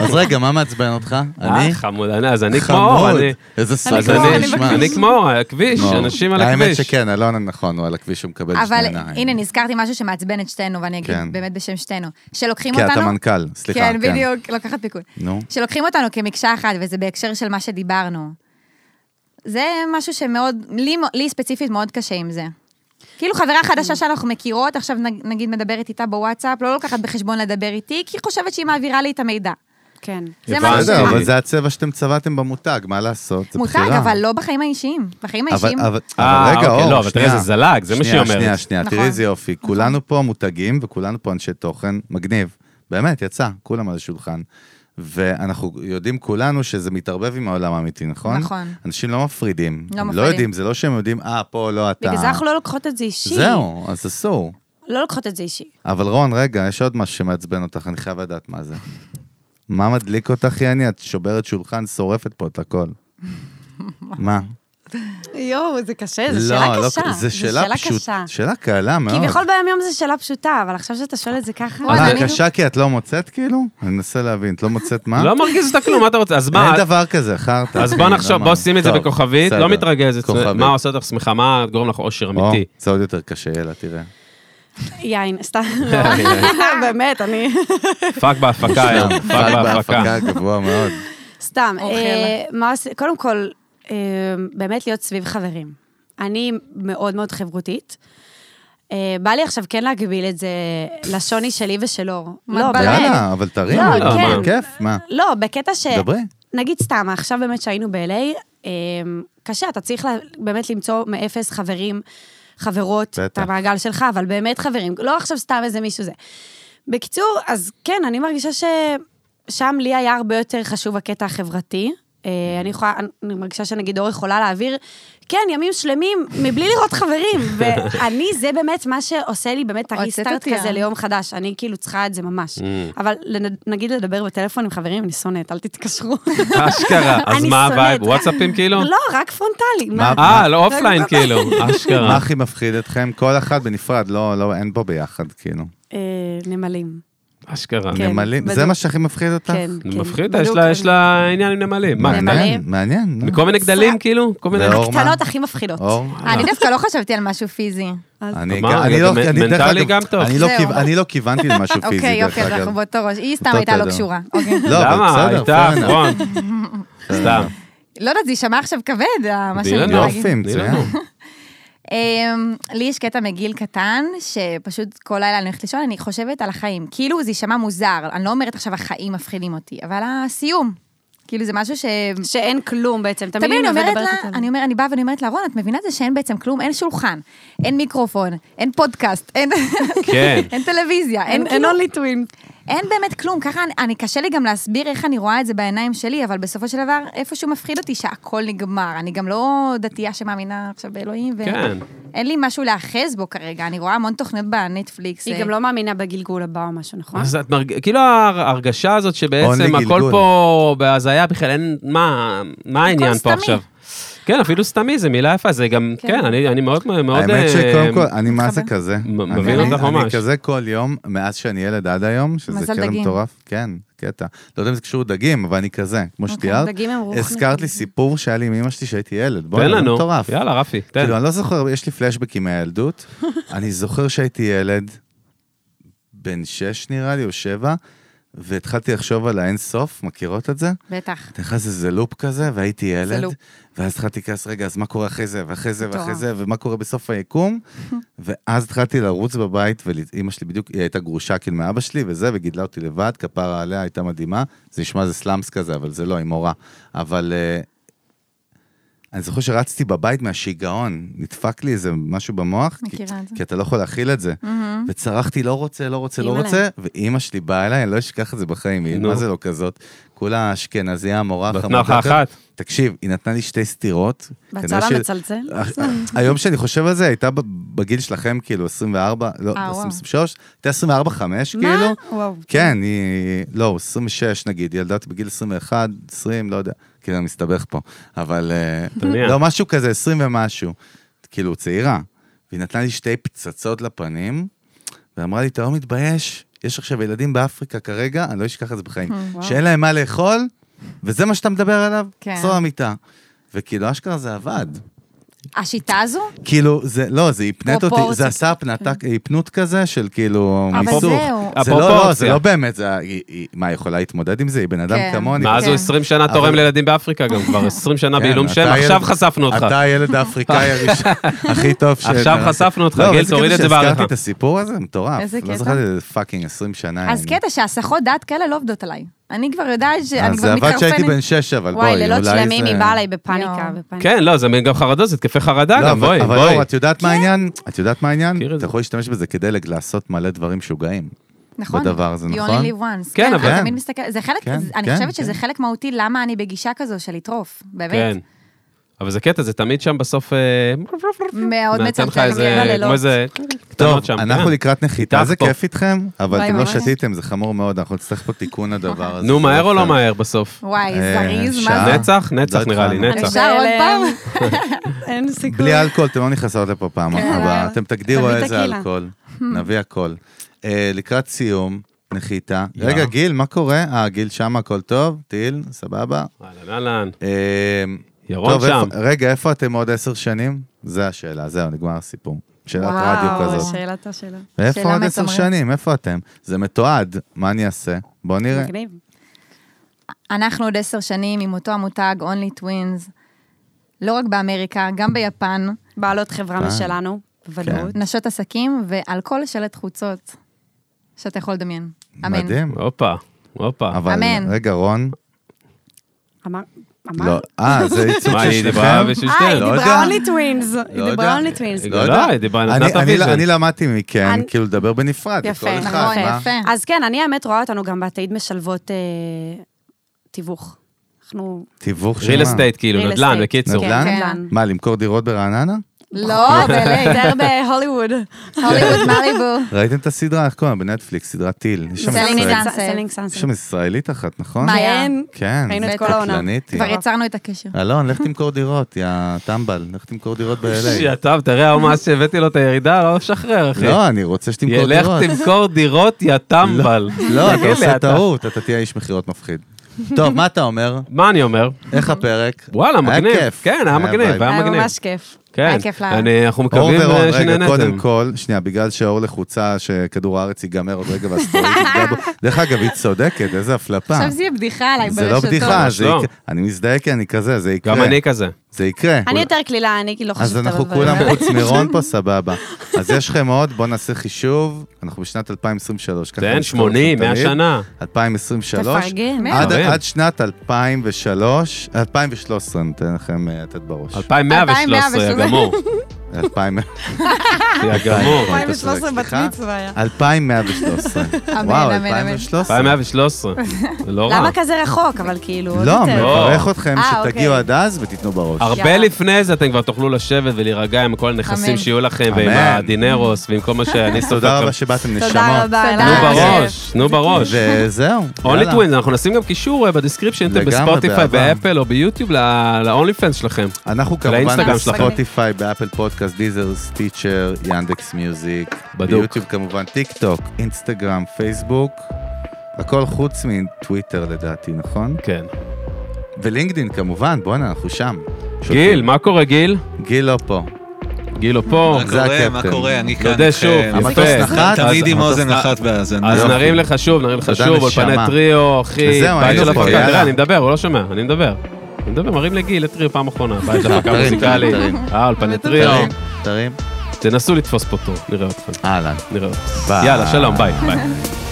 Speaker 3: אז רגע, מה מעצבן אותך? אני?
Speaker 1: אה, חמוד, אני- אז אני כמו אור,
Speaker 3: חמוד.
Speaker 1: אני...
Speaker 3: איזה
Speaker 1: אז
Speaker 3: סגור
Speaker 1: אני-
Speaker 3: נשמע.
Speaker 1: אני כמו אור, הכביש, אנשים על
Speaker 3: האמת
Speaker 1: הכביש.
Speaker 3: שכן, אלון נכון, הוא על הכביש, הוא מקבל שני
Speaker 5: אבל
Speaker 3: עיניים.
Speaker 5: הנה, נזכרתי משהו שמעצבן את שתינו, ואני אגיד
Speaker 3: אה, כן.
Speaker 5: באמת בשם שתינו. שלוקחים
Speaker 3: כי
Speaker 5: אותנו...
Speaker 3: אתה מנכ"ל, סליחה.
Speaker 5: כן, בדיוק, לוקחת פיקוד.
Speaker 3: נו.
Speaker 5: שלוקחים אותנו כמקשה אחת, וזה בהקשר של מה שדיברנו. זה משהו שמאוד, לי, לי ספציפית מאוד קשה עם זה. כאילו חברה חדשה שאנחנו מכירות, עכשיו נג- נגיד מדברת איתה בוואטסאפ, לא לוקחת בחשבון לדבר איתי, כי היא חושבת שהיא מעבירה לי את המידע.
Speaker 4: כן.
Speaker 5: זה
Speaker 1: הבנתי.
Speaker 5: משהו
Speaker 3: בסדר,
Speaker 5: ש-
Speaker 1: שלי.
Speaker 3: אבל זה הצבע שאתם צבעתם במותג, מה לעשות? זה
Speaker 5: מותג,
Speaker 3: בחירה.
Speaker 5: אבל לא בחיים האישיים. בחיים
Speaker 3: אבל,
Speaker 5: האישיים...
Speaker 3: אבל,
Speaker 1: אה,
Speaker 3: אבל רגע,
Speaker 1: אוקיי,
Speaker 3: אור,
Speaker 1: לא, אבל תראה,
Speaker 3: שנייה.
Speaker 1: זה זלג, זה מה שהיא
Speaker 3: שנייה,
Speaker 1: אומרת.
Speaker 3: שנייה, שנייה,
Speaker 5: נכון.
Speaker 3: תראי איזה יופי. כולנו פה מותגים וכולנו פה אנשי תוכן, מגניב. באמת, יצא, כולם על השולחן. ואנחנו יודעים כולנו שזה מתערבב עם העולם האמיתי, נכון?
Speaker 5: נכון.
Speaker 3: אנשים לא מפרידים.
Speaker 5: לא
Speaker 3: הם לא
Speaker 5: מפרידים.
Speaker 3: יודעים, זה לא שהם יודעים, אה, פה לא אתה.
Speaker 4: בגלל זה אנחנו לא לוקחות את זה אישי.
Speaker 3: זהו, אז אסור.
Speaker 4: לא לוקחות את זה אישי.
Speaker 3: אבל רון, רגע, יש עוד משהו שמעצבן אותך, אני חייב לדעת מה זה. מה מדליק אותך, יני? את שוברת שולחן, שורפת פה את הכל. מה?
Speaker 4: יואו, זה קשה,
Speaker 3: לא,
Speaker 4: אה, זו שאלה
Speaker 3: לא,
Speaker 4: קשה.
Speaker 3: זו שאלה
Speaker 4: קשה.
Speaker 3: פשוטה. שאלה קלה מאוד.
Speaker 4: כביכול ביום-יום זו שאלה פשוטה, אבל עכשיו שאתה שואל את זה ככה...
Speaker 5: אבל
Speaker 3: אה,
Speaker 5: אני-
Speaker 3: קשה כי את לא מוצאת כאילו? אני מנסה להבין, את לא מוצאת מה?
Speaker 1: לא מרגיז אותה כלום, מה אתה רוצה? אז מה?
Speaker 3: אין דבר כזה, חרטא.
Speaker 1: אז בוא נחשוב,
Speaker 3: למה?
Speaker 1: בוא שים את זה
Speaker 3: טוב,
Speaker 1: בכוכבית,
Speaker 3: בסדר.
Speaker 1: לא מתרגזת.
Speaker 3: כוכבית.
Speaker 1: מה עושה אותך שמחה? מה גורם לך אושר
Speaker 3: או,
Speaker 1: אמיתי?
Speaker 3: זה עוד יותר קשה, יאללה, תראה.
Speaker 4: יין, סתם.
Speaker 3: *laughs*
Speaker 4: לא. *laughs* באמת, אני...
Speaker 1: פאק בהפקה היום, פאק בהפקה.
Speaker 3: גבוה מאוד.
Speaker 4: סתם,
Speaker 5: אוכל.
Speaker 4: אה, מה עושה, קודם כל, אה, באמת להיות סביב חברים. אני מאוד מאוד חברותית. אה, בא לי עכשיו כן להגביל את זה לשוני שלי ושל אור.
Speaker 5: מה
Speaker 4: לא,
Speaker 5: את באה?
Speaker 4: באמת.
Speaker 3: יאללה, אבל תרים,
Speaker 4: לא,
Speaker 3: נו,
Speaker 1: כן.
Speaker 3: בכיף, מה?
Speaker 4: לא, בקטע ש...
Speaker 3: דברי.
Speaker 4: נגיד סתם, עכשיו באמת שהיינו ב-LA, אה, קשה, אתה צריך לה- באמת למצוא מאפס חברים, חברות,
Speaker 3: בטח.
Speaker 4: את המעגל שלך, אבל באמת חברים, לא עכשיו סתם איזה מישהו זה. בקיצור, אז כן, אני מרגישה ששם לי היה הרבה יותר חשוב הקטע החברתי. אה, אני יכולה, אני מרגישה שנגיד אור יכולה להעביר, כן, ימים שלמים, מבלי לראות
Speaker 1: *laughs*
Speaker 4: חברים. ואני, זה באמת מה שעושה לי באמת
Speaker 5: הוצאת
Speaker 4: הריסטארט
Speaker 5: אותי,
Speaker 4: כזה
Speaker 5: אה?
Speaker 4: ליום חדש. אני כאילו צריכה את זה
Speaker 1: Mm.
Speaker 4: ממש. אבל לנ- נגיד לדבר בטלפון עם חברים, אני שונאת, אל תתקשרו.
Speaker 1: אשכרה. אז
Speaker 4: אני
Speaker 1: מה
Speaker 4: שונאת.
Speaker 1: הווייב? וואטסאפים כאילו?
Speaker 4: *laughs* לא, רק פרונטלי.
Speaker 3: מה-
Speaker 4: מה?
Speaker 1: אה, לא אופליין כאילו,
Speaker 3: מה
Speaker 1: אשכרה.
Speaker 3: הכי מפחיד אתכם? כל אחד בנפרד, לא, לא, אין פה ביחד, כאילו.
Speaker 4: אה, נמלים.
Speaker 1: אשכרה.
Speaker 4: כן,
Speaker 3: נמלים, זה
Speaker 4: בדיוק.
Speaker 3: מה שהכי מפחיד אותך?
Speaker 4: כן,
Speaker 1: זה
Speaker 4: כן.
Speaker 1: מפחיד, יש
Speaker 4: בדיוק.
Speaker 1: לה- יש לה עניין עם נמלים. מה,
Speaker 4: נמלים.
Speaker 3: מעניין, לא, מעניין. נו.
Speaker 1: מכל מיני גדלים כאילו? כל מיני...
Speaker 3: ואור, מה?
Speaker 4: הקטנות הכי מפחידות.
Speaker 3: אור?
Speaker 5: אני דווקא לא חשבתי על משהו פיזי.
Speaker 3: אני
Speaker 1: מה,
Speaker 3: גם- אני
Speaker 1: אתה
Speaker 3: לא-
Speaker 1: מ-
Speaker 3: אני- דרך
Speaker 1: מנטלי
Speaker 3: אגב,
Speaker 1: גם טוב.
Speaker 3: אני לא
Speaker 5: זהו.
Speaker 3: כיו- אני לא כיוונתי למשהו פיזי,
Speaker 5: אוקיי,
Speaker 3: דרך
Speaker 5: יופי, אז
Speaker 3: אגב.
Speaker 5: אנחנו באותו ראש. היא סתם
Speaker 3: אותו
Speaker 5: הייתה לא
Speaker 3: תדר.
Speaker 5: קשורה.
Speaker 3: *laughs*
Speaker 5: אוקיי.
Speaker 3: לא, אבל
Speaker 1: למה?
Speaker 3: בסדר,
Speaker 1: הייתה
Speaker 3: fair enough.
Speaker 1: אחרון. סתם. לא,
Speaker 5: לא יודעת, זה יישמע עכשיו כבד, ה- מה שאני
Speaker 1: תני
Speaker 5: רוצה
Speaker 1: לנו.
Speaker 5: להגיד.
Speaker 3: יופי,
Speaker 1: תני לנו.
Speaker 3: מצוין.
Speaker 5: אמ, לי יש קטע מגיל קטן, שפשוט כל לילה אני הולכת לישון, אני חושבת על החיים. כאילו זה יישמע מוזר, אני לא אומרת עכשיו החיים מפחידים אותי, אבל הסיום. כאילו זה משהו ש...
Speaker 4: שאין כלום בעצם, תמיד
Speaker 5: תמיד אני אומרת
Speaker 4: מדברת
Speaker 5: לה,
Speaker 4: איתה.
Speaker 5: אני, אומר, אני באה ואני אומרת לה, רון, את מבינה את זה שאין בעצם כלום? אין שולחן, אין מיקרופון, אין פודקאסט, אין,
Speaker 1: כן.
Speaker 5: *laughs* אין טלוויזיה, אין,
Speaker 4: אין אין
Speaker 5: כאילו,
Speaker 4: אונלי טווין.
Speaker 5: אין באמת כלום. ככה, אני, אני קשה לי גם להסביר איך אני רואה את זה בעיניים שלי, אבל בסופו של דבר, איפשהו מפחיד אותי שהכל נגמר. אני גם לא דתייה שמאמינה עכשיו באלוהים, ו...
Speaker 1: כן.
Speaker 5: אין לי משהו להאחז בו כרגע, אני רואה המון תוכניות בנטפליקס.
Speaker 4: היא
Speaker 5: אה,
Speaker 4: גם לא מאמינה בגלגול הבא או משהו, נכון?
Speaker 1: אז את מרג... כאילו ההר- ההרגשה הזאת
Speaker 3: עוני
Speaker 1: שבעצם הכל
Speaker 3: גלגול.
Speaker 1: פה בהזיה בכלל, אין... מה, מה העניין פה
Speaker 5: סתמי.
Speaker 1: עכשיו? כן, אפילו סתמי, זו מילה יפה, זה גם,
Speaker 5: כן.
Speaker 1: כן, אני, אני מאוד מאוד...
Speaker 3: האמת
Speaker 1: אה,
Speaker 3: שקודם כל, אני מה זה כזה.
Speaker 1: מ-
Speaker 3: אני-
Speaker 1: מבין
Speaker 3: אני-
Speaker 1: אותך
Speaker 3: אני
Speaker 1: ממש.
Speaker 3: כזה כל יום, מאז שאני ילד עד היום, שזה
Speaker 5: מזל
Speaker 3: קטע
Speaker 5: דגים.
Speaker 3: מטורף. כן, קטע. לא יודע אם זה קשור דגים, אבל אני כזה, כמו שתיארת.
Speaker 4: דגים הם רוחניים.
Speaker 3: הזכרת לי סיפור שהיה לי עם אמא שלי כשהייתי ילד. בוא'נה,
Speaker 1: תן
Speaker 3: זה
Speaker 1: לנו.
Speaker 3: מטורף.
Speaker 1: יאללה, רפי, תן.
Speaker 3: כאילו, אני לא זוכר, יש לי פלשבקים מהילדות. אני זוכר שהייתי ילד, בן שש נראה לי, או שבע, והתחלתי לחשוב על האינסוף, מכירות את זה?
Speaker 5: בטח.
Speaker 3: אתה נכנס לזה לופ כזה, והייתי ילד,
Speaker 5: לופ.
Speaker 3: ואז התחלתי לכעס, רגע, אז מה קורה אחרי זה, ואחרי זה, ואחרי
Speaker 5: מטורף.
Speaker 3: זה, ומה קורה בסוף
Speaker 5: *laughs*
Speaker 3: היקום? ואז התחלתי לרוץ בבית, ואימא שלי בדיוק, היא הייתה גרושה כאילו מאבא שלי וזה, וגידלה אותי לבד, כפרה עליה, הייתה מדהימה. זה נשמע איזה סלאמס כזה, אבל זה לא, היא מורה. אבל אה, אני זוכר שרצתי בבית מהשיגעון, נדפק לי איזה משהו במוח, כי,
Speaker 5: מכירה את זה.
Speaker 3: כי אתה לא יכול להכיל את זה. וצרחתי, לא רוצה, לא רוצה, לא
Speaker 4: אימא'לה.
Speaker 3: רוצה, ואימא שלי באה אליי, אני לא אשכח את זה בחיים, היא
Speaker 1: כן. נו.
Speaker 3: מה זה לא כזאת. כולה אשכנזייה, מורה
Speaker 1: נתנה
Speaker 3: חמודה.
Speaker 1: לך
Speaker 3: כזאת.
Speaker 1: אחת.
Speaker 3: תקשיב, היא נתנה לי שתי סטירות. כנראה
Speaker 4: בצלם
Speaker 3: ש- אה,
Speaker 4: מצלצל.
Speaker 3: היום שאני חושב על זה, הייתה ב- בגיל שלכם, כאילו, 24, לא,
Speaker 5: אה, וואו.
Speaker 3: 23, הייתה 24-5, כאילו.
Speaker 4: וואו.
Speaker 3: כן, היא... לא, 26 נגיד, ילדה אותי בגיל 21, 20, לא יודע. כאילו, אני מסתבך פה. אבל... אה,
Speaker 1: תניח.
Speaker 3: לא, משהו כזה, 20 ומשהו. כאילו, צעירה. והיא נתנה לי שתי פצצות לפנים, ואמרה לי, אתה לא מתבייש? יש עכשיו ילדים באפריקה כרגע, אני לא אשכח את זה
Speaker 5: *laughs*
Speaker 3: בחיים, שאין להם מה לאכול, וזה מה שאתה מדבר עליו?
Speaker 5: כן.
Speaker 3: צאו למיטה. וכאילו, אשכרה זה עבד.
Speaker 5: השיטה הזו?
Speaker 3: כאילו, זה, לא, זה הפנט אותי,
Speaker 5: פרופורציות, כן.
Speaker 3: זה עשה הפנתה- הפנות כזה של כאילו...
Speaker 5: אבל
Speaker 3: מיסוך.
Speaker 5: זהו.
Speaker 3: זה לא, לא, זה
Speaker 1: הפרופורציה.
Speaker 3: לא באמת, זה, היא, היא, מה, היא יכולה להתמודד עם זה? היא בן אדם
Speaker 5: כן.
Speaker 3: כמוני.
Speaker 1: מאז הוא 20 שנה
Speaker 3: אבל-
Speaker 1: תורם לילדים באפריקה גם כבר, 20 שנה
Speaker 3: כן,
Speaker 1: בעילום
Speaker 3: אתה
Speaker 1: שם,
Speaker 3: הילד-
Speaker 1: עכשיו חשפנו אותך.
Speaker 3: אתה הילד
Speaker 1: *laughs*
Speaker 3: האפריקאי הראשון, הכי טוב ש...
Speaker 1: עכשיו חשפנו אותך,
Speaker 3: לא,
Speaker 1: גיל,
Speaker 3: אבל זה
Speaker 1: תוריד
Speaker 3: קטע
Speaker 1: את זה
Speaker 3: שהזכרתי
Speaker 1: בעריכה.
Speaker 3: את הסיפור הזה, מטורף.
Speaker 5: איזה
Speaker 3: לא
Speaker 5: קטע?
Speaker 3: זכרתי את זה פאקינג 20 שנה.
Speaker 5: אז כן,
Speaker 3: אני-
Speaker 5: קטע שהסחות דעת כאלה לא עובדות עליי. אני כבר יודעת שאני
Speaker 3: אז
Speaker 5: כבר
Speaker 3: אה, זה עבד
Speaker 5: מתקרפנת.
Speaker 3: כשהייתי בן 6, אבל בואי,
Speaker 4: וואי,
Speaker 3: אולי זה...
Speaker 4: לילות שלמים היא באה עליי בפאניקה.
Speaker 5: יואו.
Speaker 4: בפאניקה.
Speaker 1: כן, לא, זה גם חרדות, זה התקפי חרדה
Speaker 3: לא,
Speaker 1: גם,
Speaker 3: אבל-
Speaker 1: בואי,
Speaker 3: אבל
Speaker 1: בואי.
Speaker 3: אור, את יודעת
Speaker 5: כן.
Speaker 3: מה העניין? את יודעת מה העניין?
Speaker 1: מכיר את
Speaker 3: אתה
Speaker 1: זה.
Speaker 3: יכול להשתמש בזה כדי לג- לעשות מלא דברים משוגעים.
Speaker 5: נכון.
Speaker 3: בדבר הזה,
Speaker 5: You
Speaker 3: נכון?
Speaker 5: only live once.
Speaker 1: כן,
Speaker 5: כן,
Speaker 1: אבל-
Speaker 5: אבל...
Speaker 3: כן.
Speaker 5: תמיד מסתכל... זה חלק,
Speaker 3: כן,
Speaker 5: זה- אני
Speaker 3: כן,
Speaker 5: חושבת שזה
Speaker 3: כן.
Speaker 5: חלק מהותי למה אני בגישה כזו של לטרוף, באמת.
Speaker 1: כן. אבל זה קטע, זה תמיד שם בסוף... אה,
Speaker 5: מאוד
Speaker 1: נותן לך
Speaker 5: מצמצם.
Speaker 1: איזה...
Speaker 4: ללילות.
Speaker 1: כמו איזה...
Speaker 3: טוב,
Speaker 1: קטנות שם,
Speaker 3: אנחנו
Speaker 1: כן.
Speaker 3: לקראת נחיתה,
Speaker 1: איתך
Speaker 3: זה
Speaker 1: פה.
Speaker 3: כיף איתכם, אבל
Speaker 5: וואי,
Speaker 3: אתם לא
Speaker 5: ממש.
Speaker 3: שתיתם, זה חמור מאוד, אנחנו נצטרך פה תיקון לדבר הזה.
Speaker 1: נו, מהר או לא
Speaker 3: אה,
Speaker 1: מהר בסוף?
Speaker 5: וואי,
Speaker 3: אה,
Speaker 5: זריז, מה
Speaker 3: שעה.
Speaker 5: זה?
Speaker 1: נצח? נצח
Speaker 3: לא
Speaker 1: נראה לי,
Speaker 3: התחלנו.
Speaker 1: נצח.
Speaker 5: אפשר עוד פעם?
Speaker 4: אין סיכוי.
Speaker 3: בלי אלכוהול, אתם לא נכנסות לפה פעם
Speaker 5: כן.
Speaker 3: הבאה,
Speaker 4: וואלה.
Speaker 3: אתם תגדירו
Speaker 4: תביא
Speaker 3: איזה
Speaker 4: טקילה.
Speaker 3: אלכוהול,
Speaker 5: Hmm.
Speaker 3: נביא הכל. אה, לקראת סיום, נחיתה. רגע, גיל, מה קורה? אה, גיל שם, הכל טוב? טיל, סבבה?
Speaker 1: אהלן, אהלן.
Speaker 3: אה,
Speaker 1: ירון
Speaker 3: טוב,
Speaker 1: שם.
Speaker 3: איפה- רגע, איפה אתם עוד עשר שנים? זה השאלה, זהו, נגמר הסיפור. שאלת רדיו
Speaker 4: וואו,
Speaker 3: כזאת.
Speaker 4: שאלת השאלה.
Speaker 3: איפה
Speaker 5: שאלה
Speaker 3: עוד עשר
Speaker 5: מצמררת.
Speaker 3: שנים? איפה אתם? זה מתועד, מה אני אעשה? בואו נראה.
Speaker 4: מגניב.
Speaker 5: אנחנו עוד עשר שנים עם אותו המותג, Only Twins, לא רק באמריקה, גם ביפן,
Speaker 4: בעלות חברה משלנו, בוודאות.
Speaker 5: נשות עסקים ועל כל שלט חוצות שאתה יכול לדמיין. אמן.
Speaker 3: מדהים.
Speaker 1: הופה, הופה.
Speaker 3: אבל
Speaker 5: אמן.
Speaker 3: רגע, רון,
Speaker 4: אמר? אמר?
Speaker 3: לא,
Speaker 1: *laughs*
Speaker 3: אה, זה ייצוג
Speaker 1: מה,
Speaker 3: של
Speaker 1: היא דיברה
Speaker 3: שניכם?
Speaker 1: בשביל
Speaker 4: אה, היא
Speaker 1: שתיהן?
Speaker 3: לא
Speaker 4: דיברה
Speaker 3: יודע.
Speaker 4: אונלי טווינס. היא
Speaker 3: יודע.
Speaker 4: דיברה אונלי טווינס.
Speaker 1: לא יודע, היא דיברה, נתנה
Speaker 3: אני-
Speaker 1: את הוויז'ן.
Speaker 3: אני- אני למדתי מכן,
Speaker 4: אני-
Speaker 3: כאילו, לדבר בנפרד.
Speaker 4: יפה,
Speaker 3: לכל אחד,
Speaker 5: נכון,
Speaker 3: מה?
Speaker 5: יפה.
Speaker 4: אז כן, אני האמת רואה אותנו גם בעתיד משלבות אה, תיווך. אנחנו...
Speaker 3: תיווך של
Speaker 1: ריל
Speaker 3: מה?
Speaker 1: אסטייט, כאילו,
Speaker 4: real
Speaker 1: נדל"ן,
Speaker 4: estate.
Speaker 1: בקיצור.
Speaker 4: כן,
Speaker 3: נדל"ן?
Speaker 4: נדל"ן.
Speaker 3: מה, למכור דירות ברעננה? *laughs*
Speaker 5: לא, באמת.
Speaker 4: יותר בהוליווד.
Speaker 5: הוליווד מליבו.
Speaker 3: ראיתם את הסדרה, איך קוראים לה? בנטפליקס, סדרת טיל. יש שם
Speaker 5: Selling
Speaker 3: ישראלית-
Speaker 5: Sunset.
Speaker 4: סלינג
Speaker 3: יש שם
Speaker 4: סאנסן.
Speaker 3: ישראלית אחת, נכון?
Speaker 5: מה,
Speaker 4: כן.
Speaker 3: כן,
Speaker 4: ראינו את כל העונה.
Speaker 3: קטלנית. היא.
Speaker 5: כבר יצרנו את הקשר.
Speaker 3: אלון, לך תמכור דירות, יא טמבל, לך תמכור דירות
Speaker 1: *laughs*
Speaker 3: ב-LA.
Speaker 1: טוב,
Speaker 4: *laughs*
Speaker 1: תראה, המס שהבאתי לו את הירידה, לא משחרר, אחי.
Speaker 3: לא, אני רוצה שתמכור
Speaker 1: ילך
Speaker 3: דירות.
Speaker 1: תמכור דירות, יא טמבל. *laughs*
Speaker 3: לא, אתה
Speaker 1: תגיד לי,
Speaker 3: עושה טעות, אתה תהיה איש מכירות מפחיד. טוב, מה אתה אומר?
Speaker 1: מה אני אומר?
Speaker 3: איך הפרק?
Speaker 1: וואלה, מגניב.
Speaker 3: היה כיף.
Speaker 1: כן, היה מגניב,
Speaker 3: וייב.
Speaker 1: היה
Speaker 4: היה
Speaker 1: מגניב.
Speaker 4: ממש כיף.
Speaker 1: כן.
Speaker 5: היה כיף לאללה.
Speaker 1: אני- אנחנו
Speaker 3: אור
Speaker 1: מקווים
Speaker 3: ורון,
Speaker 1: אה,
Speaker 3: רגע,
Speaker 1: שנהנתם.
Speaker 3: קודם כל, שנייה, בגלל שאור לחוצה שכדור הארץ ייגמר עוד רגע
Speaker 1: *laughs*
Speaker 3: והסטורית תפגע בו. דרך אגב, היא צודקת, איזה הפלפה.
Speaker 5: עכשיו זה יהיה בדיחה עליי
Speaker 3: זה
Speaker 5: ברשתות.
Speaker 3: לא בדיחה,
Speaker 1: ממש
Speaker 3: זה
Speaker 1: לא.
Speaker 3: יקרה. אני מזדהה כי אני כזה, זה יקרה.
Speaker 1: גם אני כזה.
Speaker 3: זה יקרה.
Speaker 4: אני יותר קלילה, אני כאילו לא חושבת
Speaker 3: אז
Speaker 4: על
Speaker 3: אנחנו
Speaker 4: הדברים
Speaker 3: כולם
Speaker 4: האלה.
Speaker 3: חוץ מרון פה, סבבה. אז יש לכם עוד, בואו נעשה חישוב, אנחנו בשנת 2023. ככה
Speaker 1: כן,
Speaker 3: נזכור
Speaker 1: 80,
Speaker 3: תמיד.
Speaker 1: 100 שנה.
Speaker 3: 2023.
Speaker 4: תפרגן.
Speaker 3: עד-
Speaker 1: מאה.
Speaker 3: עד שנת 2003, 2013, נותן לכם אה, לתת בראש.
Speaker 1: 2113, יא
Speaker 5: 2113.
Speaker 1: גמור.
Speaker 3: 2000,
Speaker 1: יא
Speaker 3: *laughs*
Speaker 5: כן,
Speaker 1: גמור.
Speaker 6: 2013 בת
Speaker 3: סליחה.
Speaker 6: מצווה היה.
Speaker 3: 2113.
Speaker 5: *laughs* אמן,
Speaker 3: וואו,
Speaker 5: אמן, אמן.
Speaker 3: 2113.
Speaker 1: 2113. זה לא רע.
Speaker 4: למה כזה רחוק? אבל כאילו, עוד
Speaker 3: לא,
Speaker 4: יותר.
Speaker 3: מברך אתכם
Speaker 5: אה,
Speaker 3: שתגיעו
Speaker 5: אוקיי.
Speaker 3: עד אז ותיתנו בראש.
Speaker 1: הרבה
Speaker 4: יאללה.
Speaker 1: לפני זה אתם כבר תוכלו לשבת ולהירגע עם כל הנכסים
Speaker 5: אמן.
Speaker 1: שיהיו לכם, ועם
Speaker 3: אמן.
Speaker 1: הדינרוס, ועם כל מה שאני
Speaker 3: *laughs* תודה
Speaker 1: סופר.
Speaker 3: רבה שבאתם, נשמות.
Speaker 4: תודה רבה.
Speaker 5: תודה.
Speaker 1: נו
Speaker 4: אלעד.
Speaker 1: בראש, נו בראש. *laughs*
Speaker 3: וזהו.
Speaker 1: אונלי
Speaker 3: יאללה.
Speaker 1: טווינס, אנחנו נשים גם קישור אה, בדיסקריפשן, אם אתם
Speaker 3: לגמרי,
Speaker 1: בספוטיפיי,
Speaker 3: באהבה.
Speaker 1: באפל או ביוטיוב, לאונלי פנס שלכם.
Speaker 3: אנחנו כמובן
Speaker 1: לאינסטגרם
Speaker 5: שלכם.
Speaker 3: בספוטיפיי, באפל פודקאסט, דיזר, סטיצ'ר, ינדקס מיוזיק,
Speaker 1: בדוק.
Speaker 3: ביוטיוב כמובן, טיק טוק, אינסטגרם, פייסבוק, הכל חוץ מטוויטר לדעתי, נכון?
Speaker 1: כן.
Speaker 3: ולינקדין כמובן, בואנה, אנחנו שם.
Speaker 1: גיל, מה קורה גיל?
Speaker 3: גיל לא פה.
Speaker 1: גיל הוא פה.
Speaker 2: מה
Speaker 3: זה
Speaker 2: קורה?
Speaker 3: הקפטן.
Speaker 2: מה קורה? אני כאן.
Speaker 1: יודע שוב,
Speaker 2: איתכם.
Speaker 1: יפה.
Speaker 3: המטוס נחת,
Speaker 2: תמיד
Speaker 3: כן, אז-
Speaker 2: עם
Speaker 3: המטוס
Speaker 2: אוזן
Speaker 3: נחת.
Speaker 2: אחת באזנה.
Speaker 1: אז
Speaker 3: יופי.
Speaker 1: נרים לך שוב, נרים לך
Speaker 3: תודה,
Speaker 1: שוב, אולפני
Speaker 3: נשמה.
Speaker 1: טריו, אחי,
Speaker 3: וזהו,
Speaker 1: בית
Speaker 3: היינו
Speaker 1: של
Speaker 3: פה,
Speaker 1: הפקה.
Speaker 3: יאללה.
Speaker 1: תראה, אני מדבר, הוא לא שומע, אני מדבר. אני מדבר, מרים לגיל לטריו פעם
Speaker 3: *laughs*
Speaker 1: אחרונה, בית של הפקה
Speaker 3: תרים,
Speaker 1: מוזיקלית.
Speaker 3: תרים.
Speaker 1: אה, אולפני טריו.
Speaker 3: תרים, תרים.
Speaker 1: תנסו לתפוס פה תור, נראה אתכם,
Speaker 3: אהלן.
Speaker 1: נראה אתכם.
Speaker 3: ביי.
Speaker 1: יאללה, שלום, ביי, ביי.